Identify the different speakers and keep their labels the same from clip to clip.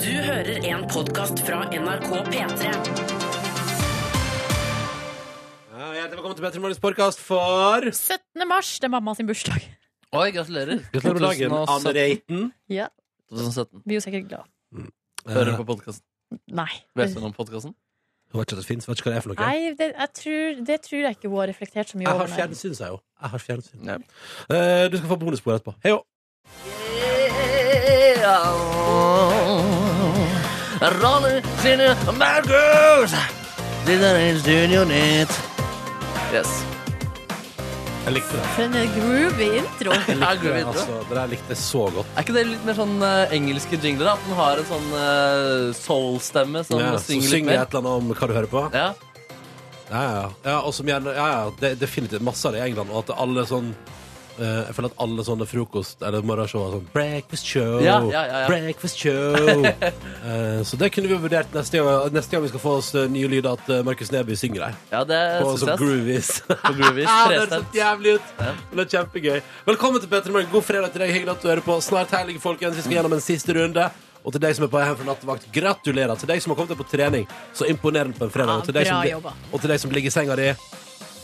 Speaker 1: Du hører en podkast fra NRK P3.
Speaker 2: Ja, hjertelig velkommen til Petter Morgens podkast for
Speaker 3: 17. mars, det er mamma sin bursdag.
Speaker 4: Oi, gratulerer.
Speaker 2: Dagen, Anne
Speaker 4: 2017.
Speaker 2: Reiten.
Speaker 3: Ja,
Speaker 4: 2017.
Speaker 3: Blir jo sikkert glad.
Speaker 2: Eh,
Speaker 4: Hører du på podkasten?
Speaker 3: Nei.
Speaker 4: Leser du om podkasten?
Speaker 2: Hun vet ikke at det fins, vet ikke hva det er for noe.
Speaker 3: Nei, det, jeg tror, det tror jeg ikke hun har reflektert så mye
Speaker 2: Jeg
Speaker 3: over.
Speaker 2: har
Speaker 3: nei.
Speaker 2: fjernsyn, sa jeg jo. Jeg har fjernsyn.
Speaker 4: Ja.
Speaker 2: Eh, du skal få bonusspor etterpå. Hei jo.
Speaker 4: Ronny sine Mad Girls! De der i studio nytt. Yes.
Speaker 2: Jeg likte det.
Speaker 3: For en groovy intro.
Speaker 4: Ja, går
Speaker 2: Det,
Speaker 4: vi
Speaker 2: er
Speaker 4: videre.
Speaker 2: altså, det der likte jeg så godt.
Speaker 4: Er ikke det litt mer sånn eh, engelske jingler? da? At den har en sånn eh, soul-stemme som
Speaker 2: Ja, så
Speaker 4: synger litt
Speaker 2: synger jeg
Speaker 4: mer?
Speaker 2: et eller annet om hva du hører på.
Speaker 4: Ja.
Speaker 2: Ja, ja. ja, og som gjerne, ja, ja. Det, definitivt masse av det i England. Og at alle sånn eh, jeg føler at alle sånne frokost- eller morgenshow er sånn Breakfast show!
Speaker 4: Ja, ja, ja, ja.
Speaker 2: Breakfast show! Eh, så det kunne vi vurdert neste gang, neste gang vi skal få oss eh, nye lyder at eh, Markus Neby synger der.
Speaker 4: ja, det
Speaker 2: På
Speaker 4: syns
Speaker 2: sånn
Speaker 4: jeg.
Speaker 2: groovies.
Speaker 4: På Groovies.
Speaker 2: Ja, det høres
Speaker 4: Trestemt.
Speaker 2: helt jævlig ut.
Speaker 4: Ja.
Speaker 2: Det er kjempegøy. Velkommen til Petter Morgen. God fredag til deg. Hyggelig at du hører på. Snart helg, folkens. Vi skal gjennom en siste runde. Og til deg som er på hjem fra nattevakt, gratulerer. Til deg som har kommet deg på trening, så imponerende på en fredag.
Speaker 3: Ja,
Speaker 2: og, til deg
Speaker 3: bra
Speaker 2: som,
Speaker 3: jobba.
Speaker 2: og til deg som ligger i senga di,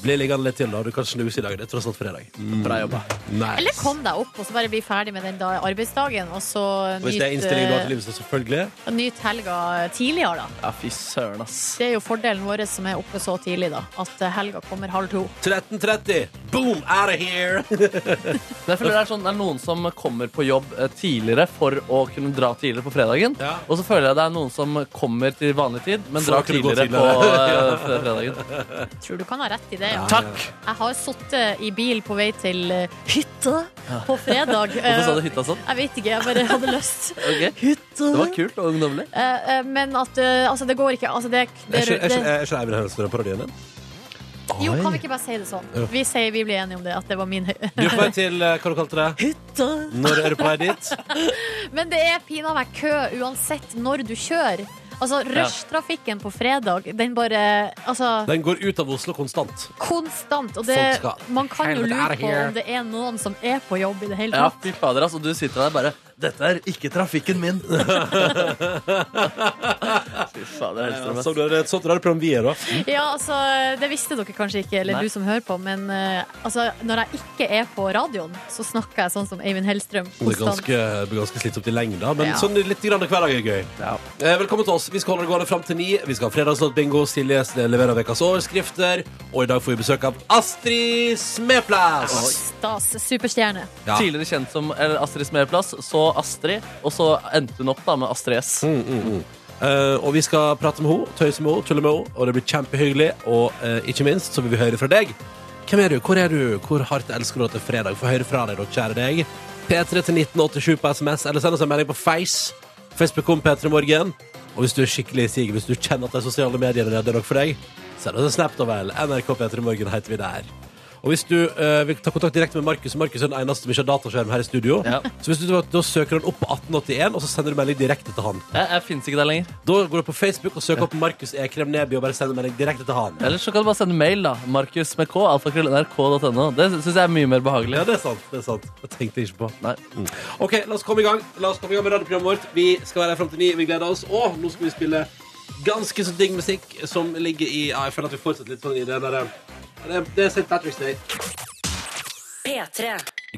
Speaker 2: bli liggende litt til, da. Du kan snuse i dag. Det er tross alt fredag. Mm,
Speaker 4: Bra jobba.
Speaker 2: Nice.
Speaker 3: Eller kom deg opp og så bare bli ferdig med den da, arbeidsdagen, og så
Speaker 2: Hvis
Speaker 3: nyt,
Speaker 2: det er innstillingen du har
Speaker 3: eh,
Speaker 2: til livet, så selvfølgelig.
Speaker 3: nyt helga tidligere, da.
Speaker 4: Ja, fy søren, ass.
Speaker 3: Det er jo fordelen vår som er oppe så tidlig, da. At eh, helga kommer halv to.
Speaker 2: 13.30. Boom! Out of here!
Speaker 4: Men jeg føler det er, sånn, det er noen som kommer på jobb eh, tidligere for å kunne dra tidligere på fredagen.
Speaker 2: Ja.
Speaker 4: Og så føler jeg det er noen som kommer til vanlig tid, men
Speaker 2: For å
Speaker 4: drar
Speaker 2: kunne gå
Speaker 4: tidligere, på
Speaker 2: tidligere.
Speaker 4: eh, fre- fredagen.
Speaker 3: Tror du kan ha rett i det, ja.
Speaker 4: Takk!
Speaker 3: Jeg har sittet i bil på vei til eh, hytta på fredag. Eh,
Speaker 4: Hvorfor sa du hytta sånn?
Speaker 3: Jeg vet ikke, jeg bare hadde lyst.
Speaker 4: Ok.
Speaker 3: Hytta.
Speaker 4: Det var kult og ungdommelig.
Speaker 3: Eh, eh, men at eh, altså, det går ikke. Altså, det,
Speaker 2: Er
Speaker 3: det,
Speaker 2: ikke- er
Speaker 3: det,
Speaker 2: ikke er ikke Eivind Hellstrøm parodien din?
Speaker 3: jo, kan vi ikke bare si det sånn?
Speaker 2: Jo.
Speaker 3: Vi sier vi blir enige om det, at det var min
Speaker 2: Du er på vei til eh, hva du kalte det?
Speaker 3: hytte.
Speaker 2: Når er du på vei dit?
Speaker 3: Men det er pinadø meg kø uansett når du kjører. Altså, Rushtrafikken på fredag, den bare Altså,
Speaker 2: Den går ut av Oslo konstant.
Speaker 3: konstant. Og det,
Speaker 2: Folk skal-
Speaker 3: man kan jo
Speaker 2: Helvete, er
Speaker 3: lure
Speaker 2: det
Speaker 3: på
Speaker 2: her?
Speaker 3: om det er noen som er på jobb i det hele
Speaker 4: Ja,
Speaker 3: tatt.
Speaker 4: fy fader, ass. Og du sitter der bare Dette er ikke trafikken min. fy fader, Hellstrøm. ass.
Speaker 2: Så det er et sånt radioprogram vi er, da.
Speaker 3: Ja, altså, Det visste dere kanskje ikke, eller
Speaker 4: Nei.
Speaker 3: du som hører på, men eh, altså, når jeg ikke er på radioen, så snakker jeg sånn som Eivind Hellstrøm.
Speaker 2: Det er ganske, ganske slitsomt i lengda, men
Speaker 3: Ja.
Speaker 2: sånn litt grann hver dag er gøy.
Speaker 4: Ja.
Speaker 2: Eh, velkommen til oss. Vi skal holde det gående fram til ni. Vi skal ha fredagslåtbingo. Silje leverer ukas overskrifter. Og i dag får vi besøk av Astrid Smeplass.
Speaker 3: Stas superstjerne.
Speaker 2: Ja.
Speaker 4: Tidligere kjent som eller Astrid Smeplass, så Astrid, og så endte hun opp da med Astrid S.
Speaker 2: Mm. Eh, og vi skal prate med henne, tøyse med henne, tulle med henne, og det blir kjempehyggelig. Og eh, ikke minst så vil vi høre fra deg. Hvem er du? Hvor er du? Hvor hardt elsker du at det er fredag? Få høre fra deg, da, kjære deg. P3 til 1987 på SMS, eller send oss en melding på Face. Facebook.com P3 Morgen. Og hvis du er skikkelig sig, hvis du kjenner at de sosiale mediene redder nok for deg, send oss en snap, da vel. NRK P3 Morgen heter vi der. Og hvis du eh, vil ta kontakt direkte med Markus, og Markus er den eneste som ikke har dataskjerm her i studio,
Speaker 4: Ja.
Speaker 2: så hvis du da søker han opp på 1881, og så sender du melding direkte til han.
Speaker 4: Jeg, jeg fins ikke der lenger.
Speaker 2: Da går du på Facebook og søker opp Markus Ekrem Neby og bare sender melding direkte til han.
Speaker 4: Eller så kan du bare sende mail, da. Markus med k, alfakrøll.nrk.no. Det syns jeg er mye mer behagelig.
Speaker 2: Ja, det er sant. det er sant Det tenkte jeg ikke på. Mm.
Speaker 4: Nei.
Speaker 2: OK, la oss komme i gang La oss komme i gang med radioprogrammet vårt. Vi skal være her fram til ni. Vi gleder oss. Og nå skal vi spille ganske så digg musikk som ligger i ja, Jeg føler at vi fortsetter litt sånn i det der ja, det, det er St. Patrick's Day.
Speaker 1: P3.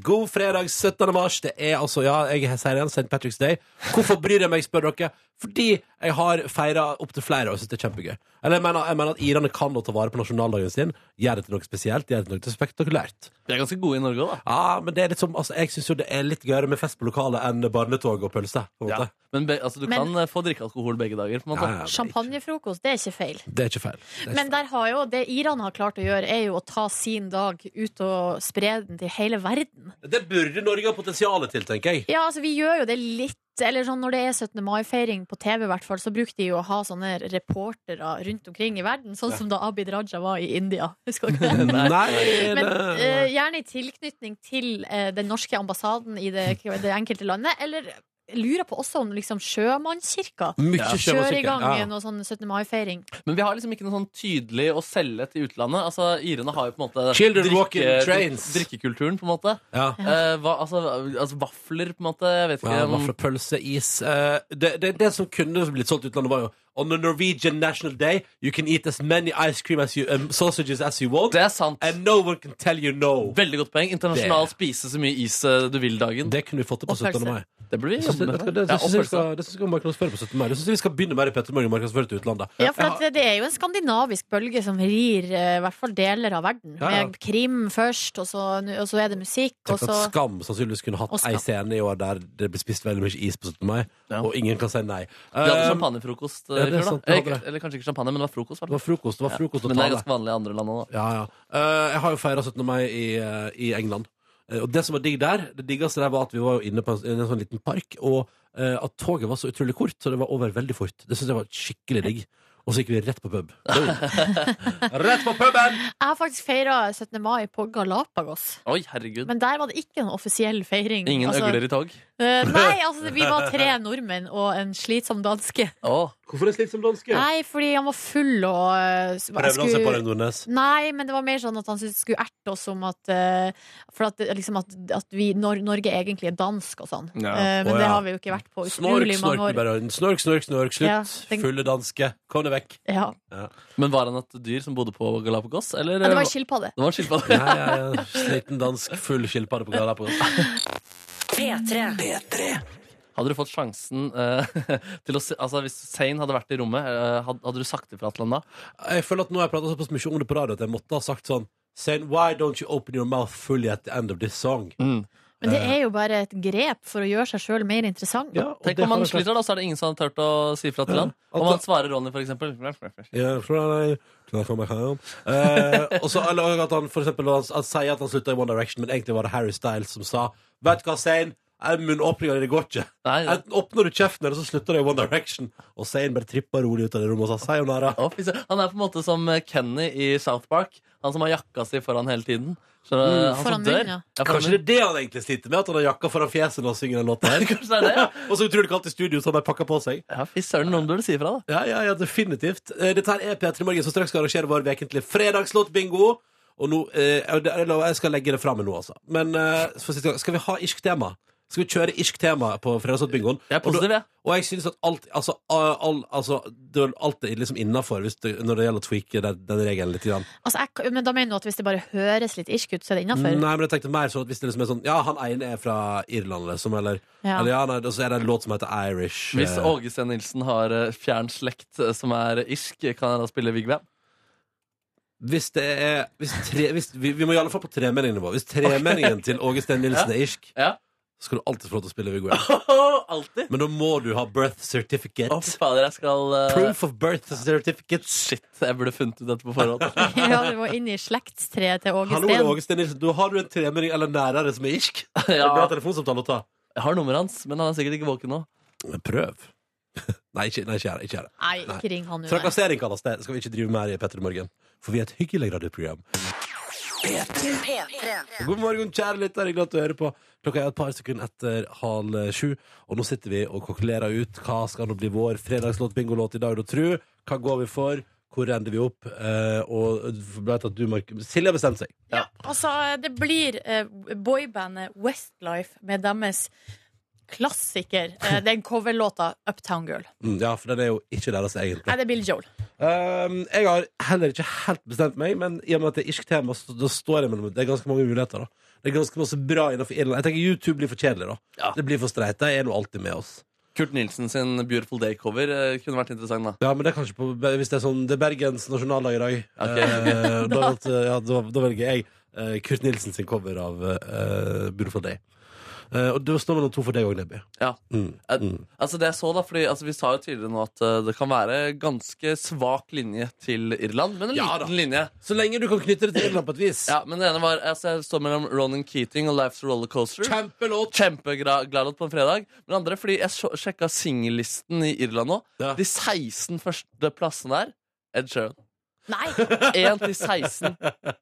Speaker 2: God fredag 17. mars. Det er altså, ja, jeg sier det igjen, St. Patrick's Day. Hvorfor bryr jeg meg, spør dere? Fordi jeg har feira opptil flere og syns det er kjempegøy. Eller jeg mener, jeg mener at irene kan nå ta vare på nasjonaldagen sin. Gjør det til noe spesielt, gjør det til noe spektakulært.
Speaker 4: Vi er ganske gode i Norge òg, da.
Speaker 2: Ja, men det er litt som, altså, jeg syns jo det er litt gøyere med fest på lokalet enn barnetog og pølse. på en måte.
Speaker 4: Men be, altså, du
Speaker 3: Men-
Speaker 4: kan eh, få drikke alkohol begge dager. på en måte
Speaker 2: Ja, ja, det er ikke-
Speaker 3: Champagnefrokost, det er ikke feil.
Speaker 2: Det er ikke feil. Det er ikke
Speaker 3: Men der har jo, det Iran har klart å gjøre, er jo å ta sin dag ut og spre den til hele verden.
Speaker 2: feil. Det burde Norge ha potensialet til, tenker jeg.
Speaker 3: Ja, altså, vi gjør jo det litt. Eller sånn, Når det er 17. mai-feiring på TV, i hvert fall, så bruker de jo å ha sånne reportere rundt omkring i verden. Sånn som da Abid Raja var i India. Husker dere det?
Speaker 2: Nei,
Speaker 3: Men
Speaker 2: det...
Speaker 3: eh, gjerne i tilknytning til eh, den norske ambassaden i det, det enkelte landet, eller lurer på også om liksom sjømannskirka
Speaker 2: Mye
Speaker 4: Ja.
Speaker 3: kjører
Speaker 2: sjømusikk.
Speaker 3: i gang
Speaker 2: Ja.
Speaker 3: noe sånn 17. mai-feiring.
Speaker 4: Men vi har liksom ikke noe sånn tydelig å selge til utlandet. Altså, Irene har jo på en måte
Speaker 2: Children walk in trains.
Speaker 4: drikkekulturen, på en måte.
Speaker 2: Ja.
Speaker 4: Eh, hva, altså, altså vafler, på en måte. Jeg vet ikke.
Speaker 2: Ja,
Speaker 4: om-
Speaker 2: Vaffelpølse, is eh, det, det, det som kunne blitt solgt i utlandet, var jo On the Norwegian National Day, you can eat as many ice cream as you, um, sausages as you want,
Speaker 4: det er sant.
Speaker 2: and no one can tell you no.
Speaker 4: Veldig godt poeng. Internasjonal
Speaker 2: Det-
Speaker 4: spise så mye is eh, du vil-dagen. Det,
Speaker 2: Det kunne vi fått til på
Speaker 3: Og
Speaker 2: 17.
Speaker 3: pølse.
Speaker 2: mai.
Speaker 4: blir vi
Speaker 2: Jeg synes- vet
Speaker 4: jobbe
Speaker 2: du hva,
Speaker 4: med.
Speaker 2: Det
Speaker 4: Ja,
Speaker 2: syns jeg vi
Speaker 4: oppfølelse.
Speaker 2: skal, det synes jeg vi skal markedsføre på 17. mai. Det syns jeg vi skal begynne med i Petter Morgen, markedsføre til utlandet.
Speaker 3: Ja, for at det, det er jo en skandinavisk bølge som rir eh, i hvert fall deler av verden.
Speaker 2: Ja, ja.
Speaker 3: Med krim først, og så, og så er det musikk, og
Speaker 2: Tenk
Speaker 3: så
Speaker 2: at Skam sannsynligvis kunne hatt
Speaker 3: Og Skam.
Speaker 2: ei scene i år der det ble spist veldig mye is på 17. mai,
Speaker 4: Ja.
Speaker 2: og ingen kan si nei.
Speaker 4: Vi hadde
Speaker 2: Eh,
Speaker 4: champagnefrokost. eh,
Speaker 2: ja,
Speaker 4: i
Speaker 2: det er
Speaker 4: fjor, da.
Speaker 2: sant, vi hadde
Speaker 4: eller,
Speaker 2: det.
Speaker 4: eller kanskje ikke champagne, men det var frokost.
Speaker 2: det var frokost. Det var frokost å
Speaker 4: men
Speaker 2: ta med.
Speaker 4: det er ganske vanlig i andre land òg, da.
Speaker 2: Ja, ja. Eh, jeg har jo feira 17. mai i, eh, i England. Eh, og det som var digg der, det diggeste der var at vi var jo inne på en, en sånn liten park, og eh, at toget var så utrolig kort, så det var over veldig fort. Det syns jeg var skikkelig digg. Og så gikk vi rett på pub. rett på puben!
Speaker 3: Jeg har faktisk feira 17. mai på Galapagos.
Speaker 4: Oi, herregud.
Speaker 3: Men der var det ikke noen offisiell feiring.
Speaker 4: Ingen
Speaker 3: altså,
Speaker 4: øgler i tog.
Speaker 3: eh, nei, altså vi var tre nordmenn og en slitsom danske.
Speaker 4: Å,
Speaker 2: Hvorfor er det slik som danske?
Speaker 3: Nei, fordi han var full og eh, s- jeg
Speaker 2: Prøvde han seg på
Speaker 3: skulle-
Speaker 2: deg, Nordnes?
Speaker 3: Nei, men det var mer sånn at han syntes det skulle erte oss om at eh, For at, det- liksom at, at vi, Nor Norge egentlig er dansk og sånn.
Speaker 4: Ja.
Speaker 3: Eh, men
Speaker 2: Å,
Speaker 3: det
Speaker 2: ja.
Speaker 3: har vi jo ikke vært på
Speaker 2: Snork,
Speaker 3: utrolig mange
Speaker 2: snork,
Speaker 3: år.
Speaker 2: bare. snork, snork, snork, slutt.
Speaker 3: Ja, tenk-
Speaker 2: Fulle danske, kom deg vekk.
Speaker 3: Ja.
Speaker 4: Men var han et dyr som bodde på Galapagos, eller?
Speaker 3: Men det var
Speaker 4: eh,
Speaker 3: skilpadde.
Speaker 4: det var en skilpadde.
Speaker 2: Nei, ja, ja. Sliten dansk, full skilpadde på Galapagos.
Speaker 1: P3.
Speaker 4: Hadde du fått sjansen eh, til å se, altså Hvis Zain hadde vært i rommet, eh, had, hadde du sagt ifra til ham da?
Speaker 2: Jeg føler at nå har jeg pratet såpass mye om det på radio at jeg måtte ha sagt sånn Saying, why don't you open your mouth fully at the end of this song?
Speaker 3: Men det er jo bare et grep for å gjøre seg sjøl mer interessant.
Speaker 2: Ja, og
Speaker 4: Tenk
Speaker 2: det
Speaker 4: om
Speaker 2: har
Speaker 4: han
Speaker 2: jeg sagt.
Speaker 4: sliter, da, så er det ingen som har turt å si ifra til
Speaker 2: Ja.
Speaker 4: ham.
Speaker 2: At
Speaker 4: Om
Speaker 2: da-
Speaker 4: han svarer Ronny, for eksempel.
Speaker 2: Ja, for han er- Can I come back home? Eh, og så eller at han for eksempel han, han sier at han slutta i One Direction, men egentlig var det Harry Styles som sa Vet du hva, Zain? Munnåpninga di går ikke.
Speaker 4: Nei, det-
Speaker 2: Enten åpner du kjeften, eller så slutter det i One Direction. Og Zain bare trippa rolig ut av det rommet og sa sayonara.
Speaker 4: Å, fy søren. han er på en måte som eh, Kenny i South Park. Han som har jakka si foran hele tiden. Så, eh, han
Speaker 3: Mm. Foran
Speaker 4: som dør.
Speaker 3: munnen, ja.
Speaker 4: Ja, foran
Speaker 2: Kanskje det er det han egentlig sliter med, at han har jakka foran fjeset når han synger den låta her.
Speaker 4: munnen. Kanskje det er det?
Speaker 2: og så utrolig kaldt i studio, så han har pakka på seg.
Speaker 4: Ja, fy søren, noen burde si ifra, da.
Speaker 2: Ja, ja, ja, definitivt. Eh, Dette her er P3 Morgen, som straks skal arrangere vår vekentlige fredagslåtbingo. Og nå, eh, jeg- jeg skal legge det fra meg nå, altså. Men eh, for siste gang, skal vi ha irsk tema? Skal vi kjøre irsk tema på fredagslåtbingoen?
Speaker 4: Jeg er positiv, jeg.
Speaker 2: Og jeg synes at alt Altså, all, altså det, er alt er liksom innafor når det gjelder å tweake den, den regelen litt. Grann.
Speaker 3: Altså, jeg, men da mener du at hvis det bare høres litt irsk ut, så er det
Speaker 4: Mm.
Speaker 3: innafor?
Speaker 2: Nei, men jeg tenkte mer sånn at hvis det liksom er sånn Ja, han ene er fra Irland, liksom, eller
Speaker 3: Ja.
Speaker 2: Eller ja, nei, og så er det en låt som heter Irish.
Speaker 4: Hvis
Speaker 2: eh,
Speaker 4: Åge Steen Nilsen har eh, fjern slekt eh, som er irsk, kan han da spille Big Bam?
Speaker 2: Hvis det er hvis tre, hvis, vi, vi må i alle fall på tremenningnivå. Hvis tremenningen til Åge Steen Nilsen er irsk,
Speaker 4: Ja.
Speaker 2: så skal du alltid få lov til å spille Viggo Hjell.
Speaker 4: Alltid!
Speaker 2: Men da må du ha birth certificate.
Speaker 4: Å, fy fader, jeg skal eh,
Speaker 2: Proof of birth certificate.
Speaker 4: Shit, jeg burde funnet ut dette på forhånd.
Speaker 3: Ja, du var inne i slektstreet til Åge
Speaker 2: Hallo, det er
Speaker 3: Steen.
Speaker 2: Åge Steen Nilsen. Du, har du en tremenning eller nærere som er irsk? Det er
Speaker 4: Ja.
Speaker 2: bra telefonsamtale å ta.
Speaker 4: Jeg har nummeret hans, men han er sikkert ikke våken nå.
Speaker 2: Men prøv. nei, ikke, nei, ikke gjør det. Ikke gjør det.
Speaker 3: Nei, ikke ring han nå. nei.
Speaker 2: Trakassering kalles det. Det skal vi ikke drive med her i Petter i morgen. For vi er et hyggelig radioprogram.
Speaker 1: P3.
Speaker 2: God morgen, kjære lytter. Glad til å høre på. Klokka er et par sekunder etter halv eh, sju, og nå sitter vi og kokkelerer ut hva skal nå bli vår fredagslåt, bingolåt i dag, da, tru. Hva går vi for? Hvor ender vi opp? Eh, og vet at du, Mark Silje har bestemt seg.
Speaker 3: Ja, altså, det blir eh, boybandet Westlife med deres klassiker. Eh, den coverlåta Uptown Girl.
Speaker 2: Mm, ja, for den er jo ikke deres egen.
Speaker 3: Nei, det er Bill Joel.
Speaker 2: Um, jeg har heller ikke helt bestemt meg, men i og med at det er irsk tema, så da står jeg mellom Det er ganske mange muligheter, da. Det er ganske masse bra innenfor Irland. Jeg tenker YouTube blir for kjedelig, da.
Speaker 4: Ja.
Speaker 2: Det blir for streit. De er nå alltid med oss.
Speaker 4: Kurt Nilsen sin Beautiful Day-cover eh, kunne vært interessant, da.
Speaker 2: Ja, men det er kanskje på, hvis det er sånn Det er Bergens nasjonaldag i dag.
Speaker 4: Ok.
Speaker 2: Eh, da, vet- ja, da, da velger jeg eh, Kurt Nilsen sin cover av uh, Beautiful Day. Eh, og da står mellom to for deg òg, Nebby.
Speaker 4: Ja.
Speaker 2: Mm.
Speaker 4: Eh,
Speaker 2: Mm.
Speaker 4: Altså det jeg så da, fordi altså, Vi sa jo tidligere nå at eh, det kan være ganske svak linje til Irland, men en
Speaker 2: Ja, da.
Speaker 4: liten linje.
Speaker 2: Så lenge du kan knytte det til Irland på et vis.
Speaker 4: Ja, men det ene var altså, Jeg står mellom Ronan Keating og Life's a Rollercoaster.
Speaker 2: Kjempelåt!
Speaker 4: Kjempegladlåt på en fredag. Men det andre, fordi jeg sj- sjekka singellisten i Irland nå.
Speaker 2: Ja.
Speaker 4: De 16 første plassene der Ed Sheeran.
Speaker 3: Nei!
Speaker 4: 1 til 16.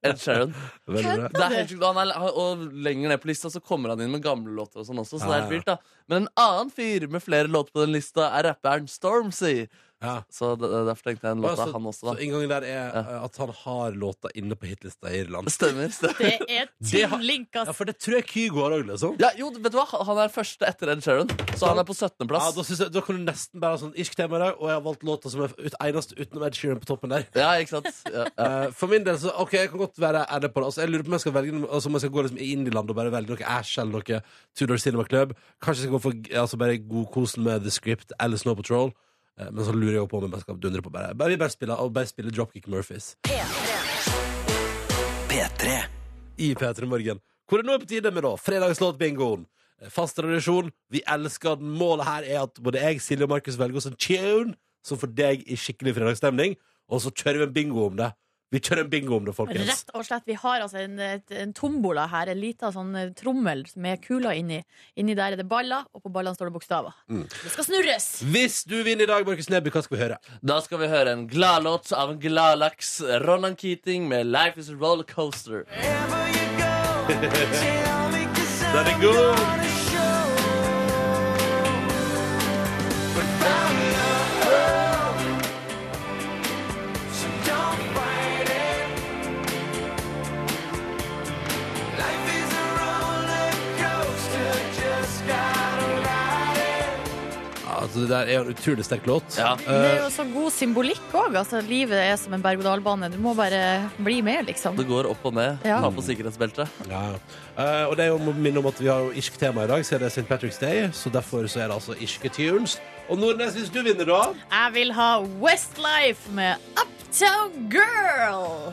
Speaker 4: Ed Sheeran.
Speaker 2: Veldig bra.
Speaker 4: Det er helt sjukt. Han er, han- og lenger ned på lista så kommer han inn med gamle låter og sånn også, så det er helt vilt, da. Men en annen fyr med flere låter på den lista er rapperen Stormzy.
Speaker 2: Ja.
Speaker 4: Så det, det- derfor tenkte jeg en låt av
Speaker 2: så,
Speaker 4: han også,
Speaker 2: så
Speaker 4: da.
Speaker 2: inngangen der er eh, at han har låta inne på hitlista i Irland.
Speaker 4: Stemmer. stemmer.
Speaker 3: Det er
Speaker 2: Det har-
Speaker 3: tillinka
Speaker 2: Ja, for det tror jeg Kygo har òg, liksom.
Speaker 4: Ja, jo, vet du hva? Han er første etter Ed Sheeran, så han er på
Speaker 2: Ja,
Speaker 4: 17.-plass.
Speaker 2: da, synes jeg, da kan du nesten bare ha sånn irsk tema i dag, og jeg har valgt låta som er ut, eneste utenom Ed Sheeran på toppen der.
Speaker 4: Ja, ikke sant? Ja, ja.
Speaker 2: Eh, for min del så Ok, jeg kan godt være ærlig på det. Altså, jeg lurer på om jeg skal velge Altså, om jeg skal gå liksom i indieland og bare velge noe Ash eller noe Tudor Cinema Club. Kanskje jeg skal gå for altså, bare godkosen med The Script eller Snow Patrol. Eh, men så lurer jeg jo på om jeg bare skal dundre på bare, bare, vi bare spiller, og bare spille Dropkick Murphys. i P3 Morgen. Hvor det nå er på tide med da fredagslåtbingoen. Eh, Fast tradisjon. Vi elsker den. Målet her er at både jeg, Silje og Markus velger oss en tune som får deg i skikkelig fredagsstemning, og så kjører vi en bingo om det. Vi kjører en bingo om det, folkens.
Speaker 3: Rett og slett. Vi har altså en, et- en tombola her, en liten sånn eh, trommel med kuler inni. Inni der er det baller, og på ballene står det bokstaver.
Speaker 2: Mm.
Speaker 3: Det skal snurres!
Speaker 2: Hvis du vinner i dag, Markus Neby, hva skal vi høre?
Speaker 4: Da skal vi høre en gladlåt av en gladlaks, Ronan Keating med 'Life Is A Rollercoaster'.
Speaker 2: Den er god! Ja, Altså, det der er jo en utrolig sterk låt.
Speaker 4: Ja.
Speaker 3: Men Det er jo så god symbolikk òg. Altså, livet er som en berg-og-dal-bane. Du må bare bli med, liksom.
Speaker 4: Det går opp og ned.
Speaker 3: Ja.
Speaker 4: Ta på sikkerhetsbeltet.
Speaker 2: Ja. Eh, og det er jo må minne om at vi har jo irsk tema i dag, så er det St. Patrick's Day. Så derfor så er det altså irske tunes. Og Nordnes, hvis du vinner, da
Speaker 3: Jeg vil ha Westlife med Uptown Girl.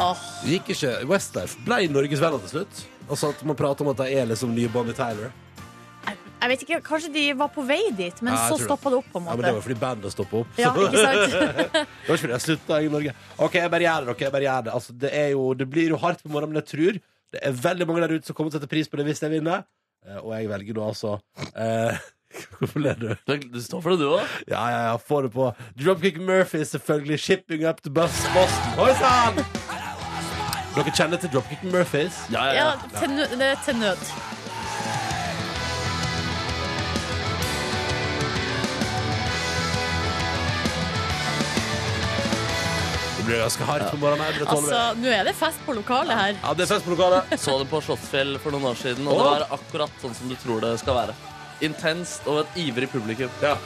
Speaker 3: Åh,
Speaker 2: Gikk ikke Westlife ble Norges venner til slutt. Altså at Man prater om at de er liksom nye Bonnie Tyler.
Speaker 3: jeg vet ikke, Kanskje de var på vei dit, men
Speaker 2: Ja, jeg
Speaker 3: så
Speaker 2: tror det.
Speaker 3: stoppa det opp. på en
Speaker 2: Ja, men
Speaker 3: måte
Speaker 2: Det var fordi bandet stoppa opp.
Speaker 3: Ja,
Speaker 2: Så-
Speaker 3: ikke sant?
Speaker 2: det var ikke fordi jeg slutta i Norge. OK, jeg bare gjør det. ok, jeg bare gjør Det Altså, det, er jo, det blir jo hardt på morgenen, men jeg tror det er veldig mange der ute som kommer til å sette pris på det hvis jeg vinner. Eh, og jeg velger da altså eh, Hvorfor ler du?
Speaker 4: Du, du står for det, du òg.
Speaker 2: Ja, ja, ja, få det på. Dropkick Murphy selvfølgelig. Shipping up to bus Boston. Oi sann! Dere kjenner til Dropkick Murphys?
Speaker 4: Ja,
Speaker 3: Ja, til, nø- det er til nød.
Speaker 2: Det blir ganske hardt på morgenen. jeg blir tåler
Speaker 3: Altså, nå er det fest på lokalet her.
Speaker 2: det. Ja, det er fest på lokalet.
Speaker 4: Så det på Slottsfjell for noen år siden, og det var akkurat sånn som du tror det skal være. Intenst og et ivrig publikum.
Speaker 2: Ja.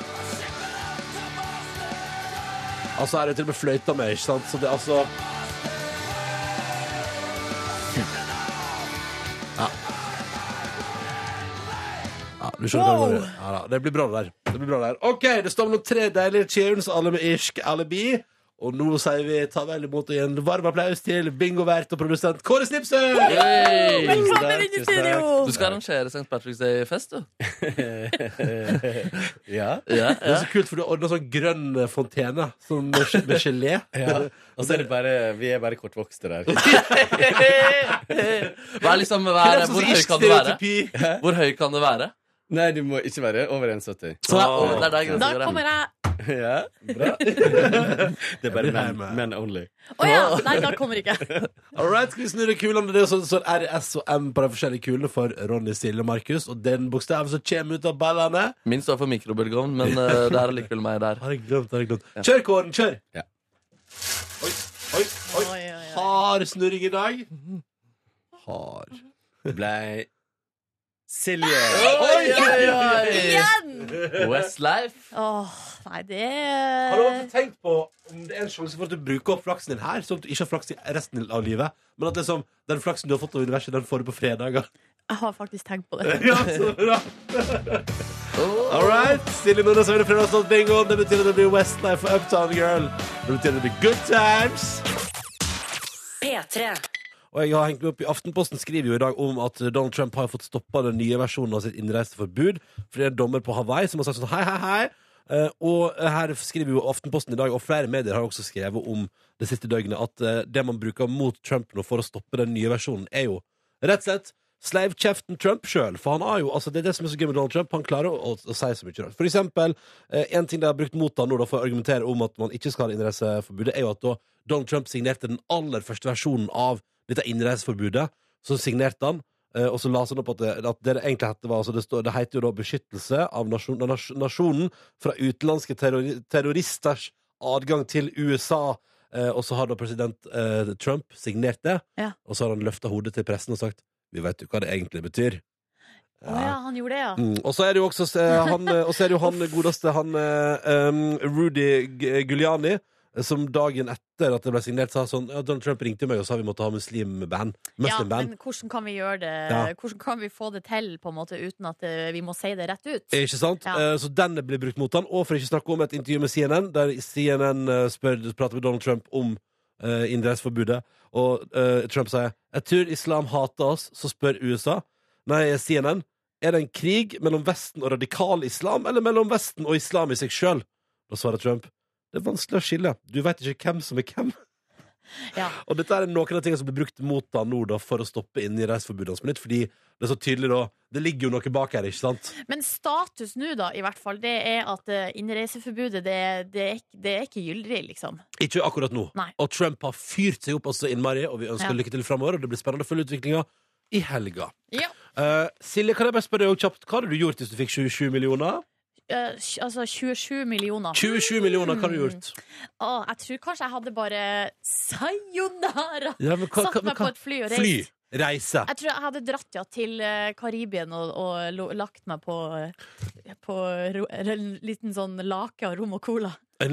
Speaker 2: Altså er det til og med fløyta med, ikke sant? Så det er altså Ja. Ja, du skjønner hva jeg
Speaker 3: Wow.
Speaker 2: mener. Ja, da. det blir bra det der. Det blir bra det der. OK, det står mellom tre deilige cheers, alle med irsk alibi. Og nå sier vi ta vel imot og gi en varm applaus til bingovert og produsent Kåre Snipsøy!
Speaker 4: Yay!
Speaker 3: Velkommen inn i studio!
Speaker 4: Du skal arrangere St. Patrick's Day-fest, du.
Speaker 5: Ja.
Speaker 4: Ja,
Speaker 2: Det
Speaker 4: ja.
Speaker 2: er så kult, for du har ordna sånn grønn fontene sånn med med gelé.
Speaker 5: Og så er det bare Vi er bare kortvokste der.
Speaker 4: Hva er liksom, hva er,
Speaker 2: sånn
Speaker 4: hvor høy kan det være? Hvor høy kan det være?
Speaker 5: Nei, du må ikke være over 1,70.
Speaker 4: Så det er, over- det er der
Speaker 3: Da
Speaker 4: grensa går. ja.
Speaker 3: kommer jeg
Speaker 5: Ja, bra. Det er bare men, men only.
Speaker 3: Å ja! Nei, da kommer ikke jeg.
Speaker 2: Alright, skal vi snurre kulene? Det er sånn sånn RS og M på de forskjellige kulene for Ronny, Silje og Markus. Og den bokstaven som kommer ut av ballene
Speaker 4: Min står for mikrobølgeovn, men eh, det er allikevel meg der.
Speaker 2: Har jeg glemt, har jeg glemt. Kjør, Kåren, kjør!
Speaker 5: Ja.
Speaker 2: Oi, oi, oi.
Speaker 3: Oi, oi, oi.
Speaker 2: Hard snurring i dag. Hard.
Speaker 5: Det ble Silje.
Speaker 4: Oi, oi, oi!
Speaker 3: Igjen!
Speaker 4: Westlife.
Speaker 3: Åh, nei, det
Speaker 2: Har du alltid tenkt på om det er en sjanse for at du bruker opp flaksen din her, sånn at du ikke har flaks i resten av livet, men at liksom, den flaksen du har fått av universet, den får du på fredager?
Speaker 3: Jeg har faktisk tenkt på det.
Speaker 2: Ja, så bra! All right, Silje Nordnes hører fredagslåt bingo. Det betyr at det blir Westlife og Uptown Girl. Det betyr at det blir good times.
Speaker 1: P3.
Speaker 2: Og jeg har hengt meg opp i Aftenposten skriver jo i dag om at Donald Trump har fått stoppa den nye versjonen av sitt innreiseforbud. Fordi det er en dommer på Hawaii som har sagt sånn hei, hei, hei. Eh, og her skriver jo Aftenposten i dag, og flere medier har også skrevet om det siste døgnet, at eh, det man bruker mot Trump nå for å stoppe den nye versjonen, er jo rett og slett sleivkjeften Trump sjøl. For han har jo, altså det er det som er så gøy med Donald Trump, han klarer å, å, å si så mye rart. For eksempel, eh, en ting de har brukt mot han nå da, for å argumentere om at man ikke skal ha innreiseforbudet, er jo at da Donald Trump signerte den aller første versjonen av dette innreiseforbudet, så signerte han Eh, og så la han opp at det, at det det egentlig hette var altså det, står, det heter jo da 'beskyttelse av nasjon, nas, nasjonen fra utenlandske terrori, terroristers adgang til USA'. Eh, og så har da president eh, Trump signert det,
Speaker 3: Ja.
Speaker 2: og så har han løfta hodet til pressen og sagt 'Vi veit jo hva det egentlig betyr'.
Speaker 3: Å ja, han gjorde det, ja.
Speaker 2: Mm. Og så er det jo også eh, han, eh, og så er det jo han godeste han eh, um, Rudy G- Giuliani, eh, som dagen etter at det ble signert, sa sånn ja, 'Donald Trump ringte meg og sa vi måtte ha muslimband'.
Speaker 3: ja
Speaker 2: Muslimband.
Speaker 3: men hvordan kan vi gjøre det
Speaker 2: Ja.
Speaker 3: Hvordan kan vi få det til på en måte uten at eh, vi må si det rett ut?
Speaker 2: Ikke sant?
Speaker 3: Ja.
Speaker 2: Eh, Så den blir brukt mot han Og for ikke å snakke om et intervju med CNN, der CNN eh, spør, prater med Donald Trump om eh, innreiseforbudet. Og eh, Trump sier Jeg tror islam hater oss, så spør USA. Nei, CNN. Er det en krig mellom Vesten og radikal islam, eller mellom Vesten og islam i seg sjøl? Da svarer Trump. Det er vanskelig å skille. Du veit ikke hvem som er hvem.
Speaker 3: Ja.
Speaker 2: Og dette er noen av tingene som blir brukt mot han nå da, for å stoppe innreiseforbudet hans på nytt. Fordi det er så tydelig, da. Det ligger jo noe bak her, ikke sant?
Speaker 3: Men status nå, da, i hvert fall, det er at eh, innreiseforbudet, det, det, er, ikke- det er ikke gyldig, liksom.
Speaker 2: Ikke akkurat nå.
Speaker 3: Nei.
Speaker 2: Og Trump har fyrt seg opp også innmari, og vi ønsker
Speaker 3: Ja.
Speaker 2: lykke til framover. Og det blir spennende å følge utviklinga i helga.
Speaker 3: Ja.
Speaker 2: Eh, Silje, kan jeg bare spørre deg også kjapt, hva hadde du gjort hvis du fikk 27 millioner?
Speaker 3: Eh, tj- altså 27 millioner.
Speaker 2: 27 millioner, hva hadde du gjort?
Speaker 3: Å, jeg tror kanskje jeg hadde bare sayonara!
Speaker 2: Ja, men hva- hva-
Speaker 3: Satt meg
Speaker 2: hva-
Speaker 3: på et fly og
Speaker 2: Fly.
Speaker 3: reist.
Speaker 2: Reise.
Speaker 3: Jeg tror jeg hadde dratt ja, til eh, Karibien og, og lo- lagt meg på, eh, på ro, en liten sånn lake av rom og cola.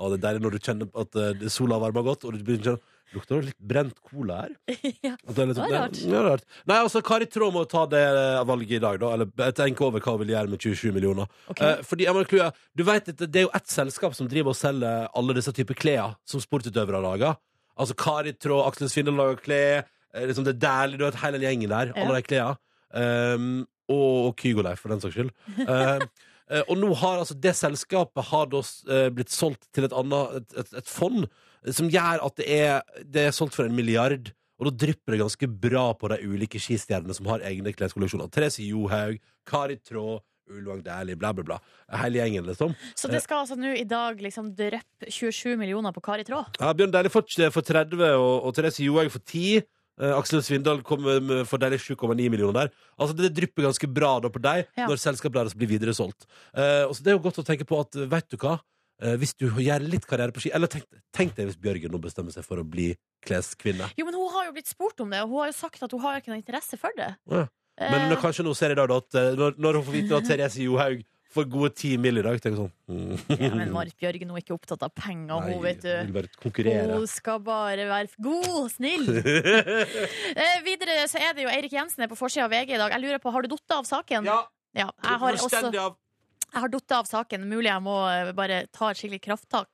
Speaker 2: Å, det er deilig når du kjenner at eh, sola har varma godt, og du begynner å kjenne Lukter det litt brent cola her?
Speaker 3: ja.
Speaker 2: At det er litt,
Speaker 3: Det var rart.
Speaker 2: Ja, det er rart. Nei, altså, hva er i tråd med å ta det eh, valget i dag, da? Eller eh, tenke over hva hun vil gjøre med 27 millioner.
Speaker 3: Ok.
Speaker 2: Eh, fordi, jeg må klue, du vet, at det er jo ett selskap som driver og selger alle disse typer klær som sportsutøvere lager. Altså Kari Traa, Aksel Svindal lager klær. eh, Liksom det er deilig, du vet hele den gjengen der. Alle
Speaker 3: Ja.
Speaker 2: de klærne. Um, og Kygoleif, for den saks skyld. Um, eh, og nå har altså det selskapet har da s- eh, blitt solgt til et annet et, et, et fond eh, som gjør at det er, det er solgt for en milliard. Og da drypper det ganske bra på de ulike skistjernene som har egne kleskolleksjoner. Therese Johaug, Kari Traa, Ulvang Dæhlie, bla, bla, bla. Hele gjengen, liksom.
Speaker 3: Så det skal altså nå i dag liksom dryppe 27 millioner på Kari Traa?
Speaker 2: Ja, Bjørn Dæhlie får t- for 30, og, og Therese Johaug for 10. Eh, Aksel Svindal kommer med- for deilig 7,9 millioner der. Altså Det drypper ganske bra da på deg
Speaker 3: Ja.
Speaker 2: når selskapet deres blir videre solgt. Eh, og så det er jo godt å tenke på at, eh, vet du hva Eh, Hvis du gjør litt karriere på ski Eller tenk, tenk deg hvis Bjørgen nå bestemmer seg for å bli kleskvinne.
Speaker 3: Jo, men hun har jo blitt spurt om det, og hun har jo sagt at hun har ikke noe interesse for det.
Speaker 2: Ja. Men
Speaker 3: Eh,
Speaker 2: nå, kanskje nå ser jeg da at eh, når, når hun får vite at Therese Johaug får gode 10 mill. i dag, tenker jeg sånn mm.
Speaker 3: ja, men Marit Bjørgen hun er ikke opptatt av penger,
Speaker 2: Nei,
Speaker 3: hun, vet
Speaker 2: hun
Speaker 3: du.
Speaker 2: vil bare konkurrere.
Speaker 3: Hun skal bare være god og snill. eh, videre så er det jo Eirik Jensen er på forsida av VG i dag. Jeg lurer på, Har du datt av saken? Ja, jeg har også
Speaker 2: Fullstendig av
Speaker 3: Jeg har datt av saken. Mulig jeg må eh, bare ta et skikkelig krafttak.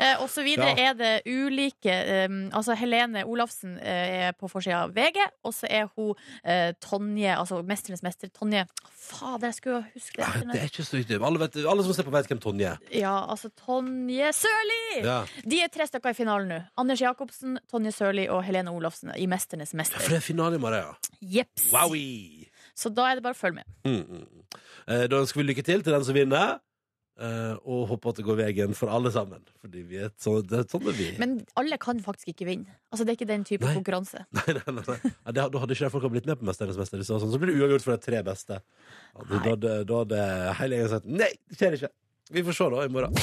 Speaker 3: Eh, og så videre er det ulike eh, Altså Helene Olafsen eh, er på forsida av VG, og så er hun eh, Tonje, altså Mesternes mester Tonje Fader, jeg skulle jo huske
Speaker 2: Det
Speaker 3: det. etternavnet.
Speaker 2: er ikke så viktig. Alle, vet, alle som ser på, vet hvem Tonje er.
Speaker 3: Ja, altså Tonje Sørli!
Speaker 2: Ja.
Speaker 3: De er tre stykker i finalen nå. Anders Jacobsen, Tonje Sørli og Helene Olafsen i Mesternes
Speaker 2: For
Speaker 3: mester.
Speaker 2: det er finale i morgen, ja.
Speaker 3: Jeps.
Speaker 2: Wowie!
Speaker 3: Så da er det bare å følge med.
Speaker 2: Mm, mm. Eh, Da ønsker vi lykke til til den som vinner. eh, Og håper at det går veien for alle sammen. Fordi vi er et sånt, det er sånn er vi.
Speaker 3: Men alle kan faktisk ikke vinne. Altså Det er ikke den type
Speaker 2: Nei.
Speaker 3: konkurranse.
Speaker 2: Nei, nei, nei, nei. Ja, det, da hadde ikke de folka blitt med på Mesternes mester. Så, sånn, så blir det uavgjort for de tre beste. Ja, da, da, hadde- da hadde hele gjengen sagt nei, det skjer ikke. Vi får se da i morgen.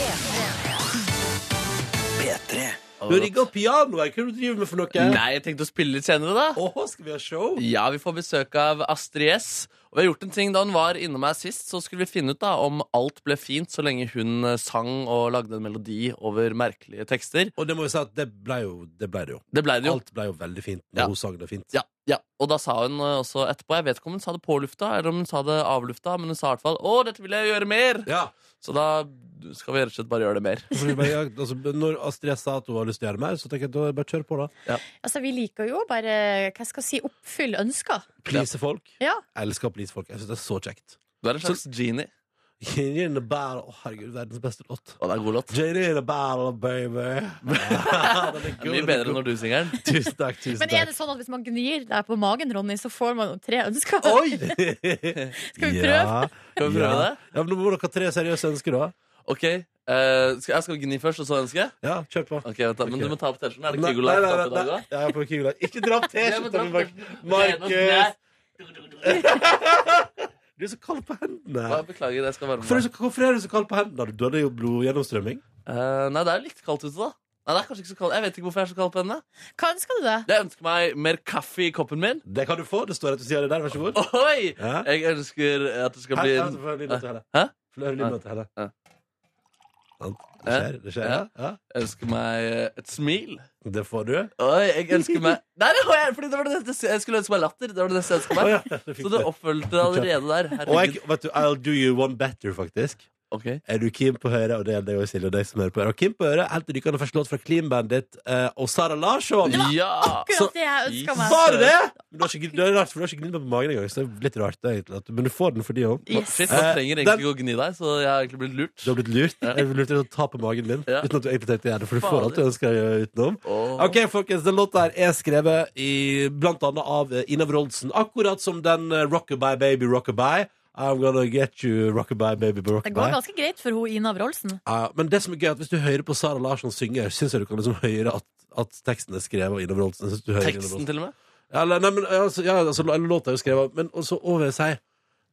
Speaker 2: Du rigger opp pianoet. Hva er det du driver med for noe?
Speaker 4: Nei, jeg tenkte å spille litt senere, da.
Speaker 2: Åh, skal vi ha show?
Speaker 4: Ja, vi får besøk av Astrid S. Og vi har gjort en ting Da hun var innom her sist, så skulle vi finne ut da om alt ble fint så lenge hun eh, sang og lagde en melodi over merkelige tekster.
Speaker 2: Og det må vi si at det ble jo det. Ble det jo.
Speaker 4: Det ble det jo.
Speaker 2: Alt ble jo veldig fint når
Speaker 4: Ja.
Speaker 2: hun sang det fint.
Speaker 4: Ja, ja, Og da sa hun eh, også etterpå Jeg vet ikke om hun sa det på lufta, eller om hun sa det av lufta, men hun sa i hvert fall 'Å, dette vil jeg gjøre mer'.
Speaker 2: Ja.
Speaker 4: Så da skal vi rett og slett bare gjøre det mer.
Speaker 2: Fordi bare, jeg, altså, når Astrid S sa at hun har lyst til å gjøre mer, så tenker jeg da bare kjør på, da.
Speaker 3: Altså, Vi liker jo bare hva skal jeg si, oppfylle ønsker.
Speaker 2: Please folk.
Speaker 3: Ja.
Speaker 2: Jeg elsker å please folk. Jeg synes det er så kjekt.
Speaker 4: Du er en slags genie.
Speaker 2: Jenny in the battle. Å, herregud, verdens beste låt.
Speaker 4: Å, det er en god låt.
Speaker 2: Jenny in the battle, baby.
Speaker 4: Det er mye bedre når du synger den.
Speaker 2: Tusen takk, tusen
Speaker 3: Men er
Speaker 2: takk.
Speaker 3: det sånn at hvis man gnir deg på magen, Ronny, så får man jo tre ønsker?
Speaker 2: Oi!
Speaker 3: Skal vi
Speaker 2: Ja,
Speaker 4: Skal vi prøve
Speaker 2: ja.
Speaker 4: det?
Speaker 2: Ja, men Nå må dere ha tre seriøse ønsker, da.
Speaker 4: Ok, eh, skal, jeg skal gni først, og så ønske?
Speaker 2: Ja, kjør på.
Speaker 4: Ok, vent da, Men
Speaker 2: Ok.
Speaker 4: du må ta opp T-skjorten. Er det
Speaker 2: Nei,
Speaker 4: Kygo
Speaker 2: nei,
Speaker 4: Live
Speaker 2: nei,
Speaker 4: opp i dag
Speaker 2: nei,
Speaker 4: da?
Speaker 2: jeg er på Kygo Live. Ikke drapp
Speaker 4: Jeg må
Speaker 2: T-skjorta
Speaker 4: ta
Speaker 2: mi,
Speaker 4: opp
Speaker 2: Mark-
Speaker 4: T-skjorten.
Speaker 2: Markus! Du er så kald på hendene.
Speaker 4: Bare Beklager, jeg skal varme
Speaker 2: Hvorfor er,
Speaker 4: meg.
Speaker 2: du så, hvorfor er du så kald på hendene? Du hadde jo blodgjennomstrømming.
Speaker 4: Eh, nei, det er jo litt kaldt ute, da. Nei, det er kanskje ikke så kaldt Jeg vet ikke hvorfor jeg er så kald på henne.
Speaker 3: Hva ønsker du deg?
Speaker 4: Jeg ønsker meg mer kaffe i koppen min.
Speaker 2: Det kan du få. Det står rett ved siden av det der. Vær så god.
Speaker 4: Oi!
Speaker 2: Ja.
Speaker 4: Jeg ønsker at det skal
Speaker 2: Her,
Speaker 4: bli
Speaker 2: her, så får jeg lyden til henne.
Speaker 4: Hæ?
Speaker 2: Får jeg lyden til henne.
Speaker 4: Ja.
Speaker 2: Sant? Det skjer. Det skjer, ja. ja.
Speaker 4: Jeg ønsker meg eh, et smil.
Speaker 2: Det får du.
Speaker 4: Oi, jeg ønsker meg Nei, det var jeg, fordi det var det neste Jeg skulle ønske meg latter. Det var det neste jeg ønsket
Speaker 2: Å,
Speaker 4: meg.
Speaker 2: ja, det fikk
Speaker 4: Så det
Speaker 2: du.
Speaker 4: oppfølgte allerede der.
Speaker 2: Og jeg,
Speaker 4: Herregud.
Speaker 2: vet du, I'll do you one better, faktisk.
Speaker 4: Ok,
Speaker 2: Er du keen på å høre, og det er det jo Silje og deg som hører på, er du keen på å høre helt rykende første låt fra Clean Bandit eh, og Sara Larsson?
Speaker 4: Ja! altså.
Speaker 2: Så-
Speaker 3: Akkurat det jeg ønska meg.
Speaker 2: Var det det?! Men du har ikke, det er rart, for du har ikke gnidd meg på magen engang, så det er litt rart, egentlig. at- Men du får den fordi òg.
Speaker 3: Yes.
Speaker 4: Shit, man
Speaker 2: Eh,
Speaker 4: trenger
Speaker 2: den-
Speaker 4: egentlig ikke å gni deg, så jeg har egentlig blitt lurt.
Speaker 2: Du har blitt lurt. Jeg ble lurt til å ta på magen min
Speaker 4: Ja.
Speaker 2: uten at du egentlig tenkte å gjøre det, for du får alt du ønsker å gjøre utenom.
Speaker 4: Åh.
Speaker 2: Ok, folkens, den låta her er skrevet i, blant annet av eh, Ina Wroldsen. Akkurat som den eh, Rockabye Baby Rockabye. I'm gonna get you Rockabye Baby
Speaker 3: Det går
Speaker 2: Rockabye.
Speaker 3: ganske greit for hun Ina Wroldsen.
Speaker 2: Ja, men det som er gøy, er at hvis du hører på Sara Larsson synge, syns jeg du kan liksom høre at, at teksten er skrevet av Ina Wroldsen. Jeg synes du hører Ina
Speaker 4: Teksten,
Speaker 2: Wroldsen.
Speaker 4: til og med.
Speaker 2: Ja, Eller, nei, men altså, ja, altså, lå- låta er jo skrevet av- Men også over seg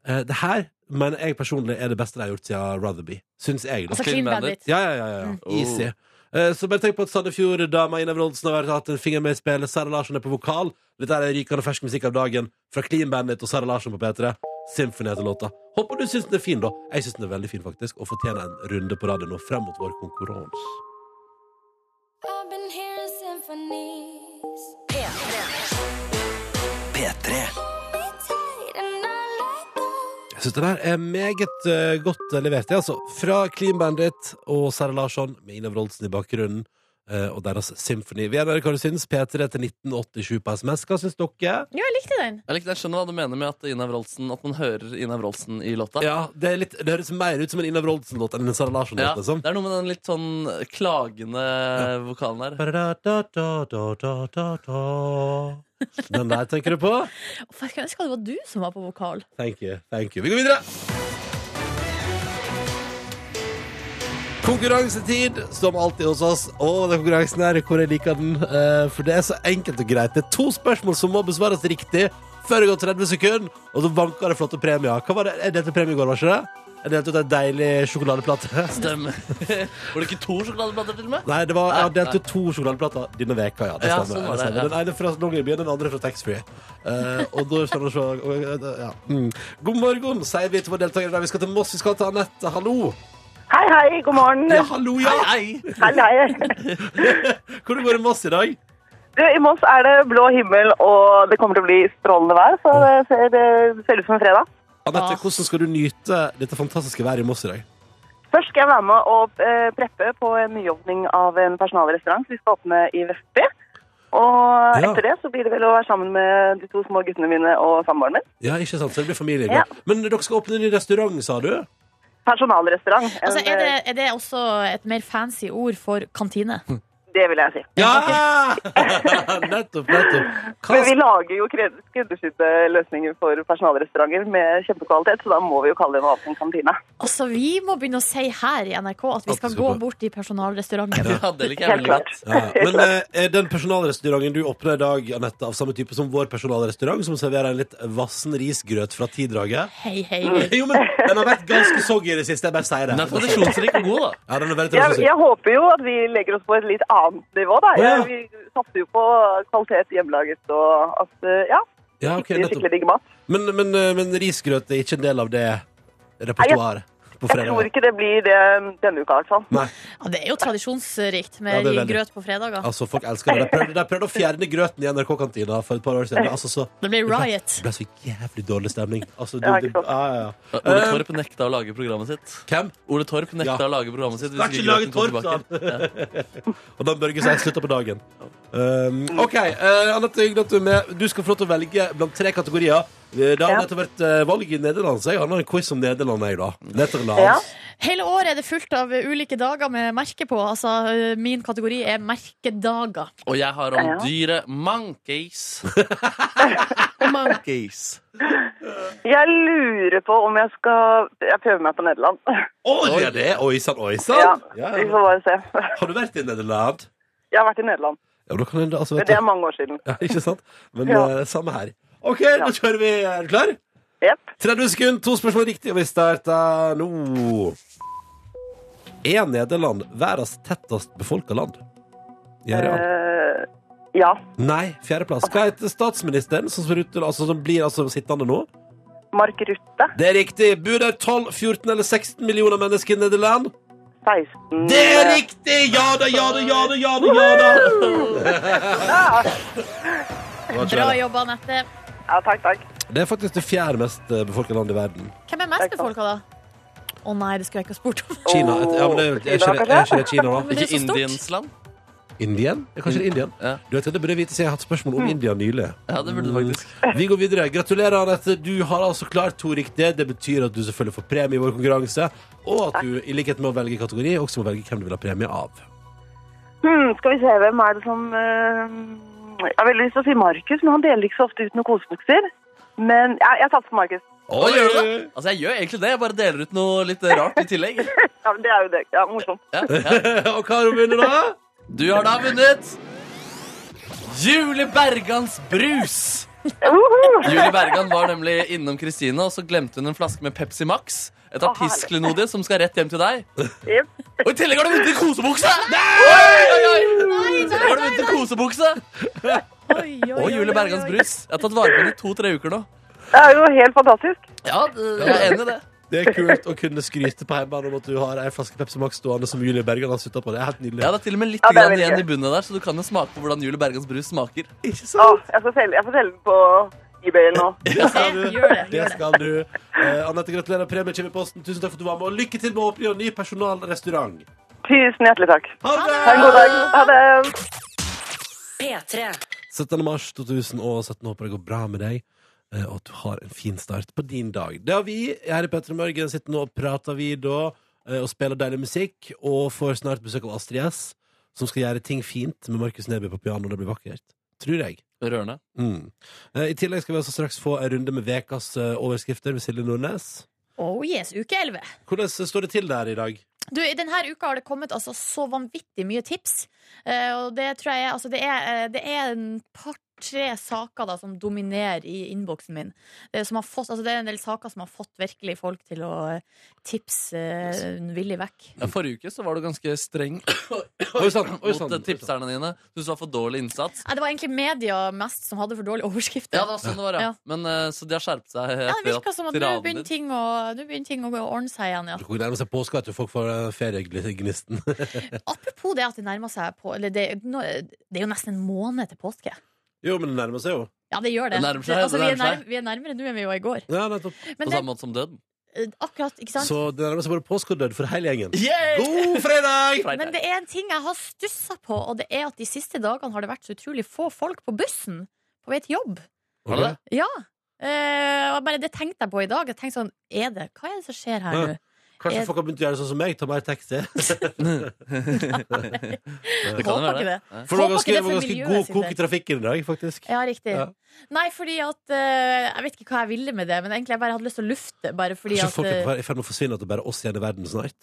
Speaker 2: eh, Det her, mener jeg personlig, er det beste de har gjort siden Rotherby. Syns jeg. da.
Speaker 3: Altså
Speaker 4: Clean
Speaker 3: Clean Bandit.
Speaker 4: Bandit.
Speaker 2: Ja, ja, ja, ja.
Speaker 4: Mm.
Speaker 2: Easy. Eh, Så bare tenk på at Sandefjord-dama Ina Wroldsen har vært- hatt en finger med i spillet. Sara Larsson er på vokal. Dette er rykende fersk musikk av dagen fra Clean Bandit og Sara Larsson på P3. Symphony heter låta. Håper du syns den er fin, da. Jeg syns den er veldig fin, faktisk, og fortjener en runde på radio nå frem mot vår konkurranse.
Speaker 6: I've been hearing symphonies. P3. Be tight and not let go.
Speaker 2: Jeg syns den her er meget eh, godt eh, levert, det, altså. Fra Clean Bandit og Sara Larsson med Ina Wroldsen i bakgrunnen. eh, Og deres Symphony. Vi er der, hva du syns. P3 til 1987 på SMS. Hva syns dere?
Speaker 3: Ja, jeg likte den.
Speaker 4: Jeg, likte, jeg skjønner hva du mener med at, Ina Wroldsen, at man hører Ina Wroldsen i låta.
Speaker 2: Ja, det, er litt, det høres mer ut som en Ina Wroldsen-låt enn en Sara Larsson-låt.
Speaker 4: Ja,
Speaker 2: liksom.
Speaker 4: det er noe med den litt sånn klagende vokalen der.
Speaker 2: Den der tenker du på?
Speaker 3: Å, Jeg skulle ønske det var du som var på vokal.
Speaker 2: Thank you. Thank you. Vi går videre! Konkurransetid, som alltid hos oss. Og den konkurransen her, hvor jeg liker den. eh, For det er så enkelt og greit. Det er to spørsmål som må besvares riktig før det går 30 sekunder, og så vanker det flotte premier. Hva var det? Jeg delte premie i går, var ikke det? Jeg delte ut en deilig sjokoladeplate.
Speaker 4: Stemmer. Var det ikke to sjokoladeplater til og med?
Speaker 2: Nei, det var, jeg har
Speaker 4: Nei,
Speaker 2: delt ut to sjokoladeplater denne veka, ja. Det
Speaker 4: Ja,
Speaker 2: stemmer.
Speaker 4: sånn var
Speaker 2: det
Speaker 4: det,
Speaker 2: stemmer.
Speaker 4: ja.
Speaker 2: Den ene fra Longyearbyen, den andre fra Taxfree. Uh, og da skal du se og, eh, ja. mm. God morgen, sier vi til våre deltakere. der. Vi skal til Moss, vi skal til Anette. Hallo.
Speaker 7: Hei, hei, god morgen.
Speaker 2: Ja, hallo, ja.
Speaker 4: Nei!
Speaker 7: Hei, hei.
Speaker 2: Hvordan går det i Moss i dag?
Speaker 7: Du, I Moss er det blå himmel, og det kommer til å bli strålende vær. Så
Speaker 2: Mm.
Speaker 7: det ser, det ser ut som en fredag.
Speaker 2: Anette,
Speaker 3: Ah.
Speaker 2: hvordan skal du nyte dette fantastiske været i Moss i dag?
Speaker 7: Først skal jeg være med og eh, preppe på en nyåpning av en personalrestaurant. som Vi skal åpne i Vestby. Og
Speaker 2: Ja.
Speaker 7: etter det så blir det vel å være sammen med de to små guttene mine og samboeren min.
Speaker 2: Ja, ikke sant? Så det blir familie.
Speaker 7: Ja.
Speaker 2: Men dere skal åpne en ny restaurant, sa du?
Speaker 7: Personalrestaurant. En,
Speaker 3: Altså, er, det, er det også et mer fancy ord for kantine?
Speaker 7: eh, det vil jeg si.
Speaker 2: Ja! nettopp, nettopp. Hva
Speaker 7: Men vi lager jo kred- skreddersydde løsninger for personalrestauranter med kjempekvalitet, så da må vi jo kalle det en åpen kantine.
Speaker 3: Altså, Vi må begynne å si her i NRK at vi skal
Speaker 2: Absolutt.
Speaker 3: gå bort i personalrestauranten.
Speaker 4: Ja, det liker jeg
Speaker 7: Helt
Speaker 4: veldig godt.
Speaker 7: klart.
Speaker 2: Ja, men eh, er den personalrestauranten du åpner i dag, Anette, av samme type som vår personalrestaurant, som serverer en litt vassen risgrøt fra Tidraget?
Speaker 3: Hei, hei.
Speaker 7: Mm.
Speaker 2: Jo, men den har vært ganske soggy i det siste, jeg bare sier
Speaker 4: Den
Speaker 2: det.
Speaker 4: er tradisjonsrik og god, da.
Speaker 2: Ja, den er veldig
Speaker 7: Jeg,
Speaker 2: tradisjonell.
Speaker 7: jeg håper jo at vi legger oss på et litt annet nivå, da.
Speaker 2: Ja.
Speaker 7: Jeg, vi satser jo på kvalitet hjemmelaget og at eh, ja,
Speaker 2: Ja, ok,
Speaker 7: skikkelig,
Speaker 2: nettopp.
Speaker 7: skikkelig digg mat.
Speaker 2: Men, men, eh, men risgrøt er ikke en del av det repertoaret på
Speaker 7: Jeg tror
Speaker 2: fredag?
Speaker 7: ikke det blir det denne uka, i hvert fall.
Speaker 2: Nei,
Speaker 3: Ja, det er jo tradisjonsrikt
Speaker 2: Ja,
Speaker 3: med
Speaker 2: det er veldig.
Speaker 3: grøt på fredager.
Speaker 2: altså, folk elsker det. De prøvde, de prøvde å fjerne grøten i NRK-kantina for et par år
Speaker 7: Eh.
Speaker 2: siden. Altså, så,
Speaker 3: Det blir riot.
Speaker 2: det ble så jævlig dårlig stemning. Altså, du,
Speaker 7: Ja,
Speaker 2: det,
Speaker 7: ikke sant.
Speaker 2: ja, ja, ja.
Speaker 4: Ole Torp nekta å lage programmet sitt.
Speaker 2: Hvem?
Speaker 4: Ole Torp nekta
Speaker 2: Ja.
Speaker 4: å lage programmet sitt.
Speaker 2: Skal
Speaker 4: Hvis
Speaker 2: ikke
Speaker 4: ikke
Speaker 2: lage
Speaker 4: Jørgen kom
Speaker 2: torp, sa han.
Speaker 4: tilbake.
Speaker 2: Og Dan Børge sier slutter på Mm. dagen. Um, OK. eh, Anette, hyggelig at du er med. Du skal få lov til å velge blant tre kategorier. Det har
Speaker 7: Ja.
Speaker 2: nettopp vært eh, valg i Nederland, så jeg har en quiz om Nederland, jeg, da. Nederland.
Speaker 7: Ja.
Speaker 3: Hele året er det fullt av ulike dager med merke på. Altså, eh, min kategori er merkedager.
Speaker 4: Og jeg har om
Speaker 7: Ja.
Speaker 4: dyret monkeys. monkeys.
Speaker 7: Jeg lurer på om jeg skal Jeg prøver meg på Nederland.
Speaker 2: Oi, det er det! Oi sann, oi
Speaker 7: Ja,
Speaker 2: sann! Ja,
Speaker 7: Vi
Speaker 2: ja.
Speaker 7: får bare se.
Speaker 2: Har du vært i Nederland?
Speaker 7: Jeg har vært i Nederland,
Speaker 2: Ja, men da kan du altså
Speaker 7: men
Speaker 2: vet du-
Speaker 7: det er mange år siden.
Speaker 2: ja, Ikke sant? Men
Speaker 7: Ja.
Speaker 2: eh, samme her. OK, da kjører vi. Er du klar?
Speaker 7: Jepp.
Speaker 2: 30 sekunder, to spørsmål riktig, og vi starter nå. Er Nederland verdens tettest befolka land? Ja, ja.
Speaker 7: Eh, ja.
Speaker 2: Nei, fjerdeplass. Hva heter statsministeren som, ser ut til, altså, som blir altså, sittende nå?
Speaker 7: Mark Rutte.
Speaker 2: Det er riktig. Bor der 12, 14 eller 16 millioner mennesker i Nederland?
Speaker 7: 16
Speaker 2: Det er riktig! Ja da, ja da, ja da, ja da! ja da.
Speaker 3: Bra jobba, Anette.
Speaker 7: Ja, takk, takk.
Speaker 2: Det er faktisk det fjerde mest befolka landet i verden.
Speaker 3: Hvem er mest befolka, da? Å nei, det skulle jeg ikke ha spurt om.
Speaker 2: Kina. et- Ja, men det er, jo- er, ikke det, er ikke det Kina, da?
Speaker 3: Men det er
Speaker 4: Ikke
Speaker 3: så stort.
Speaker 4: Indiens land.
Speaker 2: Indien? Det er kanskje det er Indien?
Speaker 4: Ja.
Speaker 2: Du vet, det burde jeg vite, siden jeg har hatt spørsmål om India nylig. Mm.
Speaker 4: Ja, det burde du faktisk.
Speaker 2: Vi går videre. Gratulerer, Anette. Du har altså klart to riktige. Det betyr at du selvfølgelig får premie i vår konkurranse, og at du i likhet med å velge kategori også må velge hvem du vil ha premie av.
Speaker 7: Hmm, skal vi se, hvem er det som eh, Jeg har veldig lyst til å si Markus, men han deler ikke så ofte ut noen kosebukser. Men ja, jeg satser på Markus.
Speaker 4: Oi, gjør du det? Altså, jeg gjør egentlig det. Jeg bare deler ut noe litt rart i tillegg.
Speaker 7: Ja, men det er jo det. Ja, morsomt.
Speaker 4: Ja, ja.
Speaker 2: og hva har hun vunnet, da?
Speaker 4: Du har da vunnet Julie Bergans brus.
Speaker 7: Uhu!
Speaker 4: Julie Bergan var nemlig innom Kristine, og så glemte hun en flaske med Pepsi Max. Et artistklenodie som skal rett hjem til deg.
Speaker 7: Jepp.
Speaker 4: Og i tillegg har du vunnet en kosebukse! Oi, oi, oi! I tillegg har du vunnet en kosebukse
Speaker 3: Oi, oi,
Speaker 4: Og
Speaker 3: oi, oi,
Speaker 4: Julie Bergans
Speaker 3: oi.
Speaker 4: brus. Jeg har tatt vare på den i to-tre uker nå.
Speaker 7: Det er jo helt fantastisk.
Speaker 4: Ja, jeg er enig i det.
Speaker 2: Det er kult å kunne skryte på hjemmebane om at du har ei flaske Pepsi Max stående som Julie Bergan har sutta på. Det er helt nydelig.
Speaker 4: Ja, det er til og med litt
Speaker 7: Ja, det er
Speaker 4: grann
Speaker 7: veldig
Speaker 4: igjen
Speaker 7: gøy.
Speaker 4: i bunnen der, så du kan jo smake på hvordan Julie Bergans brus smaker.
Speaker 2: Ikke
Speaker 7: Å,
Speaker 2: sant?
Speaker 7: jeg, skal selge, jeg får selge den på eBay nå.
Speaker 2: Det skal du.
Speaker 3: Det- gjør det,
Speaker 2: Det
Speaker 3: gjør det.
Speaker 2: skal du. Eh, Anette, gratulerer. Premie kommer i posten. Tusen takk for at du var med, og lykke til med åpning av ny personalrestaurant.
Speaker 7: Tusen hjertelig takk.
Speaker 2: Ha det!
Speaker 7: Ha en god dag. Ha det.
Speaker 1: P3.
Speaker 2: 17. mars 2017 håper det går bra med deg, eh, og at du har en fin start på din dag. Det har vi her i Petter Morgen. Sitter nå og prater vi da, eh, og spiller deilig musikk, og får snart besøk av Astrid S, som skal gjøre ting fint med Markus Neby på piano. Det blir vakkert. Tror jeg.
Speaker 4: Rørende.
Speaker 2: Mm. Eh, I tillegg skal vi altså straks få en runde med vekas eh, overskrifter ved Silje Nordnes.
Speaker 3: Oh yes, uke 11.
Speaker 2: Hvordan eh, står det til der i dag?
Speaker 3: Du, i denne uka har det kommet altså, så vanvittig mye tips. Eh, og det tror jeg er- altså, det, er, eh, det er en par-tre saker da, som dominerer i innboksen min. Det, er som har fått, altså, det er en del saker som har fått virkelig folk til å eh, tipse eh, villig vekk.
Speaker 4: Ja, forrige uke så var du ganske streng
Speaker 2: Oi sann! Oi
Speaker 4: mot
Speaker 2: sann!
Speaker 4: eh, tipserne dine. Du var for dårlig innsats.
Speaker 3: Nei, det var egentlig media mest som hadde for dårlige overskrifter.
Speaker 4: Ja, det var sånn det var, ja.
Speaker 3: Ja.
Speaker 4: Men, eh, så de har skjerpet seg
Speaker 3: Ja, det
Speaker 4: etter
Speaker 3: virka som at nå
Speaker 4: tiraden din-
Speaker 3: begynner ting å, nå begynner ting å gå- ordne seg igjen. Ja.
Speaker 2: Du kan nærme seg påske at folk får eh, feriegnisten.
Speaker 3: Apropos det at det nærmer seg på eller det, nå, det er jo nesten en måned til påske.
Speaker 2: jo, men det nærmer seg jo.
Speaker 3: Ja, det gjør det.
Speaker 4: Det nærmer seg,
Speaker 3: altså,
Speaker 4: det
Speaker 3: vi, er
Speaker 4: nærmer seg.
Speaker 3: nær, vi er nærmere nå enn vi var i går.
Speaker 2: Ja, nettopp.
Speaker 4: På
Speaker 3: Men det,
Speaker 4: samme måte som døden.
Speaker 3: eh, akkurat, ikke sant?
Speaker 2: Så det nærmer seg både påske og død for hele gjengen.
Speaker 4: Yeah!
Speaker 2: God fredag!
Speaker 3: Men det er en ting jeg har stussa på, og det er at de siste dagene har det vært så utrolig få folk på bussen på vei til jobb.
Speaker 4: Var det det?
Speaker 3: Ja. Eh, og bare Det tenkte jeg på i dag. Jeg tenkte sånn, er det, Hva er det som skjer her
Speaker 2: Ja.
Speaker 3: nå?
Speaker 2: Kanskje
Speaker 3: Jeg-
Speaker 2: folk har begynt å gjøre sånn som meg, ta mer taxi.
Speaker 4: Det kan jo
Speaker 3: Håper
Speaker 4: være det.
Speaker 3: ikke
Speaker 4: Nei.
Speaker 2: For det var ganske, det var
Speaker 3: Håper ikke det for
Speaker 2: ganske
Speaker 3: miljøet
Speaker 2: god
Speaker 3: sin
Speaker 2: kok i
Speaker 3: del.
Speaker 2: trafikken i dag, faktisk.
Speaker 3: Ja, riktig.
Speaker 2: Ja.
Speaker 3: Nei, fordi at eh, Jeg vet ikke hva jeg ville med det, men egentlig jeg bare hadde lyst til å lufte. Bare fordi
Speaker 2: Kanskje
Speaker 3: at
Speaker 2: folk er
Speaker 3: eh,
Speaker 2: på vei- i ferd med å forsvinne, at det bare er oss igjen i verden snart.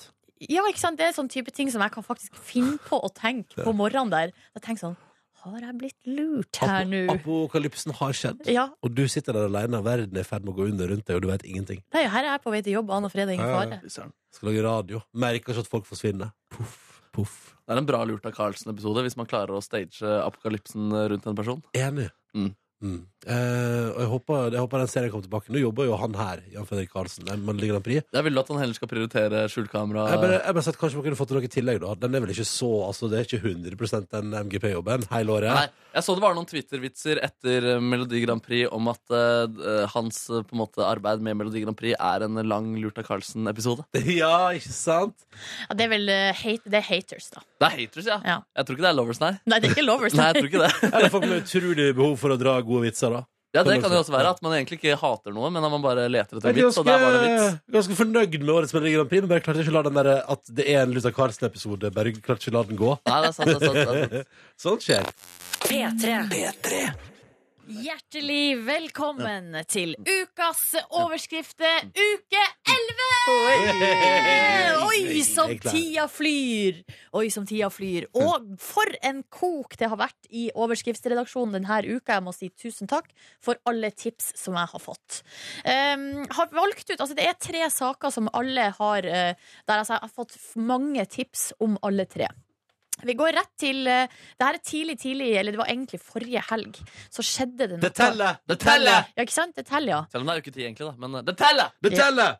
Speaker 3: Ja, ikke sant? Det er sånn type ting som jeg kan faktisk finne på å tenke på morgenen der. Jeg tenker sånn Har jeg blitt lurt her nå?
Speaker 2: Apo- Apokalypsen har skjedd.
Speaker 3: Ja,
Speaker 2: Og du sitter der alene, verden er i ferd med å gå under rundt deg, og du vet ingenting.
Speaker 3: det er jo her jeg er på vei til jobb annen fredag. Ingen
Speaker 2: Ja, ja.
Speaker 3: fare.
Speaker 2: Skal lage radio. Merker ikke at folk forsvinner. Poff, poff.
Speaker 4: Det er en bra Lurt av Carlsen-episode hvis man klarer å stage eh, apokalypsen eh, rundt en person.
Speaker 2: Enig.
Speaker 4: Mm.
Speaker 2: Mm. Eh, og jeg håper, jeg håper den serien kommer tilbake. Nå jobber jo han her, Jan Fredrik Karlsen. Den mannlige Grand Prix.
Speaker 4: Jeg ville at han heller skal prioritere skjulkamera.
Speaker 2: Jeg bare, jeg bare sett, Kanskje man kunne fått til noe i tillegg, da. Den er vel ikke så altså, Det er ikke 100 den MGP-jobben hele året.
Speaker 4: Nei, jeg så det var noen Twitter-vitser etter eh, Melodi Grand Prix om at eh, hans eh, på en måte, arbeid med Melodi Grand Prix er en lang Lurt av Carlsen-episode.
Speaker 2: Ja, ikke sant?
Speaker 3: Ja, det er vel eh, hate, det er haters, da.
Speaker 4: Det er haters, ja.
Speaker 3: Ja.
Speaker 4: Jeg tror ikke det er lovers, nei.
Speaker 3: Nei, det er ikke lovers.
Speaker 4: Nei, jeg tror ikke det.
Speaker 2: Eller folk med utrolig behov for å dra gode vitser, da.
Speaker 4: Ja, Det kan jo også være at man egentlig ikke hater noe, men at man bare leter etter
Speaker 2: Jeg
Speaker 4: en
Speaker 2: er
Speaker 4: vits. Og der var det en vits.
Speaker 2: ganske, ganske fornøyd med årets Melodi Grand Prix, men bare klarte ikke å la den der, at det er en Luther Carlsen-episode. Bare klarte ikke å la den gå.
Speaker 4: Nei, det er sant, det er sant, det er sant.
Speaker 2: Sånt skjer.
Speaker 1: P3.
Speaker 3: Hjertelig velkommen til ukas overskrifter, uke 11! Oi, som
Speaker 2: Jeg er klar.
Speaker 3: tida flyr! Oi, som tida flyr. Og for en kok det har vært i overskriftsredaksjonen denne uka. Jeg må si tusen takk for alle tips som jeg har fått. Um, har valgt ut, altså Det er tre saker som alle har eh, Der altså, jeg har fått mange tips om alle tre. Vi går rett til eh, Det her er tidlig, tidlig, eller det var egentlig forrige helg. Så skjedde det noe.
Speaker 4: Det teller!
Speaker 3: Ja, ikke sant? Det teller, ja.
Speaker 4: Selv om det er uke ti, egentlig, da. Men eh, det teller!
Speaker 2: Det teller!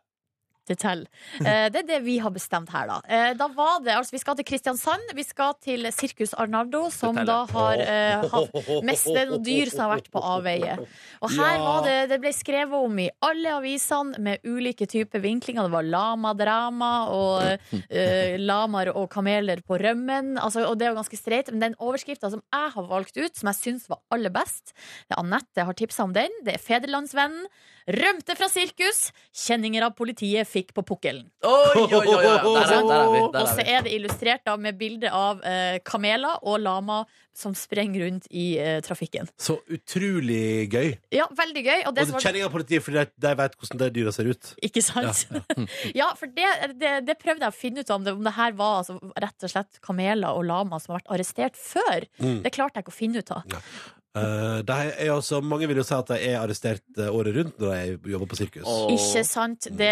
Speaker 3: Det teller. Eh, det er det vi har bestemt her, da. Eh, da var det, altså Vi skal til Kristiansand. Vi skal til Sirkus Arnardo, som da
Speaker 4: teller.
Speaker 3: har eh, hav- mest det er noen dyr som har vært på avveie. Og her
Speaker 2: Ja.
Speaker 3: var det, det ble skrevet om i alle avisene med ulike typer vinklinger. Det var lamadrama og uh, lamaer og kameler på rømmen. Altså, og det er jo ganske streit. Men den overskrifta som jeg har valgt ut, som jeg syns var aller best, det er Anette har tipsa om den. Det er Federlandsvennen. Rømte fra sirkus. Kjenninger av politiet fikk på pukkelen.
Speaker 4: Oi, oi, oi, oi. Der, er, der er vi.
Speaker 3: Og
Speaker 4: Der
Speaker 3: så
Speaker 4: er vi.
Speaker 3: er det illustrert da med bilde av eh, kameler og lama som sprenger rundt i eh, trafikken.
Speaker 2: Så utrolig gøy.
Speaker 3: Ja, veldig gøy. Og det
Speaker 2: Og
Speaker 3: som var
Speaker 2: kjenning av politiet, fordi de, de vet hvordan de dyra ser ut.
Speaker 3: Ikke sant? Ja, for det, det, det prøvde jeg å finne ut om det, om det her var altså, rett og slett kameler og lama som har vært arrestert før. Det klarte jeg ikke å finne ut av.
Speaker 2: Eh, de er også, mange vil jo si at de er arrestert eh, året rundt når de jobber på sirkus.
Speaker 4: Åh.
Speaker 3: Ikke sant?
Speaker 2: Mm.
Speaker 3: Det,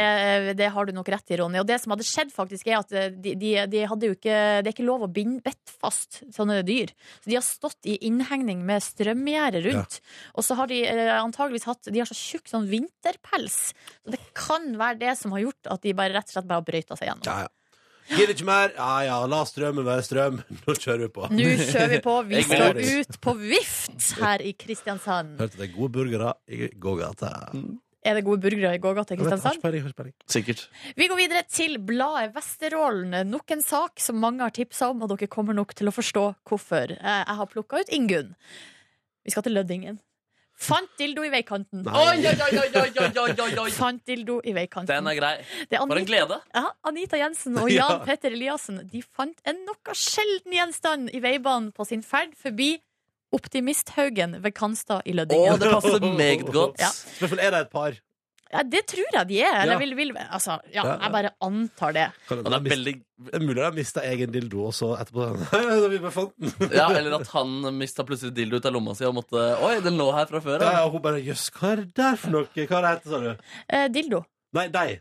Speaker 3: det har du nok rett i, Ronny. Og det som hadde skjedd, faktisk, er at eh, de, de, de hadde jo ikke Det er ikke lov å binde bedt fast sånne dyr. Så de har stått i innhegning med strømgjerde rundt. Og så har de eh, antageligvis hatt De har så tjukk sånn vinterpels. Så det kan være det som har gjort at de bare rett og slett bare har brøyta seg gjennom.
Speaker 2: Ja, ja. Gidder ikke mer? Ja ja, la strømmen være strøm. Nå kjører vi på.
Speaker 3: Nå kjører vi på. Vi
Speaker 4: Jeg
Speaker 3: skal
Speaker 2: går.
Speaker 3: ut på vift her i Kristiansand.
Speaker 2: Hørte det er gode burgere i gågata.
Speaker 3: Er det gode burgere i gågata i
Speaker 2: Jeg vet, har
Speaker 3: Kristiansand?
Speaker 2: ikke peiling, har ikke peiling.
Speaker 4: Sikkert.
Speaker 3: Vi går videre til bladet Vesterålen. Nok en sak som mange har tipsa om, og dere kommer nok til å forstå hvorfor. Eh, Jeg har plukka ut Ingunn. Vi skal til Lødingen. Fant dildo i veikanten.
Speaker 2: Nei.
Speaker 4: Oi, oi, oi, oi, oi, oi, oi, oi.
Speaker 3: Fant dildo i
Speaker 4: Den
Speaker 3: veikanten.
Speaker 4: er grei.
Speaker 3: Det er
Speaker 4: For en
Speaker 3: Anita,
Speaker 4: glede.
Speaker 3: ja, Anita Jensen og
Speaker 2: Ja.
Speaker 3: Jan Petter Eliassen De fant en noe sjelden gjenstand i veibanen på sin ferd forbi Optimisthaugen ved Kanstad i
Speaker 4: Å,
Speaker 3: Lødingen.
Speaker 4: det passer meget godt.
Speaker 3: Ja.
Speaker 2: Spørsmål er det et par.
Speaker 3: Ja, det tror jeg de er.
Speaker 2: Ja.
Speaker 3: Eller vil, vil, altså, ja,
Speaker 2: Ja, ja.
Speaker 3: jeg bare antar det.
Speaker 2: Kan
Speaker 4: Og det er veldig
Speaker 2: Det er mulig de har mista egen dildo også etterpå. Da vi bare fant den.
Speaker 4: Ja, Eller at han mista plutselig dildo ut av lomma si og måtte Oi, den lå her fra før.
Speaker 2: Ja,
Speaker 4: Ja.
Speaker 2: og hun bare Jøss, hva er det der for noe? Hva er det heter, sa du?
Speaker 3: Eh, dildo.
Speaker 2: Nei, deg.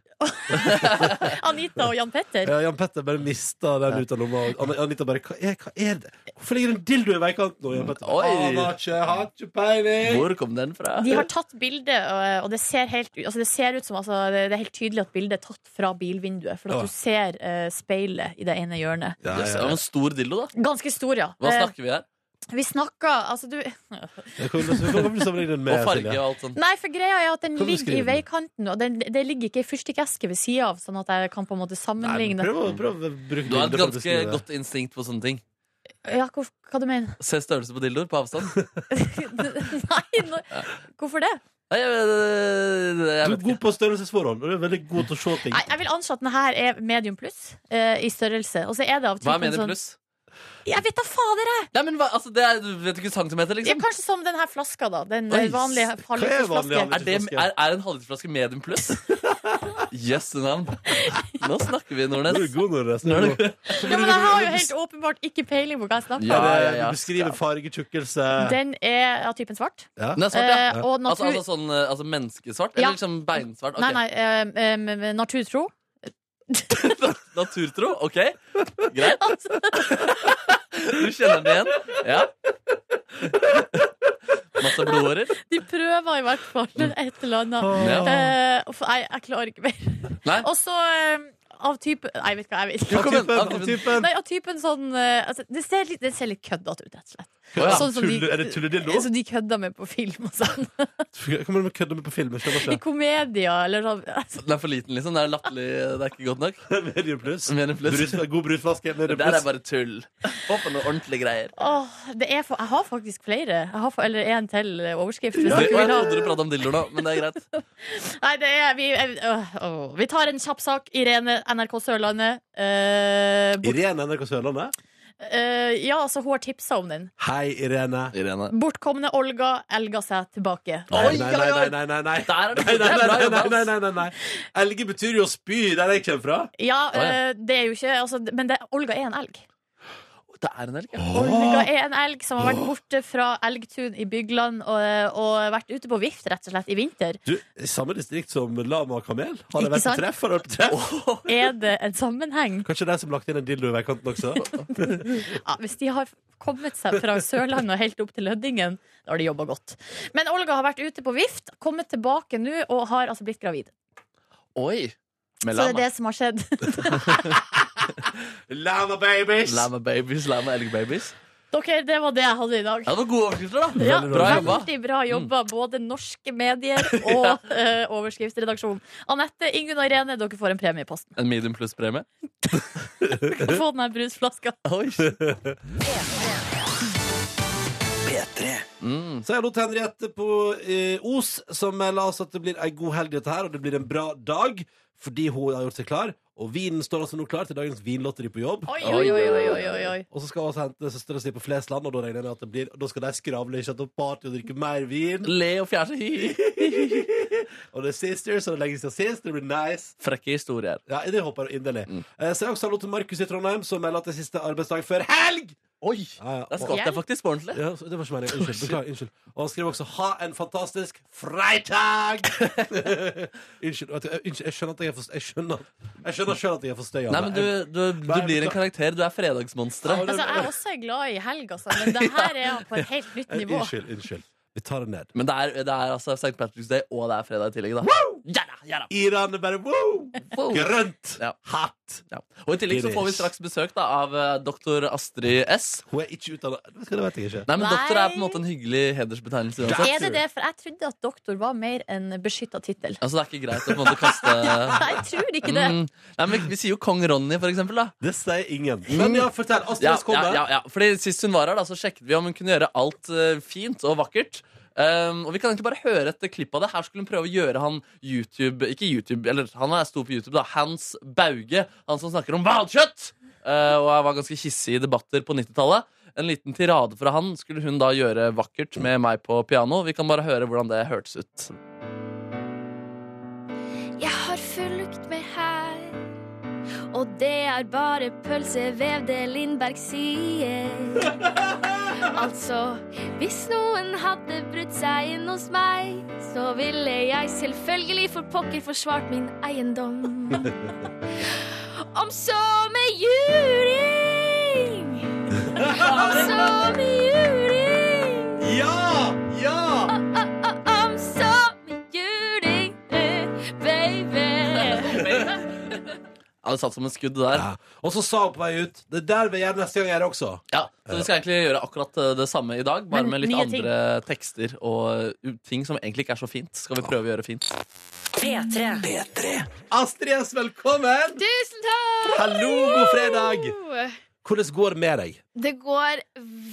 Speaker 3: Anita og Jan Petter.
Speaker 2: Ja, Jan Petter bare mista den ut av lomma. og Ann- Anita bare hva er, hva er det? Hvorfor ligger det en dildo i veikanten? Og Jan Petter
Speaker 4: Oi.
Speaker 2: bare, «Aner ikke, har ikke peiling.
Speaker 4: Hvor kom den fra?
Speaker 3: De har tatt bilde, og- og det ser, helt, ut- altså det ser ut som altså, Det det er helt tydelig at bildet er tatt fra bilvinduet. For at
Speaker 2: Ja.
Speaker 3: du ser eh, speilet i det ene hjørnet.
Speaker 2: Ja,
Speaker 4: Jøss,
Speaker 2: ja,
Speaker 4: det var en stor dildo, da.
Speaker 3: Ganske stor, ja.
Speaker 4: Hva
Speaker 3: Eh,
Speaker 4: snakker vi her?
Speaker 3: vi snakker Altså, du
Speaker 2: ja. Hvor kommer du sammenligne den
Speaker 4: Og
Speaker 2: med?
Speaker 4: farge
Speaker 2: Silje?
Speaker 4: og alt sånt.
Speaker 3: Nei, for greia er at den
Speaker 2: Kan du
Speaker 3: ligger i
Speaker 2: skrive den?
Speaker 3: veikanten, og den, det ligger ikke ei fyrstikkeske ved sida av, sånn at jeg kan på en måte
Speaker 2: Nei, men
Speaker 3: sammenligne
Speaker 2: prøv, å- prøv å bruke
Speaker 4: Du har et
Speaker 2: bildet for å
Speaker 4: ganske
Speaker 2: beskrive det.
Speaker 4: godt instinkt på sånne ting.
Speaker 3: Ja, hvor, hva du mener
Speaker 4: Se størrelse på dildoer på avstand.
Speaker 3: Nei, nå, hvorfor det?
Speaker 4: Nei, jeg, jeg, jeg
Speaker 2: Du
Speaker 4: vet
Speaker 2: er
Speaker 4: ikke.
Speaker 2: god på størrelsesforhold, og du er veldig god til å se ting.
Speaker 3: Nei, jeg vil anslå at den her er medium pluss eh, i størrelse. Og så er det av
Speaker 4: Hva
Speaker 3: typen
Speaker 4: er medium
Speaker 3: sånn-
Speaker 4: pluss?
Speaker 3: Jeg vet da fader, jeg!
Speaker 4: Nei, men hva, altså, det er, du vet ikke centimeter,
Speaker 3: Ja,
Speaker 4: liksom?
Speaker 3: kanskje som den her flaska, da. Den
Speaker 4: Oi,
Speaker 3: eh, vanlige
Speaker 2: vanlig
Speaker 3: halvlitersflaska.
Speaker 2: halvliter?
Speaker 4: Er, det, er, er en halvlitersflaske medium pluss? Jøsse navn. Nå snakker vi,
Speaker 2: Du er
Speaker 4: Nordnes.
Speaker 2: god når du er
Speaker 4: Nå er
Speaker 2: snill.
Speaker 4: du-
Speaker 3: Ja, men jeg har jo helt åpenbart ikke peiling på hva jeg snakker om.
Speaker 4: Ja, ja,
Speaker 2: Du
Speaker 4: ja.
Speaker 2: beskriver fargetjukkelse.
Speaker 3: Den er av typen svart.
Speaker 2: Ja.
Speaker 4: Den er svart, ja.
Speaker 3: Eh, og
Speaker 4: Altså,
Speaker 3: natur...
Speaker 4: altså sånn eh, altså, menneskesvart?
Speaker 3: Ja.
Speaker 4: Eller liksom beinsvart?
Speaker 3: Nei,
Speaker 4: Ok.
Speaker 3: nei. eh, eh, naturtro.
Speaker 4: Naturtro? Ok, greit.
Speaker 3: Altså,
Speaker 4: Du kjenner den igjen? Ja. Masse blodårer?
Speaker 3: De prøver i hvert fall
Speaker 4: Mm.
Speaker 3: et eller annet.
Speaker 4: Ja.
Speaker 3: Eh, uff, nei, jeg klarer ikke mer.
Speaker 4: Nei.
Speaker 3: Og så eh, av typen Nei, vet du hva, jeg vet
Speaker 2: Av
Speaker 3: ikke.
Speaker 4: kom igjen,
Speaker 2: typen,
Speaker 4: av
Speaker 2: av typen.
Speaker 3: Nei, av typen sånn eh, altså, det, ser litt, det ser litt køddete ut, rett og slett.
Speaker 4: Å, ja.
Speaker 3: Sånn som de,
Speaker 5: Tulle- er det tulledildo?
Speaker 3: Som de kødda med på film og sånn.
Speaker 2: Kan man kødde med på film? Jeg skjønner
Speaker 3: I komedier eller sånn. Altså,
Speaker 4: Den er for liten, liksom. Det er latterlig. Det er ikke godt nok.
Speaker 2: ikke. Medium pluss.
Speaker 4: Medium pluss.
Speaker 2: Brus, god brusflaske.
Speaker 4: Det
Speaker 2: Medium
Speaker 4: der er
Speaker 2: pluss.
Speaker 4: bare tull. Få på noen ordentlige greier.
Speaker 3: åh, det er for, jeg har faktisk flere. Jeg har, fa- eller én til overskrift. Hvis
Speaker 4: Det, og
Speaker 3: dere
Speaker 4: jeg
Speaker 3: vil ha.
Speaker 4: trodde du pratet om dildoer nå, men det er greit.
Speaker 3: Nei, det er vi, jeg, åh, åh. vi tar en kjapp sak. Irene, NRK Sørlandet. Eh, bort,
Speaker 2: Irene NRK Sørlandet.
Speaker 3: eh, ja, altså, hun har tipsa om den.
Speaker 2: Hei, Irene.
Speaker 4: Irene.
Speaker 3: Bortkomne Olga elga seg tilbake.
Speaker 2: Nei,
Speaker 4: Oi,
Speaker 2: nei,
Speaker 4: oi,
Speaker 2: nei,
Speaker 4: oi.
Speaker 2: nei, nei, nei, nei.
Speaker 4: Der er det
Speaker 2: Nei,
Speaker 4: det
Speaker 2: nei,
Speaker 4: er bra
Speaker 2: nei,
Speaker 4: jobba.
Speaker 2: nei, nei, nei, nei, nei. Elge betyr jo å spy der jeg kommer fra.
Speaker 3: Ja,
Speaker 4: Å, ja.
Speaker 3: eh, det er jo ikke altså, Men det, Olga er en elg.
Speaker 4: Det er en elg, ja.
Speaker 3: Olga er en elg som har vært borte fra Elgtun i Bygland og, eh, og vært ute på vift rett og slett i vinter.
Speaker 2: Du, i samme distrikt som lama og kamel. Har
Speaker 3: Ikke
Speaker 2: det vært på
Speaker 3: sant?
Speaker 2: treff? Har det vært på treff?
Speaker 3: Er det en sammenheng?
Speaker 2: Kanskje de som lagt inn en dildo i veikanten også?
Speaker 3: Ja, hvis de har kommet seg fra Sørlandet og helt opp til Lødingen, da har de jobba godt. Men Olga har vært ute på vift, kommet tilbake nå og har altså blitt gravid.
Speaker 4: Oi. Med
Speaker 3: Så det
Speaker 4: lama.
Speaker 3: er det som har skjedd.
Speaker 2: Lama babies!
Speaker 4: Lama babies, lama elgbabies.
Speaker 3: Dere, det var det jeg hadde i dag.
Speaker 4: Ja, det var gode overskrifter, da.
Speaker 3: Ja,
Speaker 4: bra jobba.
Speaker 3: Veldig bra jobba, både norske medier og eh, overskriftsredaksjon. Anette, Ingunn og Irene, dere får en premie i posten.
Speaker 4: En medium pluss-premie.
Speaker 3: Få den her brusflaska.
Speaker 4: Oi. Mm.
Speaker 2: Så er det til Henriette på eh, Os, som melder oss at det blir ei god helg dette her, og det blir en bra dag, fordi hun har gjort seg klar. Og vinen står altså nå klar til dagens vinlotteri på jobb.
Speaker 3: Oi, oi, oi, oi, oi, oi, oi.
Speaker 2: Og så skal hun også hente søstera si på Flesland, og da regner jeg med at det blir Da skal de skravle i kjøtt og party og drikke mer vin.
Speaker 4: Le og fjerne seg.
Speaker 2: Og det er sisters, og det er lenge siden sist. Det blir nice.
Speaker 4: Frekke historier.
Speaker 2: Ja, det håper jeg inderlig.
Speaker 4: Mm.
Speaker 2: Eh, så er det også hallo til Markus i Trondheim, som melder at det er siste arbeidsdag før helg!
Speaker 4: Oi!
Speaker 2: Ja, ja.
Speaker 4: Der skvatt jeg faktisk på ordentlig.
Speaker 2: Ja, så- det var ikke meningen. Unnskyld. Beklager. unnskyld Og han skriver også 'Ha en fantastisk freitag'! unnskyld, vet du, jeg- unnskyld. Jeg skjønner at jeg er for Jeg skjønner, jeg skjønner selv at jeg er forstøyende.
Speaker 4: Nei, men du, du, du blir en karakter. Du er fredagsmonsteret.
Speaker 3: Altså, jeg er også glad i helg, altså, men det her er på et helt nytt
Speaker 2: Jeg-
Speaker 3: nivå.
Speaker 2: Unnskyld. Unnskyld. Vi tar det ned.
Speaker 4: Men det er, det er altså St. Patrick's Day, og det er fredag i tillegg, da. Ja da, ja da.
Speaker 2: Iran er bare wow!
Speaker 4: Wow.
Speaker 2: Grønt!
Speaker 4: Ja.
Speaker 2: Hatt!
Speaker 4: Ja. Og i tillegg så får vi straks besøk da, av eh, doktor Astrid S.
Speaker 2: Hun er ikke utdanna Det skal- det vet jeg ikke.
Speaker 4: Nei, men
Speaker 3: Nei.
Speaker 4: doktor er på en måte en hyggelig hedersbetegnelse uansett.
Speaker 3: Er det det? For jeg trodde at doktor var mer en beskytta tittel.
Speaker 4: Altså, det er ikke greit å på en måte kaste
Speaker 3: Jeg tror ikke det.
Speaker 4: mm. Nei, men vi, vi sier jo kong Ronny, for eksempel, da.
Speaker 2: Det sier ingen. Men ja, fortell. Astrid
Speaker 4: Ja,
Speaker 2: S. kommer.
Speaker 4: ja, ja, ja. Fordi Sist hun var her, da, så sjekket vi om hun kunne gjøre alt eh, fint og vakkert. Um, og vi kan egentlig bare høre et klipp av det. Her skulle hun prøve å gjøre han YouTube Ikke YouTube, eller han er stor på YouTube, da. Hans Bauge. Han som snakker om hvalkjøtt! Eh, og jeg var ganske hissig i debatter på 90-tallet. En liten tirade fra han skulle hun da gjøre vakkert med meg på piano. Vi kan bare høre hvordan det hørtes ut.
Speaker 6: Jeg har fulgt med her, og det er bare pølsevev det Lindberg sier. Altså, hvis noen hadde brutt seg inn hos meg, så ville jeg selvfølgelig for pokker forsvart min eiendom. Om så med juling! Om så med juling!
Speaker 2: Ja! Ja!
Speaker 6: I'm so juling, eh, baby.
Speaker 4: Ja, det satt som en skudd der.
Speaker 2: Ja. Og så sa hun på vei ut Det der vil jeg gjøre neste gang jeg gjør det også.
Speaker 4: Ja, så vi skal egentlig gjøre akkurat eh, det samme i dag, bare
Speaker 3: Men
Speaker 4: med litt
Speaker 3: nye
Speaker 4: andre
Speaker 3: ting.
Speaker 4: tekster og uh, ting som egentlig ikke er så fint. Skal vi prøve å gjøre fint?
Speaker 1: P3.
Speaker 2: Astrid S, velkommen!
Speaker 8: Tusen takk!
Speaker 2: Hallo, god fredag! Hvordan går det med deg?
Speaker 8: Det går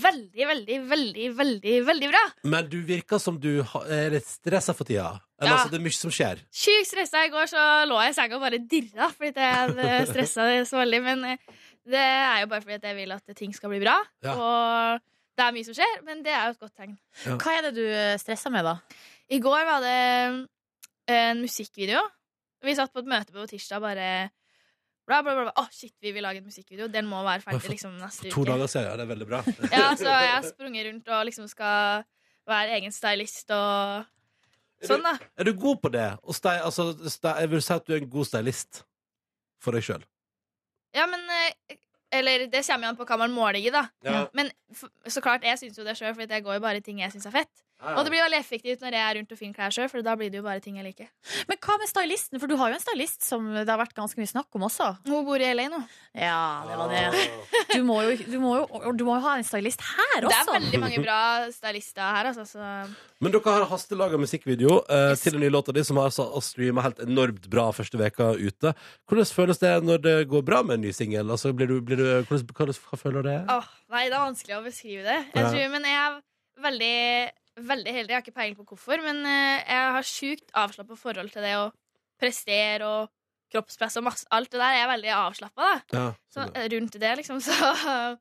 Speaker 8: veldig, veldig, veldig, veldig veldig bra.
Speaker 2: Men du virker som du ha- er litt stressa for tida. Eller
Speaker 8: Ja.
Speaker 2: altså, det er mye som skjer.
Speaker 8: Sjukt stressa. I går så lå jeg i senga og bare dirra fordi jeg stressa så veldig. Men eh, det er jo bare fordi at jeg vil at ting skal bli bra.
Speaker 2: Ja.
Speaker 8: Og det er mye som skjer, men det er jo et godt tegn.
Speaker 3: Hva er det du eh, stresser med, da?
Speaker 8: I går var det eh, en musikkvideo. Vi satt på et møte på tirsdag bare bla, bla, bla. bla. Å, shit, vi vil lage en musikkvideo. Den må være ferdig liksom neste uke.
Speaker 2: To dager siden, ja. Det er veldig bra.
Speaker 8: Ja, så jeg har sprunget rundt og liksom skal være egen stylist og sånn, da.
Speaker 2: Er du god på det? Og stei, altså, stei, jeg vil si at du er en god stylist for deg sjøl.
Speaker 8: Ja, men eh, Eller det kommer jo an på hva man måler i, da.
Speaker 2: Ja.
Speaker 8: Men f så klart, jeg syns jo det sjøl, for jeg går jo bare i ting jeg syns er fett. Og det blir veldig effektivt når jeg er rundt og finner klær sjøl, for da blir det jo bare ting jeg liker.
Speaker 3: Men hva med stylisten? For du har jo en stylist som det har vært ganske mye snakk om også.
Speaker 8: Hun bor i LA nå.
Speaker 3: Ja, det var det. Du må jo, du må jo, du må jo ha en stylist her
Speaker 8: Det er
Speaker 3: også.
Speaker 8: veldig mange bra stylister her, altså. Så
Speaker 2: Men dere har hastelaga musikkvideo eh, til den nye låta di, som har altså streama helt enormt bra første veka ute. Hvordan føles det når det går bra med en ny singel? Altså, blir du- blir du- hvordan, hvordan- hva føler du det?
Speaker 8: Åh, nei, det er vanskelig å beskrive det.
Speaker 2: Ja.
Speaker 8: Jeg tror, men jeg er veldig, veldig heldig. Jeg har ikke peiling på hvorfor, men eh, jeg har sjukt avslappa forhold til det å prestere og kroppspress og masse Alt det der er jeg veldig avslappa, da.
Speaker 2: Ja,
Speaker 8: Så,
Speaker 2: sånn, ja.
Speaker 8: eh, rundt det, liksom. Så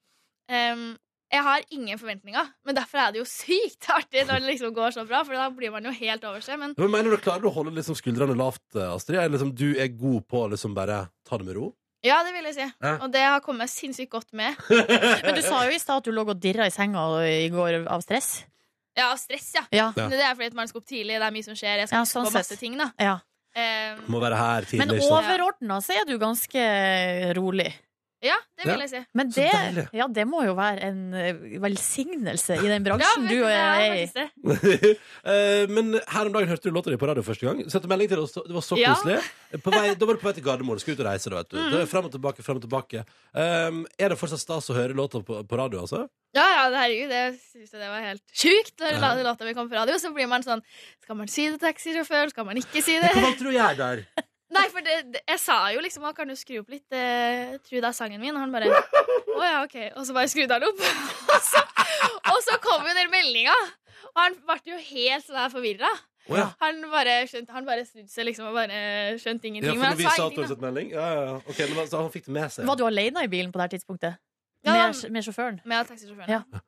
Speaker 8: em, jeg har ingen forventninger. Men derfor er det jo sykt artig når det liksom går så bra, for da blir man jo helt over seg. Men
Speaker 2: Men mener du klarer du å holde liksom skuldrene lavt, eh, Astrid? Er liksom, du er god på å liksom bare ta det med ro?
Speaker 8: ja, det vil jeg si.
Speaker 2: Ja.
Speaker 8: Og det har kommet sinnssykt godt med.
Speaker 3: Men du sa jo i stad at du lå og dirra i senga i går av stress.
Speaker 8: Ja, og stress, ja.
Speaker 3: Ja.
Speaker 2: Ja.
Speaker 8: Men Det er fordi at man skal opp tidlig, det er mye som skjer, jeg skal
Speaker 3: Ja,
Speaker 8: huske
Speaker 3: sånn
Speaker 8: på masse
Speaker 3: sett.
Speaker 8: ting, da.
Speaker 3: ja.
Speaker 8: Em,
Speaker 2: Må være her
Speaker 3: Men
Speaker 2: tidlig. liksom. ikke sant?
Speaker 3: overordna så er du ganske rolig.
Speaker 8: Ja, det
Speaker 2: Ja.
Speaker 8: vil jeg si.
Speaker 3: Men
Speaker 2: Så
Speaker 3: det,
Speaker 2: deilig.
Speaker 3: ja, det må jo være en eh, velsignelse i den
Speaker 8: Ja,
Speaker 3: bransjen
Speaker 8: men
Speaker 3: du
Speaker 8: det er
Speaker 3: er i.
Speaker 8: faktisk det.
Speaker 2: Eh, Men her om dagen hørte du låta di på radio første gang. Sendte melding til oss, det var så
Speaker 8: Ja. Mm.
Speaker 2: koselig. På vei, da var du på vei til Gardermoen, skulle ut og reise. Da, vet du. Det er frem og tilbake, frem og tilbake. Um, er det fortsatt stas å høre låta på, på radio, altså?
Speaker 8: Ja, ja, det- herregud, det synes jeg det var helt sjukt. Når la- låta mi kom på radio, så blir man sånn Skal man si det til taxisjåføren? Skal man ikke si
Speaker 2: Hva
Speaker 8: det?
Speaker 2: valgte du å gjøre der?
Speaker 8: Nei, for det, det, jeg sa jo liksom «Å, Kan du skru opp litt? eh, Jeg tror det er sangen min. Og han bare Å ja, OK. Og så bare skrudde han opp. Og så, og så kom jo den meldinga. Og han ble jo helt sånn her forvirra.
Speaker 2: Å, ja.
Speaker 8: Han bare skjønte Han bare snudde seg liksom og bare skjønte
Speaker 2: Ja, for
Speaker 8: ingenting. men
Speaker 2: når
Speaker 8: han
Speaker 2: vi
Speaker 8: sa
Speaker 2: sa at du
Speaker 8: ingenting.
Speaker 2: hadde
Speaker 8: da.
Speaker 2: sett melding? Ja, ja, ja. Ok, men altså, han fikk det med seg.
Speaker 3: Var du aleine i bilen på det her tidspunktet?
Speaker 8: Ja,
Speaker 3: Med,
Speaker 8: da-
Speaker 3: med sjåføren?
Speaker 8: Med taxisjåføren.
Speaker 3: Ja.
Speaker 8: Ja.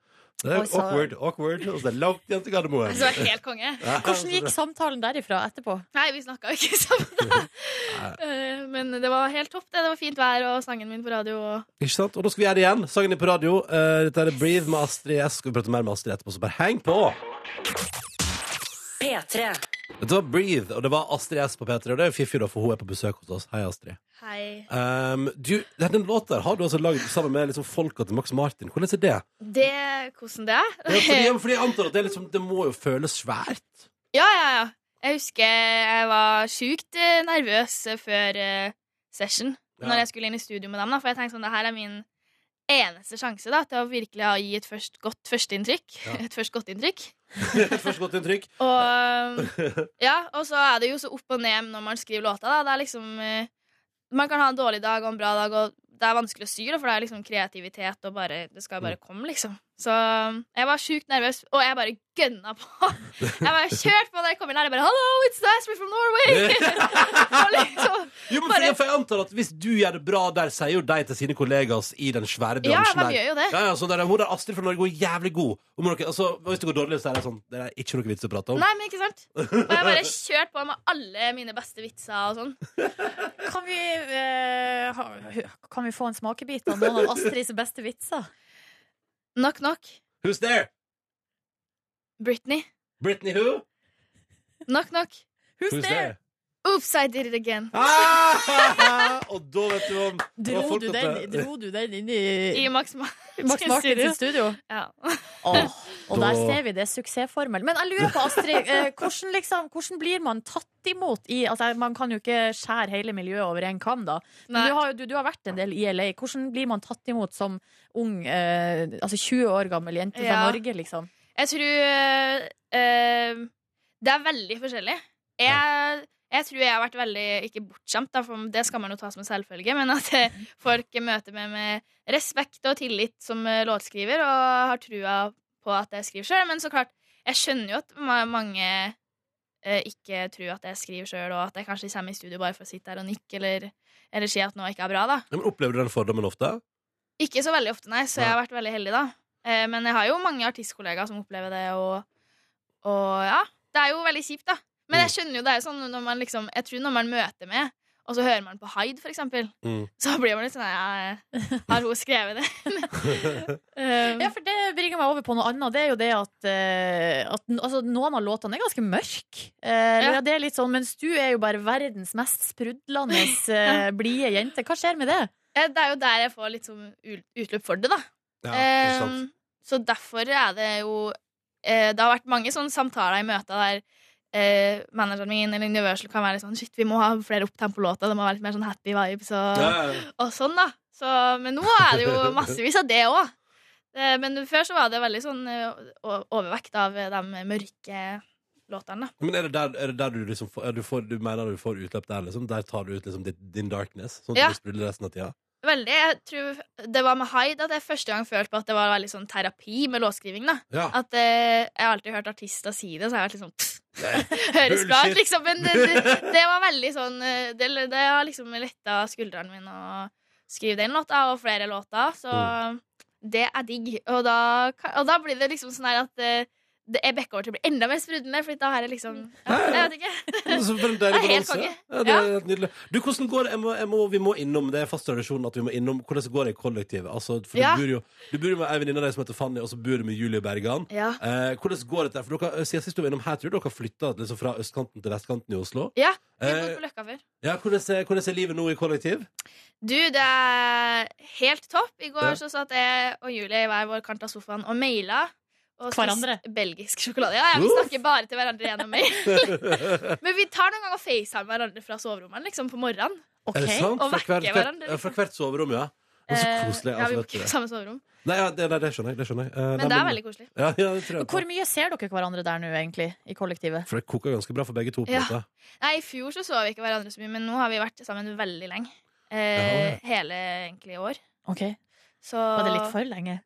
Speaker 2: Det er
Speaker 3: Oi, sa-
Speaker 2: awkward, awkward. Og så er det langt igjen til Gardermoen.
Speaker 8: Altså, det var helt konge.
Speaker 2: Ja, altså.
Speaker 3: Hvordan gikk samtalen derifra etterpå?
Speaker 8: Nei, vi snakka jo ikke sammen da. Eh, Men det var helt topp. Det Det var fint vær og sangen min på radio. Og...
Speaker 2: Ikke sant? Og da skal vi gjøre det igjen. Sangen er på radio. Eh, dette er Breathe med Astrid S. Skal vi prate mer med Astrid etterpå, så bare heng på!
Speaker 1: P3.
Speaker 2: Dette var Breathe, og det var Astrid S på P3. Og det er jo fiffig, da, for hun er på besøk hos oss. Hei, Astrid.
Speaker 8: Hei.
Speaker 2: Um, du, denne låten her har du altså lagd sammen med liksom folka til Max Martin. Hvordan er det?
Speaker 8: Det Hvordan det er?
Speaker 2: Ja, fordi, ja, fordi jeg antar at det, er liksom, det må jo føles svært.
Speaker 8: Ja, ja, ja. Jeg husker jeg var sjukt eh, nervøs før eh, session.
Speaker 2: Ja.
Speaker 8: Når jeg skulle inn i studio med dem, da, for jeg tenkte sånn, det her er min eneste sjanse da, til å virkelig ha- gi et først, godt førsteinntrykk.
Speaker 2: Ja.
Speaker 8: Et først godt inntrykk.
Speaker 2: Først godt inntrykk.
Speaker 8: Og, um, ja, og så er det jo så opp og ned når man skriver låta. Da. Det er liksom, eh, man kan ha en dårlig dag og en bra dag, og det er vanskelig å styre, for det er liksom kreativitet, og bare, det skal bare komme, liksom. Så jeg var sjukt nervøs, og jeg bare gønna på. Jeg bare kjørte på da jeg kom inn her. Jeg bare 'Hello, it's Ashley from Norway'! og liksom,
Speaker 2: Jo, men
Speaker 8: Bare-
Speaker 2: fordi- for jeg antar at Hvis du gjør det bra der, sier jo de til sine kollegas i den svære
Speaker 8: ja,
Speaker 2: bransjen
Speaker 8: de gjør jo det.
Speaker 2: Ja, ja, så der, er- hun der Astrid fra Norge hun er jævlig god. Om dere, altså, hvis det går dårlig, så er det sånn Det er ikke noe vits å prate om.
Speaker 8: Nei, men ikke sant? Og jeg bare kjørte på med alle mine beste vitser og sånn.
Speaker 3: Kan vi, eh, ha- kan vi få en smakebit av noen av Astrids beste vitser?
Speaker 8: Knock, knock.
Speaker 2: Who's there?
Speaker 8: Britney.
Speaker 2: Britney who?
Speaker 8: Knock, knock.
Speaker 3: Who's there?
Speaker 8: Oops, I did it again.
Speaker 2: Ah! Og da vet du om det var
Speaker 3: Dro
Speaker 2: folk
Speaker 3: du
Speaker 2: oppe.
Speaker 3: den, dro du den inn
Speaker 8: I
Speaker 3: i
Speaker 8: Max Ma-
Speaker 3: Max Martin sitt studio?
Speaker 8: Ja.
Speaker 3: Åh, og
Speaker 2: Da-
Speaker 3: der ser vi det er suksessformel. Men jeg lurer på, Astrid, eh, hvordan, liksom, hvordan blir man tatt imot i altså, Man kan jo ikke skjære hele miljøet over en kam, da. Men
Speaker 8: Nei.
Speaker 3: du har, jo- du, du har vært en del i LA. Hvordan blir man tatt imot som ung, eh, altså 20 år gammel jente fra
Speaker 8: Ja.
Speaker 3: Norge, liksom?
Speaker 8: Jeg tror eh, Det er veldig forskjellig. Jeg, jeg tror jeg har vært veldig Ikke bortskjemt, da, for det skal man jo ta som en selvfølge, men at eh, folk møter meg med respekt og tillit som eh, låtskriver, og har trua på at jeg skriver sjøl. Men så klart, jeg skjønner jo at ma- mange eh, ikke tror at jeg skriver sjøl, og at jeg kanskje kommer i studio bare for å sitte her og nikke eller, eller si at noe ikke er bra, da.
Speaker 2: Ja, men Opplever du den fordommen ofte?
Speaker 8: Ikke så veldig ofte, nei, så jeg har vært veldig heldig, da. Eh, Men jeg har jo mange artistkollegaer som opplever det, og, og ja. Det er jo veldig kjipt, da. Men jeg skjønner jo det er jo sånn når man liksom Jeg tror når man møter med, og så hører man på Hyde, for eksempel,
Speaker 2: Mm.
Speaker 8: så blir man litt sånn ja, Har hun skrevet det? Eh,
Speaker 3: Ja, for det bringer meg over på noe annet. Det er jo det at, eh, at n- altså, noen av låtene er ganske mørke. ja.
Speaker 8: Ja.
Speaker 3: Det er litt sånn, mens du er jo bare verdens mest sprudlende, eh, blide jente. Hva skjer med det?
Speaker 8: Eh, Det er jo der jeg får litt sånn ul- utløp for det, da.
Speaker 2: Ja,
Speaker 8: Ehm, så derfor er det jo eh, Det har vært mange sånne samtaler i møter der eh, manageren min eller Universal kan være litt sånn Shit, vi må ha flere opptempo-låter. Det må være litt mer sånn happy vibes og, og sånn, da. Så, men nå er det jo massevis av det òg. Men før så var det veldig sånn eh, o- overvekt av eh, de mørke låtene. da.
Speaker 2: Men er det der, er det der du liksom får, er du, får, du mener du får utløp der, liksom? Der tar du ut liksom ditt, din darkness? Sånn at
Speaker 8: Ja.
Speaker 2: du sprudler resten av tida?
Speaker 8: Veldig, jeg tror Det var med Hyde at jeg første gang følte på at det var veldig sånn terapi med låtskriving. da
Speaker 2: Ja.
Speaker 8: At eh, Jeg har alltid hørt artister si det, så jeg har vært liksom Høres bra ut,
Speaker 2: bullshit.
Speaker 8: liksom. Men det, det, det var veldig sånn eh, Det, det har liksom letta skuldrene mine å skrive den låta, og flere låter. Så det er digg. Og da, kan- og da blir det liksom sånn her at eh, det er backover til å bli enda mer sprudlende, Fordi da har jeg liksom ja, Jeg vet ikke.
Speaker 2: Så for en deilig
Speaker 8: Det er helt
Speaker 2: balanse.
Speaker 8: konge.
Speaker 2: Ja, det er helt nydelig. Du, hvordan går det? Jeg må, jeg må, vi må innom, det er fast tradisjon at vi må innom hvordan går det i kollektivet. Altså, for
Speaker 8: Ja.
Speaker 2: du, bor jo, du bor jo med ei venninne av deg som heter Fanny, og så bor du med Julie Bergan.
Speaker 8: Ja.
Speaker 2: Eh, hvordan går dette? For dere, siden sist du var innom her, tror jeg dere har flytta liksom, fra østkanten til vestkanten i Oslo.
Speaker 8: Ja, vi har
Speaker 2: Eh,
Speaker 8: gått på Løkka før.
Speaker 2: ja, hvordan, er, hvordan er livet nå i kollektiv?
Speaker 8: Du, det er helt topp. I går
Speaker 2: Ja.
Speaker 8: så satt jeg og Julie i hver vår kant av sofaen og maila. Og spiste
Speaker 3: Hverandre?
Speaker 8: Belgisk sjokolade. Ja, ja, vi
Speaker 2: Uff.
Speaker 8: snakker bare til hverandre gjennom mail. Men vi tar noen ganger FaceTime hverandre fra soverommet liksom, på morgenen.
Speaker 2: Er det sånn, sant?
Speaker 8: og
Speaker 2: Fra
Speaker 8: vekker
Speaker 2: hvert, hvert,
Speaker 8: hverandre, liksom.
Speaker 2: fra hvert soverom, ja. Men så
Speaker 8: Eh,
Speaker 2: koselig.
Speaker 8: ja,
Speaker 2: Altså,
Speaker 8: vi bor
Speaker 2: vet du det.
Speaker 8: ikke på samme soverom.
Speaker 2: Nei, ja, det, nei, det skjønner jeg. Det skjønner jeg. Eh, nei,
Speaker 8: Men det er veldig koselig.
Speaker 2: ja, ja, det tror jeg på.
Speaker 3: Hvor mye ser dere hverandre der nå, egentlig? I kollektivet?
Speaker 2: For det koker ganske bra for begge to. på en
Speaker 8: Ja.
Speaker 2: måte.
Speaker 8: Nei, I fjor så så vi ikke hverandre så mye, men nå har vi vært sammen veldig lenge.
Speaker 2: Ja,
Speaker 8: Eh, hele egentlig i år.
Speaker 3: Ok,
Speaker 8: Så
Speaker 3: Var det litt for lenge?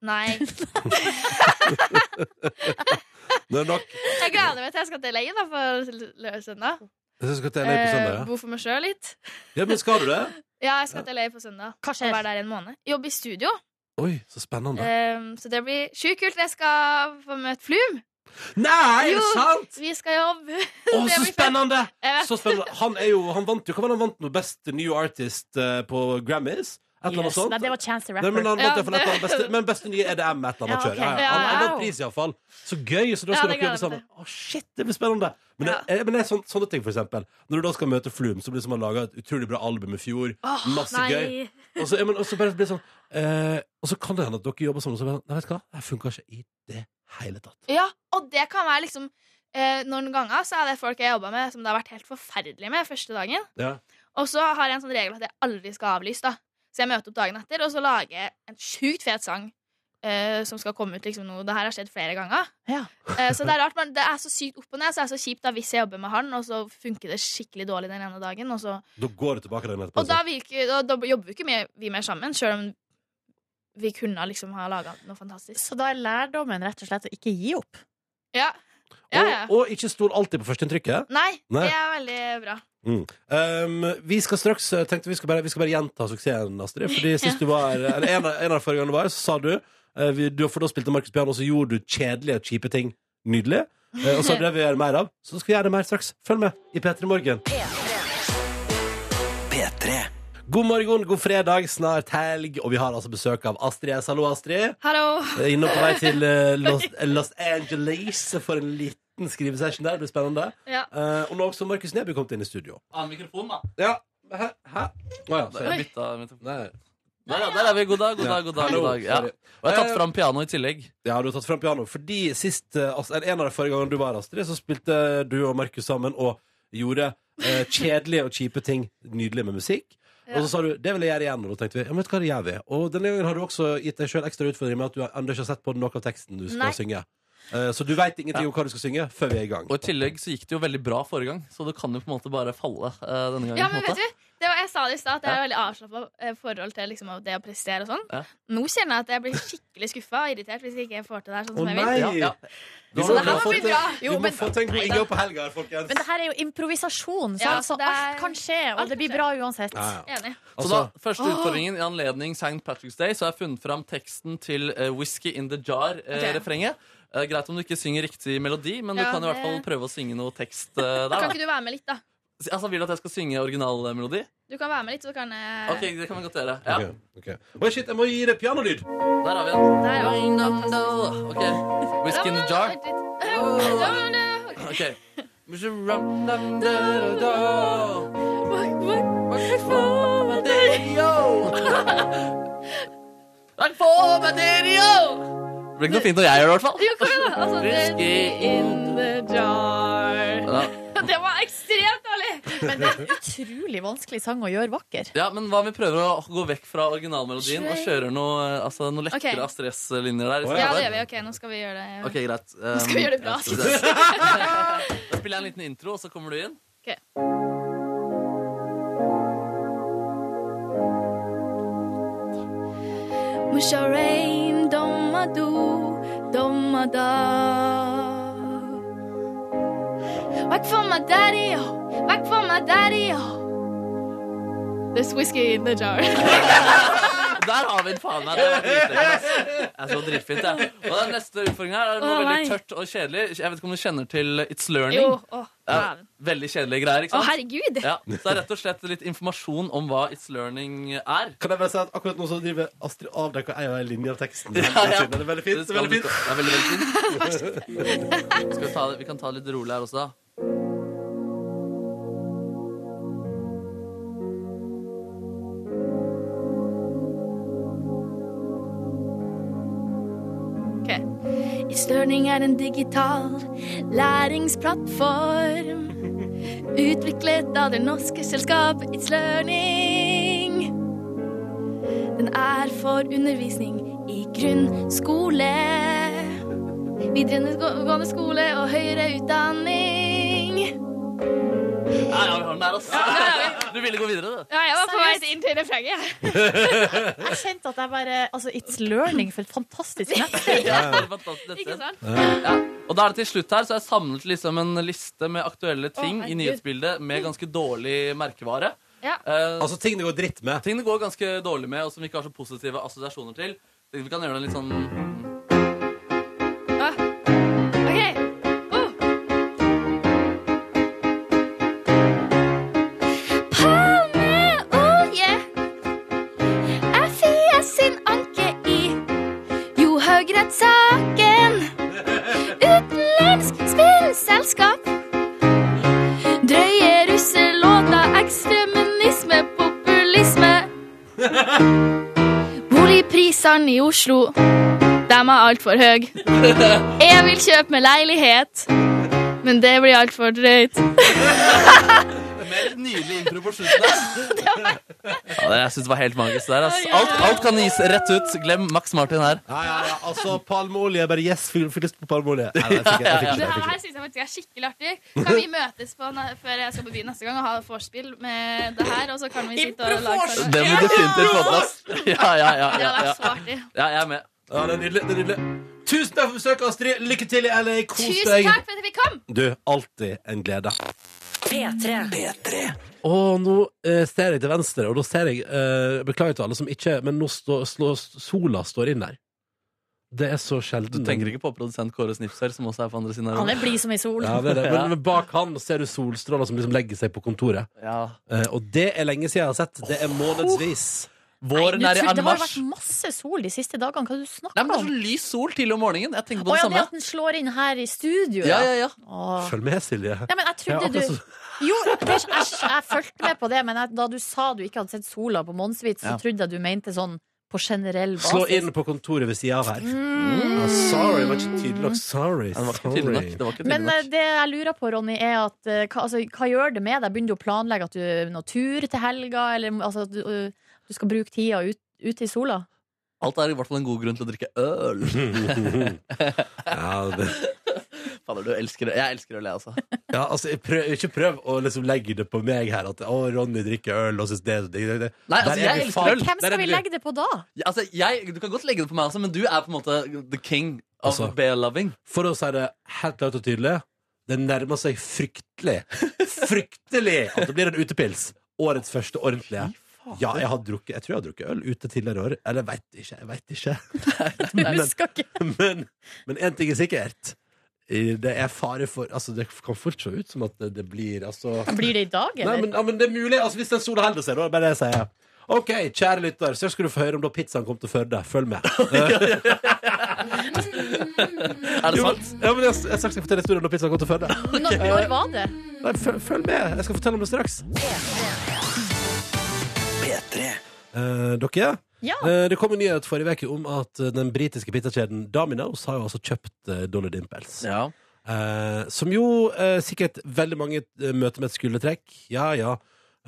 Speaker 8: Nei.
Speaker 2: Det er nok.
Speaker 8: Jeg gleder meg til jeg skal til legen da, på lø- søndag.
Speaker 2: Jeg synes jeg skal til LA på
Speaker 8: Eh,
Speaker 2: søndag, ja.
Speaker 8: bo for meg sjøl litt.
Speaker 2: ja. Men skal du det?
Speaker 8: Ja, jeg skal til LA på søndag.
Speaker 3: Hva skjer?
Speaker 8: Og være der en måned. Jobbe i studio.
Speaker 2: Oi, så spennende.
Speaker 8: Ehm, så det blir sjukt kult. Jeg skal få møte Flum.
Speaker 2: Nei, er
Speaker 8: Eh, Jo.
Speaker 2: det sant?
Speaker 8: Vi skal jobbe.
Speaker 2: Å,
Speaker 8: Det
Speaker 2: så
Speaker 8: blir
Speaker 2: spennende!
Speaker 8: Jeg vet.
Speaker 2: Så spennende. Han, er jo, han vant jo Hva var det han vant med Best New Artist eh, på Grammys? Et eller annet
Speaker 3: Yes.
Speaker 2: sånt?
Speaker 3: Nei, det var Chance the
Speaker 2: sånn? Nei, men
Speaker 3: Rapper.
Speaker 2: han vant
Speaker 8: Ja,
Speaker 2: i hvert fall et eller annet
Speaker 8: det-
Speaker 2: beste, men beste nye EDM et eller annet
Speaker 3: Ja,
Speaker 2: kjør.
Speaker 3: ok.
Speaker 2: Ja, ja. Han, han
Speaker 8: Ja.
Speaker 2: vant pris, iallfall. Så gøy! Så da
Speaker 8: Ja,
Speaker 2: skal dere
Speaker 8: det
Speaker 2: jobbe
Speaker 8: gleder jeg
Speaker 2: sammen. Å, shit, det blir spennende! Men, det, eh, men det er sånn, sånne ting, for eksempel. Når du da skal møte Flum, så blir det som han laga et utrolig bra album i fjor.
Speaker 8: Åh,
Speaker 2: Masse
Speaker 8: nei.
Speaker 2: gøy. Og så, ja, men, og så bare blir det sånn eh, Og så kan det hende at dere jobber sammen, og så bare sånn, Nei, vet du hva, det funka ikke i det hele tatt.
Speaker 8: Ja, og det kan være liksom eh, Noen ganger så er det folk jeg jobber med som det har vært helt forferdelig med første dagen.
Speaker 2: Ja.
Speaker 8: Og så har jeg en sånn regel at jeg aldri skal avlyse. da Så jeg møter opp dagen etter, og så lager jeg en sjukt fet sang. eh, som skal komme ut liksom nå. Det her har skjedd flere ganger.
Speaker 3: Ja.
Speaker 8: Eh, så det er rart, men det er så sykt opp og ned, så det er så kjipt da hvis jeg jobber med han, og så funker det skikkelig dårlig den ene dagen, og så
Speaker 2: Da går det tilbake den etterpå. altså.
Speaker 8: Og da, vil ikke, da, da jobber jo ikke mer- vi mer sammen, sjøl om vi kunne liksom ha laga noe fantastisk.
Speaker 3: Så da er lærdommen rett og slett å ikke gi opp.
Speaker 8: Ja. ja, ja.
Speaker 2: Og, og ikke stol alltid på førsteinntrykket.
Speaker 8: Nei,
Speaker 2: Nei.
Speaker 8: det er veldig bra.
Speaker 2: Um, vi skal straks eh, tenkte vi skal bare, vi skal bare gjenta suksessen, Astrid. Fordi sist du var her, eller en, av- en av de forrige gangene du var her, så sa du, eh, vi, du For da spilte Markus Bjørn, og så gjorde du kjedelige, kjipe ting nydelig. Eh, og så er det det vi gjør mer av. Så skal vi gjøre mer straks. Følg med i P3 Morgen. God morgen, god fredag, snart helg, og vi har altså besøk av Astrid S. Hallo, Astrid.
Speaker 8: Hallo.
Speaker 2: Eh, Inne på vei til eh, Los, Los Angeles for en liten skrivesession der. Det blir spennende.
Speaker 8: Ja.
Speaker 2: Eh, og nå har også Markus Neby kommet inn i studio.
Speaker 4: Annen mikrofon, da.
Speaker 2: Ja, hæ? Hæ? Å ja, sorry.
Speaker 4: Jeg bytta mikrofon.
Speaker 2: Nei.
Speaker 4: Der, ja, der er vi. God dag, god dag. god dag,
Speaker 2: Hallo,
Speaker 4: god dag. Ja.
Speaker 2: sorry. Eh,
Speaker 4: Og jeg har tatt fram piano i tillegg.
Speaker 2: Ja, du har tatt fram piano. Fordi sist, eh, altså, en av de forrige gangene du var her, Astrid, så spilte du og Markus sammen og gjorde eh, kjedelige og kjipe ting nydelig med musikk. Og så sa du det vil jeg gjøre igjen, og da tenkte vi ja, men vet du hva det gjør vi. Og denne gangen har du også gitt deg sjøl ekstra utfordring med at du ennå ikke har sett på noe av teksten du skal
Speaker 8: Nei.
Speaker 2: synge. Eh, så du veit ingenting om hva du skal synge før vi er i gang.
Speaker 4: Og i tillegg så gikk det jo veldig bra forrige gang, så det kan jo på en måte bare falle eh, denne gangen.
Speaker 8: Ja,
Speaker 4: på en
Speaker 8: men
Speaker 4: måte.
Speaker 8: vet du, det var, Jeg sa det i stad, at jeg har veldig avslappa forhold til liksom, det å prestere og sånn.
Speaker 4: Ja.
Speaker 8: Nå kjenner jeg at jeg blir skikkelig skuffa og irritert hvis ikke jeg får til det her sånn
Speaker 2: Å
Speaker 8: som jeg vil.
Speaker 2: nei!
Speaker 4: Ja, ja.
Speaker 2: Vi
Speaker 8: Så
Speaker 2: må
Speaker 8: det her
Speaker 2: få
Speaker 8: må bli
Speaker 2: til-
Speaker 8: bra.
Speaker 2: Vi
Speaker 3: Jo,
Speaker 2: må
Speaker 3: men-
Speaker 2: få til en god inngang på helga her, folkens.
Speaker 3: Men det her er jo improvisasjon, sant?
Speaker 8: Ja,
Speaker 3: så altså,
Speaker 8: det er-
Speaker 3: alt kan skje, og
Speaker 8: Alt
Speaker 3: det blir
Speaker 8: kan skje.
Speaker 3: bra uansett.
Speaker 2: Ja, ja.
Speaker 8: Enig.
Speaker 4: Så
Speaker 2: Altså,
Speaker 4: da, Første utfordringen i anledning St. Patrick's Day Så har jeg funnet fram teksten til eh, Whiskey in the Jar-refrenget. Eh, greit om du ikke synger riktig melodi, men
Speaker 8: Ja,
Speaker 4: du kan i hvert fall
Speaker 8: det-
Speaker 4: prøve å synge noe tekst eh, der.
Speaker 8: Kan
Speaker 4: Da.
Speaker 8: ikke du være med litt, da?
Speaker 4: Altså, Vil du at jeg skal synge originalmelodi?
Speaker 8: Du kan være med litt, så kan jeg
Speaker 4: Ok, det kan vi godt gjøre. Ja,
Speaker 2: ok, ok. Oi, shit, jeg må gi deg pianolyd.
Speaker 4: Der har vi den.
Speaker 8: Der, ja.
Speaker 4: Ok, Whiskey in the Jar.
Speaker 8: Vent litt.
Speaker 4: Ok Hva med dere, yo? Hva får meg dere, yo? Det blir ikke noe fint når jeg gjør det, i hvert fall.
Speaker 8: Jo, kom igjen, da! Altså,
Speaker 4: Whiskey
Speaker 8: det, in the jar.
Speaker 4: Ja.
Speaker 8: det var ekstremt dårlig!
Speaker 3: Men det er en utrolig vanskelig sang å gjøre vakker.
Speaker 4: Ja, men hva om vi prøver å gå vekk fra originalmelodien og kjører noe, altså, noe lekre
Speaker 8: Ok.
Speaker 4: Astrid S-linjer der? i
Speaker 8: Ja,
Speaker 4: stedet?
Speaker 8: det gjør vi. Ok, nå skal vi gjøre det.
Speaker 4: Ok, greit.
Speaker 8: Nå skal vi gjøre det bra.
Speaker 4: Da spiller jeg en liten intro, og så kommer du inn.
Speaker 8: Ok.
Speaker 6: Musharain, domadu, domada.
Speaker 8: Back from my daddy, oh. back from my daddy. oh. There's whiskey in the jar.
Speaker 4: Der har vi den faen meg! Det var dritfint, ass. Jeg er så dritfint, jeg. Og den neste utfordringen her er noe
Speaker 8: Å,
Speaker 4: veldig
Speaker 8: nei.
Speaker 4: tørt og kjedelig. Jeg vet ikke om du kjenner til It's
Speaker 8: Jo,
Speaker 4: Learning?
Speaker 8: å,
Speaker 4: Ja,
Speaker 8: dæven.
Speaker 4: veldig kjedelige greier,
Speaker 8: Å,
Speaker 4: ikke sant?
Speaker 8: herregud.
Speaker 4: Ja, så det er rett og slett litt informasjon om hva It's Learning er.
Speaker 5: Kan jeg bare si at akkurat nå så driver Astrid avdekker ei og ei linje av teksten.
Speaker 4: Ja, ja.
Speaker 5: Det er veldig fint. Det er
Speaker 4: skal
Speaker 5: veldig
Speaker 4: bli-
Speaker 5: fint.
Speaker 4: Det er veldig, veldig fint. Skal vi, ta, vi kan ta det litt rolig her også, da.
Speaker 6: Istørning er en digital læringsplattform utviklet av det norske selskapet It's Learning. Den er for undervisning i grunnskole, videregående skole og høyere utdanning.
Speaker 4: Ja, ja, vi har den der, altså. Du ville gå videre, du.
Speaker 8: Ja, jeg var på vei inn til refrenget. jeg.
Speaker 3: Jeg kjente at jeg bare Altså, It's Learning for et fantastisk nettsted.
Speaker 4: Ja, det er fantastisk, dette.
Speaker 8: Ikke sant?
Speaker 4: Ja. Og da er det til slutt her, så jeg samlet liksom en liste med aktuelle ting i
Speaker 8: herregud.
Speaker 4: nyhetsbildet med ganske dårlig merkevare.
Speaker 8: Ja.
Speaker 4: Eh,
Speaker 2: Altså ting det går dritt med.
Speaker 4: ting det går ganske dårlig med, og som vi ikke har så positive assosiasjoner til. Tenkte Vi kan gjøre det litt sånn
Speaker 6: Ah.
Speaker 8: Å. Ok. Oh.
Speaker 6: palmeolje er Fia sin anke i Johaug-rettssaken. Utenlandsk spillselskap drøye russelåta, ekstremisme, populisme.
Speaker 8: Boligprisene i Oslo, de er altfor høye. Jeg vil kjøpe meg leilighet, men det blir altfor drøyt.
Speaker 4: Med litt nydelig impro på slutten der. Ja, det, jeg syns det var helt magisk der. Ass. Alt, alt kan gis rett ut. Glem Max Martin her.
Speaker 5: Ja, ja, ja. Altså, palmeolje. Bare yes, fyll fyll lyst på palmeolje. Nei, nei, jeg fikk ikke- jeg fikk ikke
Speaker 8: Det
Speaker 5: det, jeg fikk ikke
Speaker 8: her syns jeg faktisk er skikkelig artig. Kan vi møtes på na- før jeg skal på byen neste gang og ha vorspiel med det her? Og så kan vi sitte og lage sang.
Speaker 4: Det må definitivt få til, ass. Ja, ja, ja,
Speaker 8: Det
Speaker 4: ja,
Speaker 8: hadde
Speaker 4: ja.
Speaker 8: vært så artig.
Speaker 4: ja, jeg er med.
Speaker 5: Ja, det er nydelig. det er nydelig Tusen takk for besøket, Astrid. Lykke til i LA. Kos
Speaker 8: Tusen
Speaker 5: deg.
Speaker 8: takk for at jeg fikk komme!
Speaker 5: Du, alltid en glede.
Speaker 1: P3.
Speaker 2: Og nå eh, ser jeg til venstre, og da ser jeg eh, Beklager til alle som ikke Men nå står- slår- sola står inn der. Det er så
Speaker 4: Du
Speaker 2: sjelden.
Speaker 4: tenker ikke på produsent Kåre Snipser, som også er på andre siden her?
Speaker 3: Han er
Speaker 4: eller?
Speaker 3: blid som ei sol.
Speaker 2: Ja, det er det. Men, men bak han ser du solstråler som liksom legger seg på kontoret.
Speaker 4: Ja.
Speaker 2: Eh, og det er lenge siden jeg har sett. Det er månedsvis.
Speaker 4: Våren
Speaker 3: Nei,
Speaker 4: er
Speaker 3: du
Speaker 4: i
Speaker 3: tror- det har jo
Speaker 4: anmarsj.
Speaker 3: vært masse sol de siste dagene. Hva er det du
Speaker 4: Nei,
Speaker 3: snakker
Speaker 4: men Det er
Speaker 3: om?
Speaker 4: sånn lys sol tidlig om morgenen. Jeg tenker
Speaker 3: Å
Speaker 4: på det
Speaker 3: ja, det
Speaker 4: samme.
Speaker 3: at den slår inn her i studio,
Speaker 4: Ja, ja, altså. ja.
Speaker 3: Åh.
Speaker 2: Følg med, Silje.
Speaker 3: Nei, men jeg
Speaker 2: Ja, altså,
Speaker 3: trodde
Speaker 2: akkurat
Speaker 3: du Jo, det, jeg, jeg fulgte med på det, men jeg, da du sa du ikke hadde sett sola på Monsvit, så
Speaker 4: Ja.
Speaker 3: trodde jeg du mente sånn på generell basis.
Speaker 2: Slå inn på kontoret ved sida av her. Ah, sorry, det var ikke tydelig nok. Sorry.
Speaker 4: Mm. Ja, Det var ikke
Speaker 2: sorry.
Speaker 4: tydelig nok. Det var ikke tydelig
Speaker 3: Men eh,
Speaker 4: nok.
Speaker 3: det jeg lurer på, Ronny, er at eh, hva, altså, hva gjør det med deg? Begynner du å planlegge at du noe tur til helga, eller altså, at du, eh, du skal bruke tida ut- ute i sola?
Speaker 4: Alt er i hvert fall en god grunn til å drikke øl.
Speaker 2: ja, det,
Speaker 4: Fader, du elsker det. Jeg elsker øl, jeg også.
Speaker 2: ja, altså, jeg prøv, ikke prøv å liksom legge det på meg her at å, Ronny drikker øl og syns det, det, det.
Speaker 4: Nei,
Speaker 2: Der
Speaker 4: altså,
Speaker 2: er
Speaker 4: jeg
Speaker 2: du
Speaker 4: elsker
Speaker 2: faen-
Speaker 4: øl.
Speaker 3: Hvem
Speaker 2: Der er
Speaker 3: skal vi
Speaker 2: du.
Speaker 3: legge det på da?
Speaker 4: Ja, Altså, jeg, du kan godt legge det på meg også, men du er på en måte the king of
Speaker 2: Altså.
Speaker 4: beer-loving.
Speaker 2: For å si det helt klart og tydelig, det nærmer seg fryktelig, fryktelig at det blir en utepils. Årets første ordentlige. Ja, jeg, har drukket, jeg tror jeg har drukket øl ute tidligere år. Eller veit ikke, jeg veit ikke.
Speaker 3: Jeg husker ikke.
Speaker 2: Men, men en ting er sikkert. I- Det er fare for Altså, det kan fort se ut som at det, det blir altså
Speaker 3: Blir det i dag,
Speaker 2: Nei,
Speaker 3: eller?
Speaker 2: men, ja, men det er mulig. Altså, hvis den sola holder seg, da er det bare det jeg sier. OK, kjære lytter, så skal du få høre om da pizzaen kom til Førde. Følg med.
Speaker 4: Er det
Speaker 2: Jo,
Speaker 4: sant?
Speaker 2: men- ja, men jeg, jeg skal fortelle historien om da pizzaen kom til Førde.
Speaker 3: Når, når var det?
Speaker 2: Nei, føl- følg med. Jeg skal fortelle om det straks. Eh, dere,
Speaker 3: Ja.
Speaker 2: Eh, Det kom en nyhet forrige uke om at eh, den britiske pizzakjeden Domino's har jo altså kjøpt eh, Dolly Dimples.
Speaker 4: Ja.
Speaker 2: Eh, som jo eh, sikkert veldig mange eh, møter med et skuldertrekk. Ja, ja.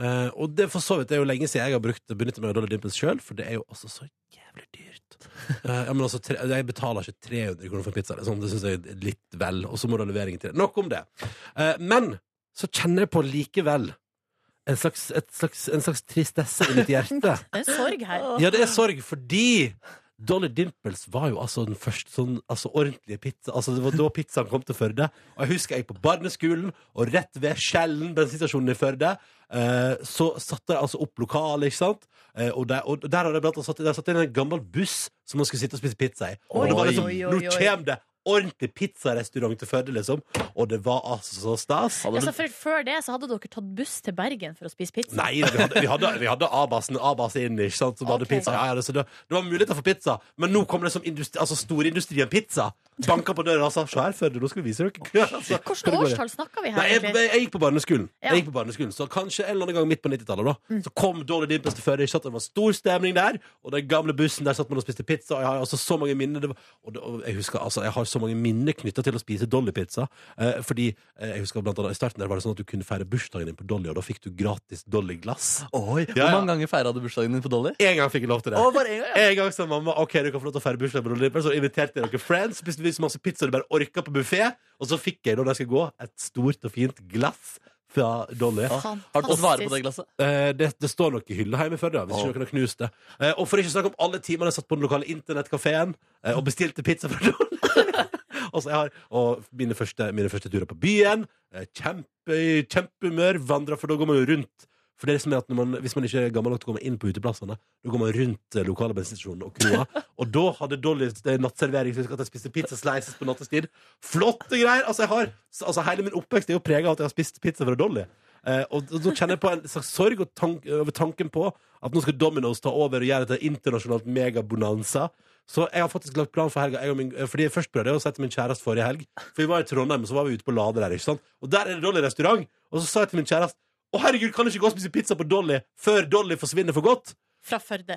Speaker 2: Eh, og det for så vidt det er jo lenge siden jeg har brukt benyttet meg av Dolly Dimples sjøl, for det er jo altså så jævlig dyrt. Eh, ja, men altså, tre, jeg betaler ikke 300 kroner for pizza. Det, er sånn, det syns jeg er litt vel. Og så må du ha leveringen til det. Nok om det. Eh, men så kjenner jeg på likevel en slags, et slags, en slags tristesse i mitt hjerte.
Speaker 3: Det er sorg her.
Speaker 2: Ja, det er sorg fordi Dolly Dimples var jo altså den første sånn altså ordentlige pizza Altså Det var da pizzaen kom til Førde. Og jeg husker jeg gikk på barneskolen, og rett ved Skjellen bensinstasjonen i Førde, eh, så satte jeg altså opp lokalet, ikke sant? Eh, og, der, og der hadde jeg blant annet satt, der satt jeg inn en gammel buss som man skulle sitte og spise pizza i. Og det var
Speaker 4: Oi.
Speaker 2: liksom,
Speaker 3: Oi, oi,
Speaker 2: Nå
Speaker 3: oi.
Speaker 2: kommer det ordentlig pizzarestaurant til Førde, liksom. Og det var altså så stas.
Speaker 4: Hadde
Speaker 3: Altså,
Speaker 4: du,
Speaker 3: for, før det så hadde dere tatt buss til Bergen for å spise pizza.
Speaker 2: Nei, vi hadde, vi hadde, vi hadde A-basen A-bas inn, ikke sant, som hadde
Speaker 3: Ok.
Speaker 2: pizza. Ja, ja, det, så det, det var muligheter for pizza, men nå kommer det som industri, altså storindustrien pizza. Banka på døra og sa 'se her, Førde, nå skal vi vise dere'. Altså,
Speaker 3: Hvilket
Speaker 2: hvordan går det?
Speaker 3: årstall snakker vi
Speaker 2: Nei,
Speaker 3: her?
Speaker 2: jeg,
Speaker 3: egentlig?
Speaker 2: jeg, jeg gikk på barneskolen.
Speaker 3: Ja.
Speaker 2: Jeg gikk på barneskolen Så kanskje en eller annen gang midt på 90-tallet da, Så kom Dolly Dimples til Førde. ikke sant? Det var stor stemning der. Og den gamle bussen der satt man og spiste pizza. Og jeg har altså så mange minner det var, og, det, og Jeg husker altså Jeg har så mange minner knytta til å spise Dolly-pizza. Eh, fordi eh, jeg husker blant annet I starten der var det sånn at du kunne feire bursdagen din på Dolly, og da fikk du gratis Dolly-glass.
Speaker 4: Oi,
Speaker 2: Ja, ja.
Speaker 4: Hvor mange ganger feira du bursdagen din på Dolly?
Speaker 2: En gang fikk jeg lov til det.
Speaker 4: Å, bare en gang,
Speaker 2: En gang sa mamma Ok, du kan få lov til å feire bursdag med Dolly Dimples. Så inviterte jeg noen friends, spiste vi så masse pizza du bare orka på buffé. Og så fikk jeg, når jeg skal gå, et stort og fint glass fra Dolly.
Speaker 4: Ah, Har du fått vare på det
Speaker 3: Fantastisk.
Speaker 4: glasset?
Speaker 2: Eh, det, det står nok i hylla hjemme i Førde, ja, hvis ikke noen har knust det. Eh, og for ikke å snakke om alle timene jeg satt på den lokale internettkafeen eh, og bestilte pizza fra Don. og så jeg har, og mine første, mine første turer på byen. Eh, kjempe, kjempehumør. Vandra, for da går man jo rundt. For det er det som er at når man, Hvis man ikke er gammel nok til å komme inn på uteplassene, da går man rundt eh, lokale bensinstasjoner og kroa. og da hadde Dolly eh, nattservering, så jeg husker at jeg spiste pizza slices på nattestid. Flotte greier! Altså, jeg har, altså Hele min oppvekst er jo prega av at jeg har spist pizza fra Dolly. Eh, og d- Nå kjenner jeg på en slags sorg og tank, over tanken på at nå skal Domino's ta over og gjøre det til en internasjonalt megabonanza. Så jeg har faktisk lagt plan for helga. Jeg og min, eh, fordi jeg først prøvde jeg å si til min kjæreste forrige helg. For vi var i Trondheim, og så var vi ute på Lade der. ikke sant? Og der er det Dolly restaurant. Og så sa jeg til min kjæreste å herregud, kan du ikke gå og spise pizza på Dolly før Dolly forsvinner for godt?
Speaker 3: Fra Førde.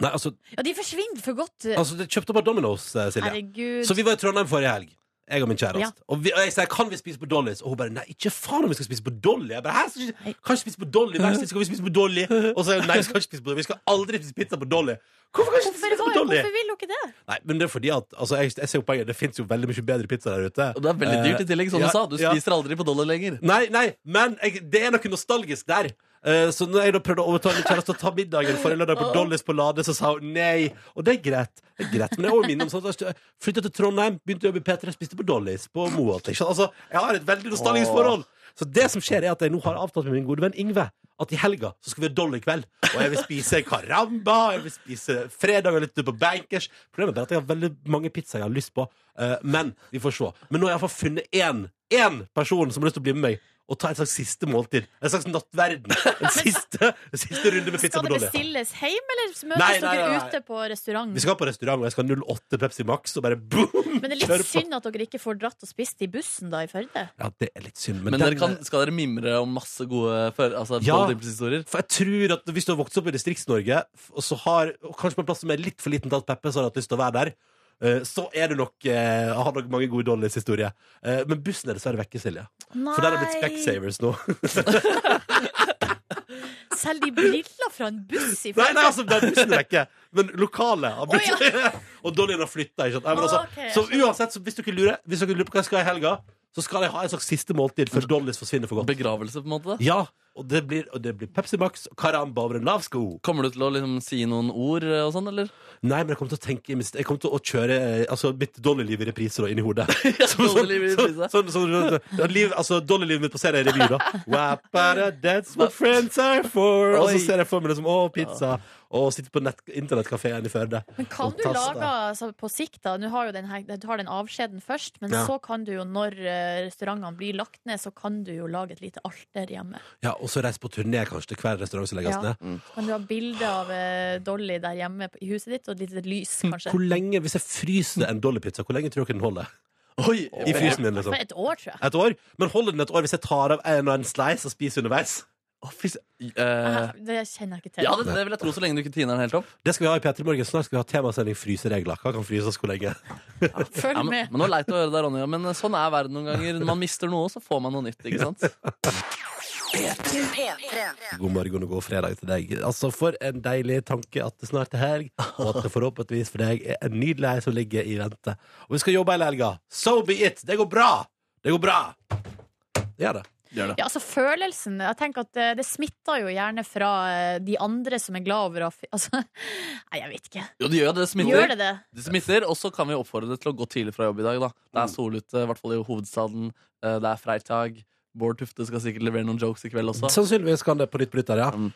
Speaker 2: Nei, altså,
Speaker 3: Ja, de forsvinner for godt.
Speaker 2: altså det kjøpte opp av Domino's, eh, Silje.
Speaker 3: Herregud.
Speaker 2: Så vi var i Trondheim forrige helg. Jeg og min kjæreste.
Speaker 3: Ja.
Speaker 2: Og, vi, og jeg sa kan vi spise på Dollys. Og hun bare nei, ikke faen om vi skal spise på Dolly. Jeg bare, Hæ, skal vi ikke- kan vi ikke spise på Dolly? Hver sted skal vi spise på Dolly. Og så sa hun nei, vi skal ikke spise på Dolly. Vi skal aldri spise pizza på Dolly. Hvorfor kan vi ikke
Speaker 3: Hvorfor,
Speaker 2: spise på
Speaker 3: var-
Speaker 2: Dolly?
Speaker 3: hvorfor vil dere det?
Speaker 2: Nei, men det er fordi at altså, jeg, jeg ser jo poenget. Det fins jo veldig mye bedre pizza der ute.
Speaker 4: Og det er veldig dyrt i tillegg, som
Speaker 2: ja,
Speaker 4: du sa. Du
Speaker 2: ja.
Speaker 4: spiser aldri på Dolly lenger.
Speaker 2: Nei, nei, men jeg, det er noe nostalgisk der. Eh, Så når jeg da prøvde å overtale min kjæreste å ta middagen forrige lørdag på Dollys på Lade, så sa hun nei. Og det er greit. Det er greit. Men jeg også minner om sånn at jeg flytta til Trondheim, begynte å jobbe i P3, spiste på Dollys på Moholt. ikke sant? Altså, jeg har et veldig nostalgisk forhold. Så det som skjer, er at jeg nå har avtalt med min gode venn Yngve at i helga så skal vi ha Dolly-kveld. Og jeg vil spise karamba, jeg vil spise fredag og litt på Bankers. Problemet er bare at jeg har veldig mange pizzaer jeg har lyst på. Eh, Men vi får se. Men nå har jeg iallfall funnet én, én person som har lyst til å bli med meg. Og ta et slags siste måltid. En slags nattverden. En siste, en siste runde med pizza
Speaker 3: Skal
Speaker 2: på
Speaker 3: det
Speaker 2: Dolly.
Speaker 3: bestilles hjem, eller møtes
Speaker 2: Nei, nei,
Speaker 3: dere
Speaker 2: nei, nei.
Speaker 3: ute på restaurant?
Speaker 2: Vi skal på restaurant, og jeg skal ha 08 Pepsi Max og bare boom!
Speaker 3: Men det er
Speaker 2: kjøre
Speaker 3: litt
Speaker 2: på.
Speaker 3: synd at dere ikke får dratt og spist i bussen da i Førde.
Speaker 2: Ja, det er litt synd.
Speaker 4: Men
Speaker 2: den-
Speaker 4: dere kan, skal dere mimre om masse gode føl- altså,
Speaker 2: Ja.
Speaker 4: Dolly Dimples-historier?
Speaker 2: For jeg tror at Hvis du har vokst opp i Distrikts-Norge, f- og så har og kanskje på en plass som er litt for liten til at Peppe så har hatt lyst til å være der, eh, så er du nok, eh, har nok mange gode Dollys historier. Eh, men bussen er dessverre vekke, Silje. For der er det blitt Specsavers nå.
Speaker 3: Selv de briller fra en buss i
Speaker 2: nei,
Speaker 3: Førde.
Speaker 2: nei, altså, den bussen er vekke. Men lokalet har bussen. og Dollyen har flytta. ikke sant? Nei, men altså,
Speaker 3: Ok, jeg
Speaker 2: så uansett, så hvis dere lurer Hvis dere lurer på hva jeg skal i helga, så skal jeg ha en slags siste måltid før Dollys forsvinner for godt.
Speaker 4: Begravelse, på en måte? da?
Speaker 2: Ja, og det blir, og det blir Pepsi Max og Karamba over en lav sko.
Speaker 4: Kommer du til å liksom, si noen ord eh, og sånn, eller?
Speaker 2: Nei, men jeg kommer til å tenke Jeg kommer til å kjøre eh, altså, mitt Dolly-liv i reprise da, inni hodet. Sånn-
Speaker 4: Dolly-liv i
Speaker 2: sånn-
Speaker 4: reprise.
Speaker 2: sånn- sånn- sånn- liv- Altså Dolly-livet mitt på serien i revy, da. Wappada, that's what friends are for. Og så
Speaker 4: Oi.
Speaker 2: ser jeg for meg liksom, å, pizza. Og sitte på nett- internettkafeen i Førde.
Speaker 3: Men kan
Speaker 2: Og
Speaker 3: du
Speaker 2: tasta.
Speaker 3: lage altså, på sikt, da Nå har jo den, her, du har den avskjeden først, men
Speaker 2: Ja.
Speaker 3: så kan du jo, når eh, restaurantene blir lagt ned, så kan du jo lage et lite alter hjemme.
Speaker 2: Ja, og så reise på turné kanskje til hver restaurant som legges
Speaker 3: Ja.
Speaker 2: ned.
Speaker 4: mm.
Speaker 3: Kan du ha bilde av eh, Dolly der hjemme på- i huset ditt, og et lite lys, kanskje?
Speaker 2: Hvor lenge, Hvis jeg fryser en Dolly-pizza, hvor lenge tror dere den holder?
Speaker 4: Oi,
Speaker 2: I frysen min,
Speaker 3: For
Speaker 2: liksom.
Speaker 3: et år, tror jeg.
Speaker 2: Et år? Men holder den et år hvis jeg tar av en og en slice og spiser underveis?
Speaker 4: Å, fy s- eh,
Speaker 3: Det kjenner jeg ikke til.
Speaker 4: ja, det, det vil jeg tro, så lenge du ikke tiner den helt opp.
Speaker 2: Det skal vi ha i P3 Morgen. Snart skal vi ha temasending fryseregler. Hva kan fryses hvor lenge?
Speaker 3: Følg
Speaker 4: Ja, men,
Speaker 3: med.
Speaker 4: men det var leit å høre deg, Ronja, men sånn er verden noen ganger. Når man mister noe, så får man noe nytt. ikke sant?
Speaker 2: God morgen og god fredag til deg. Altså, For en deilig tanke at det snart er helg, og at det forhåpentligvis for deg er en nydelig helg som ligger i vente. Og vi skal jobbe hele helga. So be it! Det går bra! Det går bra! Det gjør det.
Speaker 3: Ja, altså Følelsen Jeg tenker at eh, Det smitter jo gjerne fra eh, de andre som er glad over å fi- altså, Nei, jeg vet ikke.
Speaker 4: Jo, det gjør det. Det
Speaker 3: Gjør
Speaker 4: smitter.
Speaker 3: det det?
Speaker 4: Det smitter, Og så kan vi oppfordre deg til å gå tidlig fra jobb i dag. da Det er sol ute, i hvert fall i hovedstaden. Eh, Det er freitag. Bård Tufte skal sikkert levere noen jokes i kveld også.
Speaker 2: Sannsynligvis kan det på nytt på nytt der, ja.
Speaker 4: Mm.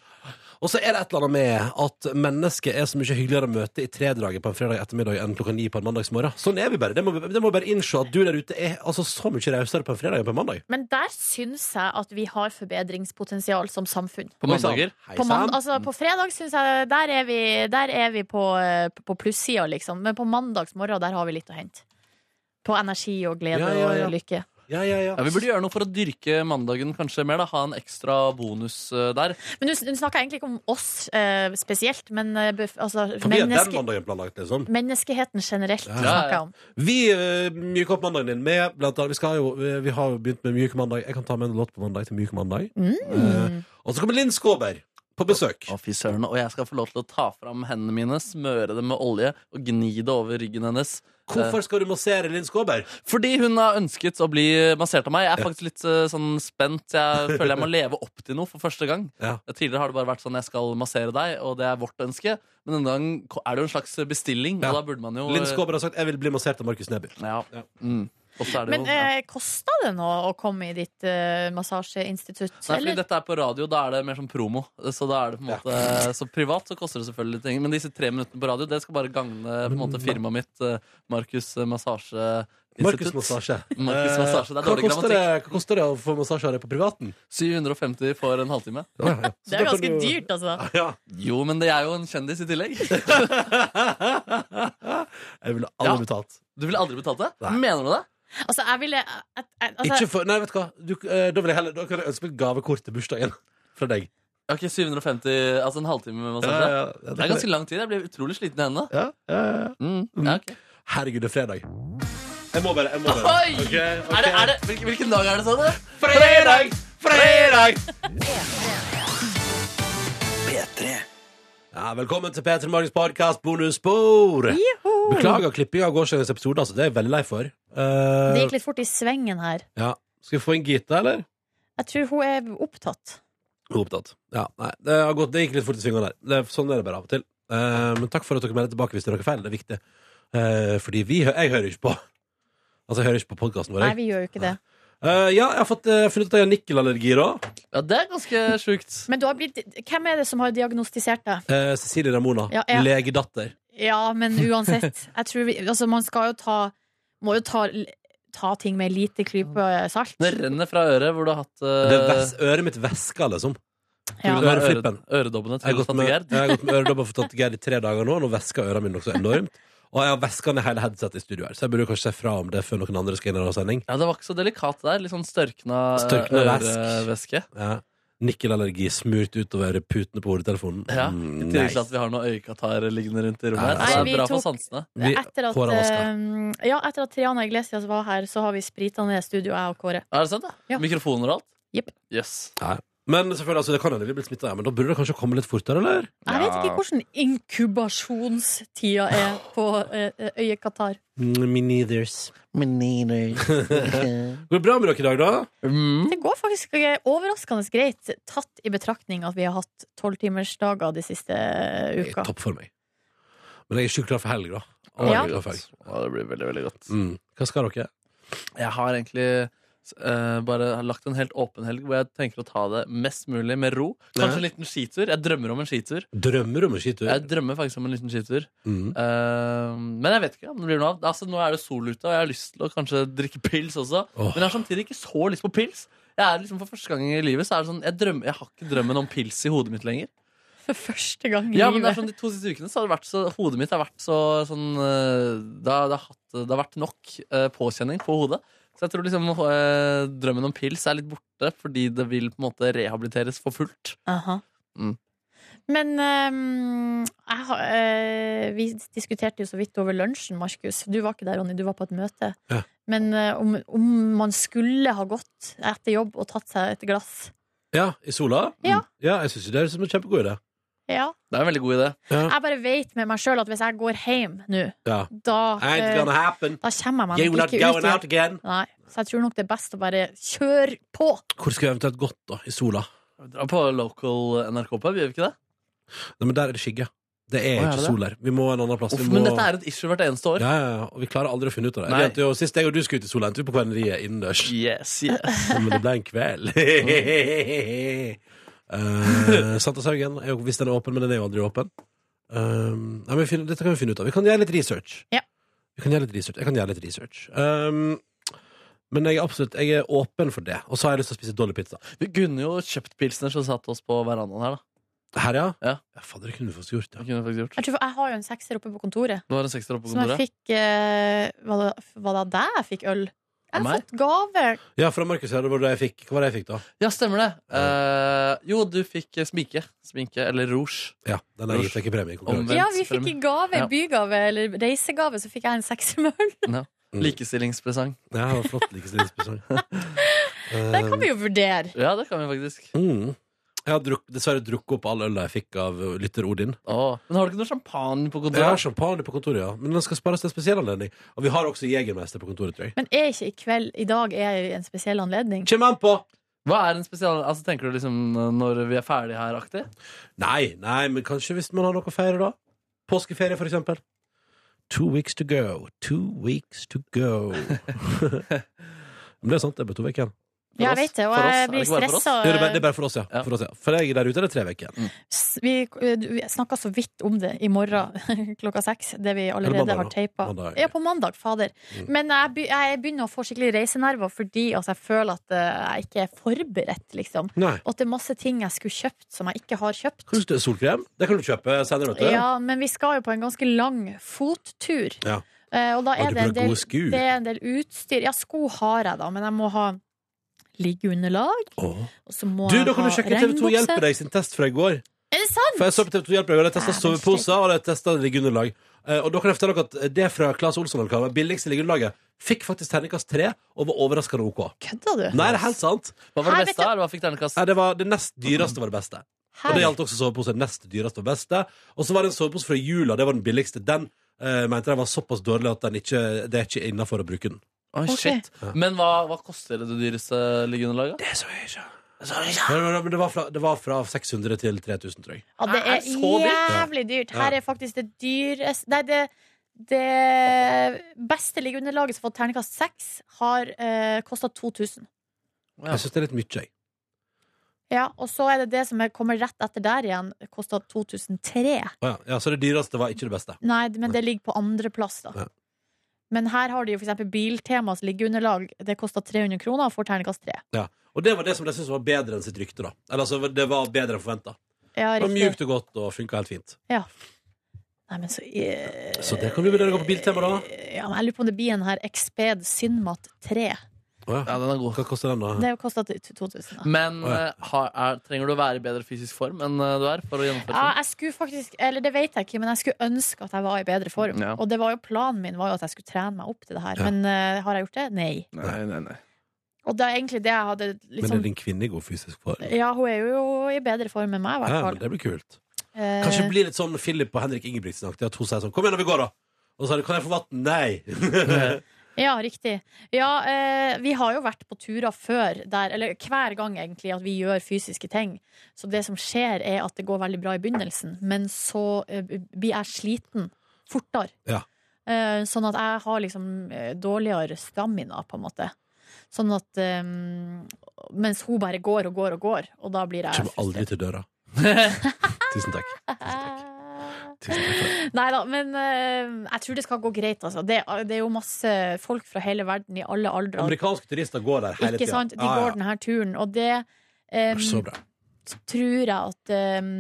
Speaker 2: Og så er det et eller annet med at mennesket er så mye hyggeligere å møte i tredraget på en fredag ettermiddag enn klokka ni på en mandagsmorgen. Sånn er vi bare. Det må, vi- det må vi bare innse at du der ute er altså så mye rausere på en fredag enn på en mandag.
Speaker 3: Men der syns jeg at vi har forbedringspotensial som samfunn.
Speaker 4: På mandager.
Speaker 2: Hei,
Speaker 3: På, mand
Speaker 2: sant?
Speaker 3: altså, på fredag syns jeg Der er vi, der er vi på, eh, på plussida, liksom. Men på mandags morgen der har vi litt å hente. På energi og glede
Speaker 2: Ja, ja, ja.
Speaker 3: og lykke.
Speaker 2: Ja, ja, ja.
Speaker 4: Ja, Vi burde gjøre noe for å dyrke mandagen kanskje mer. da Ha en ekstra bonus eh, der.
Speaker 3: Men Nå nå snakker jeg egentlig ikke om oss eh, spesielt, men eh, bef- altså,
Speaker 2: For vi er den
Speaker 3: menneske,
Speaker 2: mandagen planlagt, liksom.
Speaker 3: menneskeheten generelt
Speaker 2: Ja, ja.
Speaker 3: snakker jeg om.
Speaker 2: Vi uh, myker opp mandagen din med blant annet, vi, skal jo, eh, vi har jo begynt med Myk mandag. Jeg kan ta med en låt på mandag til Myk mandag.
Speaker 3: Mm.
Speaker 2: Eh, og så kommer Linn Skåber på besøk.
Speaker 4: Å fy søren, Og jeg skal få lov til å ta fram hendene mine, smøre dem med olje og gni det over ryggen hennes.
Speaker 2: Hvorfor skal du massere Linn Skåber?
Speaker 4: Fordi hun har ønsket å bli massert av meg. Jeg er faktisk litt eh, sånn spent. Jeg føler jeg må leve opp til noe for første gang.
Speaker 2: Ja.
Speaker 4: Tidligere har det bare vært sånn jeg skal massere deg, og det er vårt ønske. Men denne gangen er det jo en slags bestilling,
Speaker 2: Ja.
Speaker 4: og eh, da burde man jo
Speaker 2: Linn Skåber har sagt 'jeg vil bli massert av Markus Neby'.
Speaker 4: Ja.
Speaker 2: Ja.
Speaker 4: Mm. Og så er det
Speaker 3: Men
Speaker 4: jo ja.
Speaker 3: eh, kosta det nå å komme i ditt eh, massasjeinstitutt?
Speaker 4: Nei, fordi
Speaker 3: eller?
Speaker 4: dette er på radio, da er det mer som promo. Så da er det på en måte eh, Så privat så koster det selvfølgelig litt ting. Men disse tre minuttene på radio, det skal bare gagne på en måte firmaet mitt, eh, Markus eh,
Speaker 2: Markus Massasje.
Speaker 4: Massasjeinstitutt.
Speaker 2: Eh,
Speaker 4: Markus Massasje, det er
Speaker 2: hva,
Speaker 4: dårlig
Speaker 2: koster det, hva koster det å få massasje av deg på privaten?
Speaker 4: 750 for en halvtime.
Speaker 3: Det er ganske dyrt, altså.
Speaker 2: Ja.
Speaker 4: Jo, men det er jo en kjendis i tillegg.
Speaker 2: jeg ville aldri
Speaker 4: Ja.
Speaker 2: betalt.
Speaker 4: Du ville aldri betalt det?
Speaker 2: Nei.
Speaker 4: Mener du det?
Speaker 3: Altså, jeg ville jeg- jeg- altså,
Speaker 2: Ikke for, nei, vet du hva. Du, eh, da vil jeg heller Da kan jeg ønske meg et gavekort til bursdagen fra deg.
Speaker 4: Ok, 750, altså en halvtime med
Speaker 2: det
Speaker 4: massasje. Det er ganske lang tid. Jeg blir utrolig sliten i hendene.
Speaker 2: ja, ja, ja.
Speaker 4: Mm. Ja, ok.
Speaker 2: Herregud, det er fredag. Jeg må bare. Jeg må bare.
Speaker 4: Oi! Er det, er det, hvil- hvilken dag er det, sa du?
Speaker 2: Fredag! Fredag! Ja, velkommen til P3 Morgens podkast bonusspor. Beklager klippinga av gårsdagens episode. Altså, det er jeg veldig lei for. Eh,
Speaker 3: det gikk litt fort i svingen her.
Speaker 2: ja. Skal vi få inn Gita, eller?
Speaker 3: Jeg tror hun er opptatt.
Speaker 2: Hun er Opptatt. Ja, nei, det, har gått, det gikk litt fort i svingene der. Det, sånn er det bare av og til. Eh, men takk for at dere melder tilbake hvis det er noe feil. Det er viktig. Eh, fordi vi, hø- jeg hører ikke på. Altså, jeg hører ikke på podkasten vår.
Speaker 3: Nei,
Speaker 2: jeg.
Speaker 3: vi gjør jo ikke det.
Speaker 2: Eh, ja, jeg har fått, eh, funnet ut at jeg har nikkelallergi, da.
Speaker 4: Ja, det er ganske sjukt.
Speaker 3: Men du har blitt, hvem er det som har diagnostisert deg?
Speaker 2: Eh, Cecilie Ramona.
Speaker 3: Ja, ja.
Speaker 2: Legedatter.
Speaker 3: Ja, men uansett. Jeg tror vi, altså, man skal jo ta Må jo ta, ta ting med lite klype salt.
Speaker 4: Det renner fra øret hvor du har hatt
Speaker 2: Det
Speaker 4: eh,
Speaker 2: er ves, øret mitt væsker, liksom.
Speaker 3: Ja.
Speaker 4: du har
Speaker 2: Øreflippen.
Speaker 4: øre- øredobene
Speaker 2: Jeg har
Speaker 4: til
Speaker 2: gått med,
Speaker 4: Fattig Gerd.
Speaker 2: jeg har gått med øredobber for Tante Gerd i tre dager nå. Nå væsker ørene mine også enormt. Og jeg har væska ned hele headsetet i studio her, så jeg burde kanskje se fra om det før noen andre skal inn i denne sending.
Speaker 4: Ja, det var ikke så delikat der. Litt sånn størkna,
Speaker 2: Størkna væsk.
Speaker 4: ørevæske.
Speaker 2: Ja. Nikkelallergi smurt utover putene på hodetelefonen.
Speaker 4: Ja, I
Speaker 2: Mm,
Speaker 4: tillegg til at vi har noen øyekatar liggende rundt i rommet. her
Speaker 2: Nei,
Speaker 4: Så
Speaker 3: vi
Speaker 4: det er bra
Speaker 3: tok-
Speaker 4: for sansene.
Speaker 2: Vi-
Speaker 3: Etter at,
Speaker 2: håret vasker.
Speaker 3: eh, ja, etter at Triana Iglesias var her, så har vi sprita ned studio, jeg og Kåre.
Speaker 4: Er det sant, da?
Speaker 3: Ja.
Speaker 4: Mikrofoner og alt?
Speaker 3: Jepp.
Speaker 4: Yes.
Speaker 2: Men selvfølgelig, altså, det kan hende vi blir smittet ja, men da burde det kanskje komme litt fortere, eller?
Speaker 3: Jeg vet ikke hvordan inkubasjonstida er på eh, øyet Qatar.
Speaker 2: Mm, Me neithers. Går det bra med dere i dag, da?
Speaker 4: Mm.
Speaker 3: Det går faktisk eh, overraskende greit, tatt i betraktning at vi har hatt tolvtimersdager de siste eh,
Speaker 2: Jeg er
Speaker 3: uka.
Speaker 2: i topp for meg. Men jeg er sjukt klar for helg, da. Å,
Speaker 3: Ja.
Speaker 2: jeg er klar for helg.
Speaker 4: Ja, det blir veldig, veldig godt.
Speaker 2: Mm. Hva skal dere?
Speaker 4: Jeg har egentlig eh, bare lagt en helt åpen helg hvor jeg tenker å ta det mest mulig med ro.
Speaker 2: Ja.
Speaker 4: Kanskje en liten skitur. Jeg drømmer om en skitur.
Speaker 2: Drømmer om en skitur?
Speaker 4: Jeg drømmer faktisk om en liten skitur.
Speaker 2: Mm.
Speaker 4: Eh, men jeg vet ikke om det blir noe av. Altså, nå er det sol ute, og jeg har lyst til å kanskje drikke pils også.
Speaker 2: Åh.
Speaker 4: Men jeg har samtidig ikke så lyst på pils. Jeg er liksom For første gang i livet så er det sånn jeg, drømmer, jeg har ikke drømmen om pils i hodet mitt lenger.
Speaker 3: For første gang i
Speaker 4: Ja, men det er
Speaker 3: livet.
Speaker 4: sånn De to siste ukene så har det vært så, hodet mitt har vært så sånn eh, Det har, det har, hatt, det har vært nok eh, påkjenning på hodet. Så jeg tror liksom eh, drømmen om pils er litt borte, fordi det vil på en måte rehabiliteres for fullt.
Speaker 3: Aha.
Speaker 4: Mm.
Speaker 3: Men ehm, jeg har, eh, vi diskuterte jo så vidt over lunsjen, Markus. Du var ikke der, Ronny. Du var på et møte.
Speaker 2: Ja.
Speaker 3: Men eh, om, om man skulle ha gått etter jobb og tatt seg et glass
Speaker 2: Ja, i sola? Mm.
Speaker 3: Ja.
Speaker 2: ja jeg syns det høres ut som en kjempegod idé.
Speaker 3: Ja.
Speaker 4: Det er en veldig god idé.
Speaker 3: Jeg bare vet med meg sjøl at hvis jeg går hjem nå,
Speaker 2: Ja.
Speaker 3: da,
Speaker 2: Ain't
Speaker 3: eh,
Speaker 2: gonna happen.
Speaker 3: da kommer jeg
Speaker 2: You're
Speaker 3: meg
Speaker 2: not
Speaker 3: nok ikke ut
Speaker 2: going out
Speaker 3: igjen.
Speaker 2: again.
Speaker 3: Nei. Så jeg tror nok det er best å bare kjøre på.
Speaker 2: Hvor skulle jeg eventuelt gått, da? I sola?
Speaker 4: Dra på local NRK-pub, gjør vi ikke det?
Speaker 2: Nei, men der er det skygge. Det er
Speaker 4: Å, er
Speaker 2: ikke
Speaker 4: det
Speaker 2: sol der. Vi må en annen plass.
Speaker 4: Uff,
Speaker 2: Vi må...
Speaker 4: men dette er et issue hvert eneste år.
Speaker 2: ja, ja, ja, og vi klarer aldri å finne ut av det.
Speaker 4: Nei.
Speaker 2: Jeg vet jo, sist jeg og du skulle ut i sola, endte vi på Kverneriet innendørs.
Speaker 4: Yes, yes.
Speaker 2: Men det ble en kveld. uh, Sankthanshaugen er jo- hvis den er åpen, men den er jo aldri åpen. Um, nei, men vi finner, dette kan vi finne ut av. Vi kan gjøre litt research.
Speaker 3: Ja.
Speaker 2: Vi kan gjøre litt research. Jeg kan gjøre litt research. Um, men jeg er absolutt jeg er åpen for det. Og så har jeg lyst til å spise dårlig pizza.
Speaker 4: Vi kunne jo kjøpt pilsner som satt oss på verandaen her, da.
Speaker 2: Her, ja?
Speaker 4: Ja.
Speaker 2: Fader, det kunne vi faktisk gjort. Ja.
Speaker 4: Det kunne vi faktisk gjort.
Speaker 3: Jeg, tror, jeg har jo en sekser oppe på kontoret.
Speaker 4: Nå er det en sekser oppe på
Speaker 3: Som jeg
Speaker 4: kontoret.
Speaker 3: fikk eh, Var det, var det der jeg fikk øl? Jeg
Speaker 4: Av
Speaker 3: har
Speaker 4: meg?
Speaker 3: fått gave.
Speaker 2: ja, fra Markus her, det var det jeg fikk. Hva var det jeg fikk, da?
Speaker 4: Ja, stemmer det. Eh, jo, du fikk eh, sminke. Sminke, eller rouge.
Speaker 2: Ja, den jeg fikk i premie i konkurransen.
Speaker 4: Omvendt
Speaker 3: Ja, vi fikk i
Speaker 4: premie.
Speaker 3: gave,
Speaker 4: Ja.
Speaker 3: bygave eller reisegave, så fikk jeg en sekser med øl.
Speaker 2: Mm.
Speaker 4: Likestillingspresang.
Speaker 2: Ja, det var flott likestillingspresang. Um,
Speaker 3: Det
Speaker 4: Ehm.
Speaker 3: kan vi jo vurdere.
Speaker 4: Ja, det kan vi faktisk.
Speaker 2: Mm. Jeg har druk, dessverre drukket opp all øla jeg fikk av uh, lytter Odin.
Speaker 4: Åh. Men har du ikke noe champagne på
Speaker 2: Jeg har
Speaker 4: kontoret?
Speaker 2: champagne på kontoret, ja. Men den skal spares til en spesiell anledning. Og vi har også Jegermester på kontoret, tror jeg.
Speaker 3: Men er ikke i kveld i dag er en spesiell anledning?
Speaker 2: Kjem an på!
Speaker 4: Hva er en spesial... Altså, tenker du liksom eh, når vi er ferdige her, aktig?
Speaker 2: Nei, nei, men kanskje hvis man har noe å feire, da. Påskeferie, for eksempel. Two weeks to go, two weeks to go. men det er sant, det er bare to uker igjen.
Speaker 4: For
Speaker 3: Ja, jeg
Speaker 4: oss?
Speaker 3: vet det, og
Speaker 4: For oss? Er
Speaker 3: jeg
Speaker 4: det
Speaker 3: blir
Speaker 4: ikke bare for oss?
Speaker 3: stressa.
Speaker 2: Det er bare, det er bare for oss, ja.
Speaker 4: Ja.
Speaker 2: For, oss, ja. for jeg der ute er det tre uker igjen.
Speaker 3: S- Vi, eh, du- vi snakka så vidt om det i morgen klokka seks, det vi allerede
Speaker 2: mandag,
Speaker 3: har
Speaker 2: da.
Speaker 3: teipa.
Speaker 2: Mandag.
Speaker 3: Ja, på mandag, fader.
Speaker 2: Mm.
Speaker 3: Men jeg, be, jeg begynner å få skikkelig reisenerver fordi altså, jeg føler at eh, jeg ikke er forberedt, liksom.
Speaker 2: Nei.
Speaker 3: Og at det er masse ting jeg skulle kjøpt som jeg ikke har kjøpt.
Speaker 2: Kanskje det er solkrem? Det kan du kjøpe senere, vet du.
Speaker 3: Ja, men vi skal jo på en ganske lang fottur.
Speaker 2: Ja.
Speaker 3: Eh, og da
Speaker 2: Har
Speaker 3: er
Speaker 2: du
Speaker 3: det en,
Speaker 2: på deg
Speaker 3: del,
Speaker 2: gode sko?
Speaker 3: det er en del utstyr. Ja, sko har jeg, da, men jeg må ha liggeunderlag.
Speaker 2: Åh.
Speaker 3: Og så må
Speaker 2: Du,
Speaker 3: jeg
Speaker 2: da kan du
Speaker 3: ha
Speaker 2: sjekke TV2
Speaker 3: regnbukse.
Speaker 2: Hjelper deg sin test fra i går.
Speaker 3: Er det sant?
Speaker 2: For jeg så på TV2 Hjelper deg, og de testa
Speaker 3: Dæven
Speaker 2: soveposer og de testa liggeunderlag. Eh, Og da kan jeg fortelle dere at det fra Claes Olsson-alkavet, billigste liggeunderlaget, fikk faktisk terningkast tre og var overraskende OK.
Speaker 3: Kødda du?
Speaker 2: Nei, det er helt sant.
Speaker 4: Hva var
Speaker 3: Her,
Speaker 4: det
Speaker 3: vet
Speaker 4: beste? her? Hva fikk ternekast?
Speaker 2: Nei, det, var det nest dyreste var det beste. Og det
Speaker 3: Her-
Speaker 2: gjaldt også sovepose. Det nest dyreste var det beste. Og så var det en sovepose fra jula. Det var den billigste. Den eh, mente jeg var såpass dårlig at den ikke, det er ikke innafor å bruke den.
Speaker 4: Oi,
Speaker 3: Ok.
Speaker 4: shit. Men hva, hva koster det dyreste liggeunderlaget?
Speaker 2: Det så jeg ikke. Men det var, fra, det var fra 600 til 3000, tror jeg.
Speaker 3: Ja, det
Speaker 4: Er
Speaker 3: er
Speaker 4: det så dyrt?
Speaker 3: jævlig dyrt. Her
Speaker 2: Ja.
Speaker 3: er faktisk det dyreste Nei, det, det beste liggeunderlaget som har fått terningkast seks, har eh, kosta 2000.
Speaker 4: Ja.
Speaker 2: Jeg syns det er litt mye, jeg.
Speaker 3: Ja, og så er det det som er- kommer rett etter der igjen, kosta 2003.
Speaker 2: Å Ja, ja, så det dyreste var ikke det beste.
Speaker 3: Nei, men det ligger på andreplass, da.
Speaker 2: Ja.
Speaker 3: Men her har de jo f.eks. Biltemas liggeunderlag. Det kosta 300 kroner og får terningkast 3.
Speaker 2: Og det var det som jeg syntes var bedre enn sitt rykte, da. Eller altså, det var bedre enn forventa.
Speaker 3: Ja,
Speaker 2: Det var
Speaker 3: riktig.
Speaker 2: mjukt og godt og funka helt fint.
Speaker 3: Nei, men så, eh,
Speaker 2: Så det kan vi vurdere å gå på Biltema, da.
Speaker 3: Ja, men jeg lurer på om det blir en her Exped Synmat 3.
Speaker 2: Å
Speaker 4: Ja,
Speaker 2: ja.
Speaker 4: den er god.
Speaker 2: Hva koster den, da?
Speaker 3: Det kosta 2000. Da.
Speaker 4: Men
Speaker 2: Å, ja.
Speaker 4: eh, har, er, trenger du å være i bedre fysisk form enn eh, du er for å gjennomføre
Speaker 3: Ja, jeg skulle faktisk, eller det vet jeg ikke, men jeg skulle ønske at jeg var i bedre form.
Speaker 4: Ja.
Speaker 3: Og det var jo planen min var jo at jeg skulle trene meg opp til det her,
Speaker 2: Ja.
Speaker 3: men eh, har jeg gjort det? Nei.
Speaker 4: det? Nei, nei, nei.
Speaker 3: Og det er egentlig det jeg hadde
Speaker 2: Men er
Speaker 3: liksom
Speaker 2: din kvinne i god fysisk form?
Speaker 3: Ja, hun er jo i bedre form enn meg,
Speaker 2: Ja,
Speaker 3: i hvert
Speaker 2: men
Speaker 3: fall.
Speaker 2: det blir kult.
Speaker 3: Eh,
Speaker 2: Kanskje det blir litt sånn Philip og Henrik Ingebrigtsen-aktig, at hun sier sånn Kom igjen, da, vi går, da! Og så er det Kan jeg få vann? Nei!
Speaker 3: Ja, riktig. Ja, eh, vi har jo vært på turer før der, eller hver gang egentlig, at vi gjør fysiske ting. Så det som skjer, er at det går veldig bra i begynnelsen, men så eh, blir jeg sliten fortere.
Speaker 2: Ja.
Speaker 3: Eh, sånn at jeg har liksom eh, dårligere stamina, på en måte. Sånn at eh, Mens hun bare går og går og går, og da blir jeg
Speaker 2: Kommer aldri til døra. Tusen takk. Tusen takk. for det.
Speaker 3: Nei da, men eh, jeg tror det skal gå greit, altså. Det, det er jo masse folk fra hele verden i alle aldre.
Speaker 2: Amerikanske turister går der hele
Speaker 3: Ikke
Speaker 2: tida.
Speaker 3: sant? De går denne turen, og det
Speaker 2: Så
Speaker 3: um,
Speaker 2: bra.
Speaker 3: så tror jeg at eh,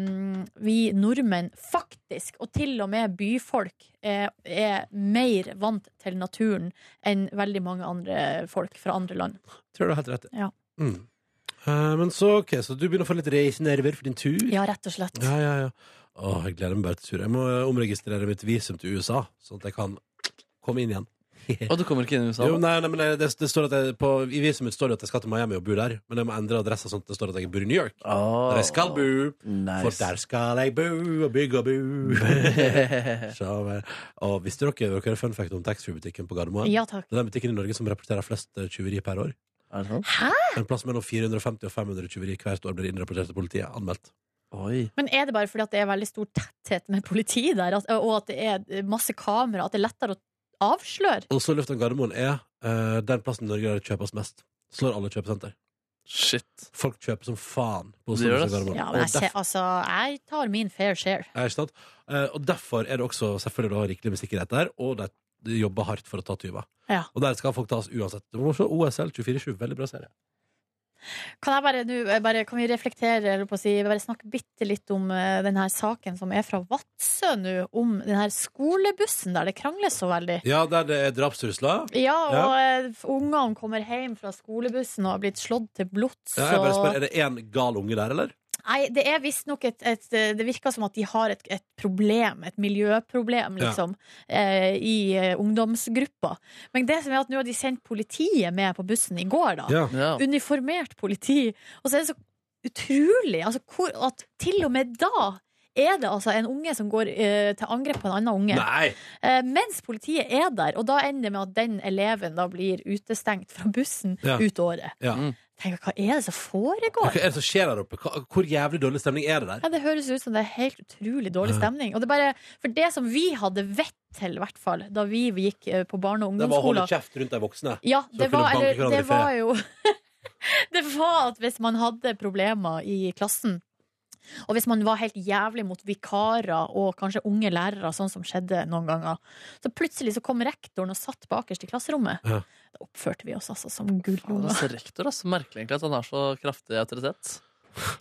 Speaker 3: vi nordmenn faktisk, og til og med byfolk, eh, er mer vant til naturen enn veldig mange andre folk fra andre land.
Speaker 2: Tror du har helt rett. i.
Speaker 3: Ja.
Speaker 2: Mm. Eh, men så, ok, så du begynner å få litt reisenerver for din tur?
Speaker 3: Ja, rett og slett.
Speaker 2: Ja, ja, ja. Åh, jeg gleder meg bare til tur. Jeg må eh, omregistrere mitt visum til USA, sånn at jeg kan komme inn igjen.
Speaker 4: Og du kommer ikke inn i USA?
Speaker 2: Jo, nei, nei, men eh, det, det står at jeg, på, I visumet står det at jeg skal til Miami og bo der, men jeg må endre adressa sånn at det står at jeg bor i New York.
Speaker 4: Oh.
Speaker 2: Der jeg skal bo, for
Speaker 4: Nice.
Speaker 2: der skal jeg bo og bygge og bo. Så, eh, og visste dere dere har fun fact om taxfree-butikken på Gardermoen?
Speaker 3: Ja takk.
Speaker 2: Det er den butikken i Norge som rapporterer flest eh, tyveri per år.
Speaker 4: er det sånn?
Speaker 2: En plass mellom 450 og 500 tyveri hvert år blir innrapportert til politiet. Anmeldt.
Speaker 4: Oi.
Speaker 3: Men er det bare fordi at det er veldig stor tetthet med politi der, at, og at det er masse kamera, at det er lettere å avsløre?
Speaker 2: Oslo lufthavn Gardermoen er eh, den plassen i Norge der det kjøpes mest. Slår alle kjøpesenter.
Speaker 4: Shit.
Speaker 2: Folk kjøper som faen på Oslo
Speaker 4: Det gjør
Speaker 2: lufthavn
Speaker 4: det, ass.
Speaker 2: Gardermoen.
Speaker 3: Ja, men
Speaker 2: Og
Speaker 3: jeg, ser, altså, jeg tar min fair share.
Speaker 2: Ja, ikke sant? Eh, og derfor er det også selvfølgelig da rikelig med sikkerhet der, og de- de jobber hardt for å ta tyver.
Speaker 3: Ja.
Speaker 2: Og der skal folk tas uansett. Du må se OSL 24-7, veldig bra serie.
Speaker 3: Kan, jeg bare, nå, eh, bare, kan vi reflektere eller på å si, bare snakke bitte litt om eh, den her saken som er fra Vadsø nå, om den her skolebussen der det krangles så veldig?
Speaker 2: Ja, der det er drapstrusler.
Speaker 3: Ja, og eh, ungene kommer hjem fra skolebussen og har blitt slått til blods.
Speaker 2: Ja, jeg bare
Speaker 3: og-
Speaker 2: spør, er det én gal unge der, eller?
Speaker 3: Nei, det er visstnok et, et eh, Det virker som at de har et, et problem, et
Speaker 2: Ja.
Speaker 3: miljøproblem, liksom, eh, i eh, ungdomsgruppa. Men det som er at nå har de sendt politiet med på bussen i går, da.
Speaker 2: Ja.
Speaker 4: Ja.
Speaker 3: Uniformert politi. Og så er det så utrolig altså, hvor, at til og med da er det altså en unge som går eh, til angrep på en annen unge.
Speaker 2: Nei!
Speaker 3: Eh, mens politiet er der, og da ender det med at den eleven da blir utestengt fra bussen
Speaker 2: Ja.
Speaker 3: ut året.
Speaker 2: Ja.
Speaker 4: Mm.
Speaker 3: Tenk, hva er det som
Speaker 2: Hva
Speaker 3: foregår?
Speaker 2: er det som skjer der oppe? Hva, hvor jævlig dårlig stemning er det der?
Speaker 3: Ja, Det høres ut som det er helt utrolig dårlig stemning. Og det er bare, for det som vi hadde vett til, i hvert fall, da vi gikk eh, på barne- og
Speaker 2: Det er bare å holde
Speaker 3: ungdomsskolen
Speaker 2: kjeft rundt de voksne.
Speaker 3: ja,
Speaker 2: Så
Speaker 3: det,
Speaker 2: kunne
Speaker 3: var,
Speaker 2: banke
Speaker 3: eller,
Speaker 2: hverandre i
Speaker 3: det
Speaker 2: fred.
Speaker 3: var jo Det var at hvis man hadde problemer i klassen og hvis man var helt jævlig mot vikarer og kanskje unge lærere, sånn som skjedde noen ganger, så plutselig så kom rektoren og satt bakerst i klasserommet.
Speaker 2: Ja.
Speaker 3: Da oppførte vi oss altså som gullunger.
Speaker 4: Altså, rektor, altså. Merkelig egentlig at han er så kraftig autoritet.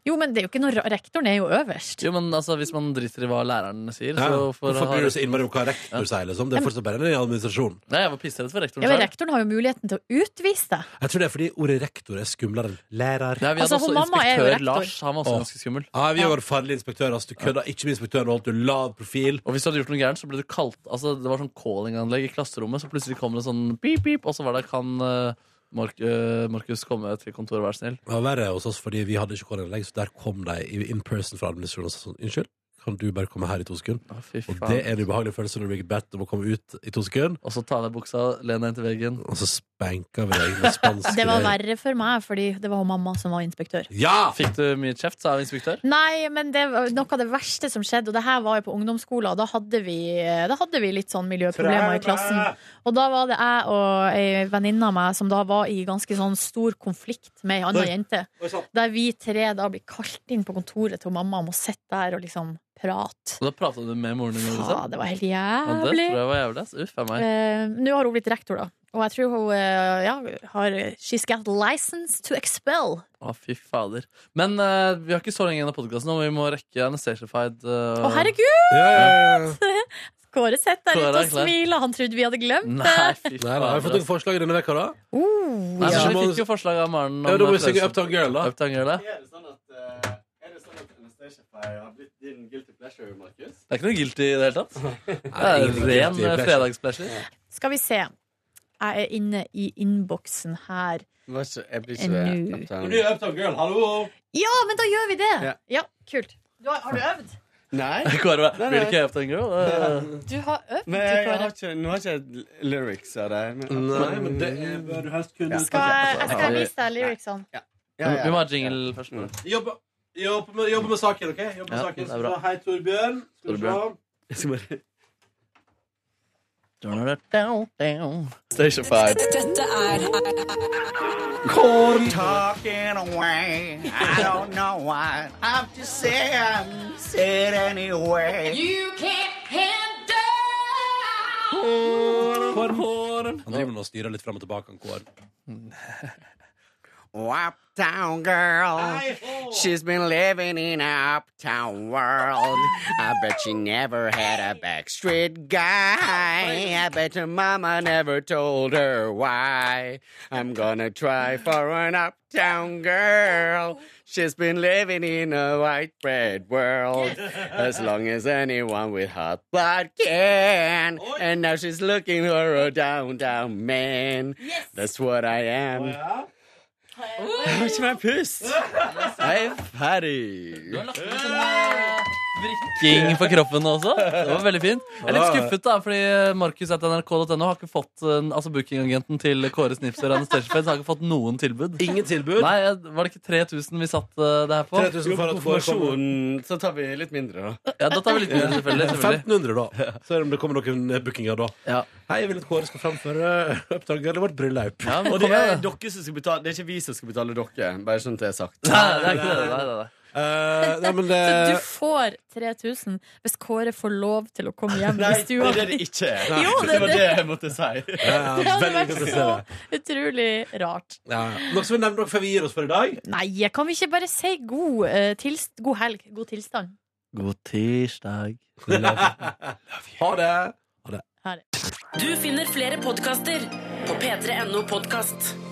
Speaker 3: Jo, men det er jo ikke noe ra- Rektoren er jo øverst.
Speaker 4: Jo, men altså, Hvis man driter i hva læreren sier,
Speaker 2: Ja.
Speaker 4: så får
Speaker 2: Hvorfor bryr du deg så
Speaker 4: ha
Speaker 2: innmari om hva rektor sier? Liksom? Det er fortsatt bare en administrasjon.
Speaker 4: Nei, Jeg var pissredd for rektoren.
Speaker 3: Ja, men
Speaker 4: selv.
Speaker 3: rektoren har jo muligheten til å utvise deg.
Speaker 2: Jeg tror det er fordi ordet rektor er skumlere enn lærer.
Speaker 4: Nei, vi hadde
Speaker 3: Altså, hun
Speaker 4: også
Speaker 3: mamma er jo
Speaker 4: inspektør
Speaker 3: rektor.
Speaker 4: Lars. Han var også
Speaker 2: Åh.
Speaker 4: ganske skummel.
Speaker 2: Ja, vi var farlige inspektører. Altså, du kødda ikke med inspektøren og holdt du lav profil.
Speaker 4: Og hvis du hadde gjort noe gærent, så ble du kalt Altså, det var sånn callinganlegg i klasserommet, så plutselig kom det sånn pip, pip, og så var det kan eh, Mark- eh, Markus komme til kontoret, vær snill.
Speaker 2: Det var verre hos oss, fordi vi hadde ikke koroninnlegg, så der kom de i- in person fra administrasjonen og sa sånn Unnskyld, kan du bare komme her i to sekunder?
Speaker 4: Å, fy
Speaker 2: Og
Speaker 4: faen.
Speaker 2: det er en ubehagelig følelse når du blir bedt om å komme ut i to sekunder,
Speaker 4: Og så ta ned buksa, le deg inn til veggen.
Speaker 2: og så spanka vi deg med spansk
Speaker 3: Det var verre for meg, fordi det var mamma som var inspektør.
Speaker 2: Ja!
Speaker 4: Fikk du mye kjeft, sa inspektør?
Speaker 3: Nei, men det var noe av det verste som skjedde, og det her var jo på ungdomsskolen, og da hadde vi, da hadde vi litt sånn miljøproblemer i klassen. Og da var det jeg og ei venninne av meg som da var i ganske sånn stor konflikt med ei anna
Speaker 2: Oi.
Speaker 3: jente.
Speaker 2: Oi, sant.
Speaker 3: Der vi tre da blir kalt inn på kontoret til mamma og må sitte der og liksom prate.
Speaker 4: Og da prata du med moren din?
Speaker 3: Ja,
Speaker 4: Liksom.
Speaker 3: det var helt
Speaker 4: Ja, det
Speaker 3: jævlig.
Speaker 4: tror jeg var jævlig. ass. Uff a meg.
Speaker 3: Eh, Nå har hun blitt rektor, da. Og jeg tror hun eh, ja, har She's got license to expel.
Speaker 4: Å, fy fader. Men eh, vi har ikke så lenge igjen av podkasten, og vi må rekke eh, Anastacified.
Speaker 3: Å, herregud!
Speaker 2: Ja, ja, ja.
Speaker 3: Kåre sitter der
Speaker 4: Kåre
Speaker 3: ute
Speaker 4: er
Speaker 3: og
Speaker 4: klar.
Speaker 3: smiler. Han trodde vi hadde glemt det.
Speaker 4: Nei, fy altså.
Speaker 2: Nei, nei, har jeg fått
Speaker 4: fader.
Speaker 2: noen
Speaker 4: ass.
Speaker 2: forslag denne veka, da?
Speaker 3: Oh,
Speaker 4: Nei,
Speaker 2: Ja.
Speaker 4: men vi fikk jo forslag av Maren. om
Speaker 2: Ja, da må vi synge
Speaker 4: Frelsesarmeen.
Speaker 2: Uptown Girl, da.
Speaker 4: Uptown Girl, ja.
Speaker 9: Er det sånn at eh, Er det sånn at Anastacia har blitt din guilty pleasure, Markus?
Speaker 4: Det er ikke noe guilty i det hele tatt. Det
Speaker 2: Nei,
Speaker 4: er
Speaker 2: ingen
Speaker 4: ren
Speaker 2: guilty pleasure.
Speaker 4: fredagssplasher.
Speaker 3: Skal vi se. Jeg er inne i innboksen her.
Speaker 9: Jeg blir
Speaker 3: ikke Nå. up
Speaker 9: ikke
Speaker 5: Det blir Uptown Girl, hallo!
Speaker 3: Ja, men da gjør vi det! Ja,
Speaker 9: Ja.
Speaker 3: kult. Du har, har du øvd?
Speaker 9: Nei.
Speaker 4: Kåre,
Speaker 9: Nei, nei.
Speaker 4: vil du ikke Uptown Girl? Det-
Speaker 3: Du har øvd,
Speaker 9: Men jeg har
Speaker 3: Kåre.
Speaker 9: ikke, nå har jeg ikke lyrics av det. Men,
Speaker 2: Nei, men det er bør du helst kunne
Speaker 9: Ja.
Speaker 3: Skal jeg, jeg skal
Speaker 4: Ja, vi-
Speaker 3: vise deg lyricsene.
Speaker 9: ja, ja.
Speaker 4: Vi må ha jingle først.
Speaker 9: Mm.
Speaker 5: Jobbe, jobbe, med, jobbe med saken, OK? Jobbe med
Speaker 4: Ja,
Speaker 5: saken.
Speaker 4: det er bra.
Speaker 5: Så, hei, Torbjørn. Skal du se.
Speaker 4: Torbjørn.
Speaker 9: Jeg skal bare
Speaker 10: Dette er
Speaker 9: Talking away, I don't know what I'm just saying, say it anyway.
Speaker 2: Han driver nå og styrer litt fram og tilbake, han Kår.
Speaker 9: Uptown girl. She's been living in an uptown world. I bet she never had a backstreet guy. I bet her mama never told her why. I'm gonna try for an uptown girl. She's been living in a white bread world as long as anyone with hot blood can. And now she's looking for a downtown man. That's what I am. Jeg har ikke mer pust. Jeg er
Speaker 4: Du
Speaker 9: ferdig.
Speaker 4: har lagt med sånn eh, vrikking for kroppen også. Det var veldig fint. Jeg er litt skuffet, da, fordi Markus at nrk.no har ikke fått eh, altså bookingagenten til Kåre Snipser og Anastasia Feds har ikke fått noen tilbud.
Speaker 2: Ingen tilbud.
Speaker 4: Nei, jeg- Var det ikke 3000 vi satt eh, det her på?
Speaker 2: 3000 for at får komme
Speaker 9: Personen, så tar vi litt mindre, da.
Speaker 4: Ja, da tar vi litt mindre, selvfølgelig. selvfølgelig.
Speaker 2: 1500, da. Så er det om det kommer noen eh, bookinger da.
Speaker 4: Ja.
Speaker 2: Hei, jeg vil at Kåre skal framføre Oppdager eller vårt bryllup.
Speaker 4: Ja, men
Speaker 9: Og det
Speaker 4: kom
Speaker 9: er
Speaker 4: igjen, da.
Speaker 9: dere som skal betale, det er ikke vi som skal betale dere. Bare sånn at det er sagt.
Speaker 4: Nei, det er ikke det. Nei, nei, nei.
Speaker 2: Eh, nei, men det
Speaker 3: Så du får 3000 hvis Kåre får lov til å komme hjem
Speaker 9: Nei,
Speaker 3: i
Speaker 9: det
Speaker 3: stua.
Speaker 9: er det det ikke er.
Speaker 3: Jo, det
Speaker 9: Det
Speaker 3: er
Speaker 9: var
Speaker 3: det.
Speaker 9: det jeg måtte si.
Speaker 2: Ja, ja,
Speaker 3: Det hadde
Speaker 2: veldig
Speaker 3: vært
Speaker 2: godt å se
Speaker 3: så
Speaker 2: det.
Speaker 3: utrolig rart.
Speaker 2: Ja, ja. Noe som vi nevner før vi gir oss for i dag?
Speaker 3: Nei, kan vi ikke bare si god, eh, tilst god helg, god tilstand?
Speaker 4: God tirsdag.
Speaker 2: Ha det!
Speaker 1: Du finner flere podkaster på p3.no podkast.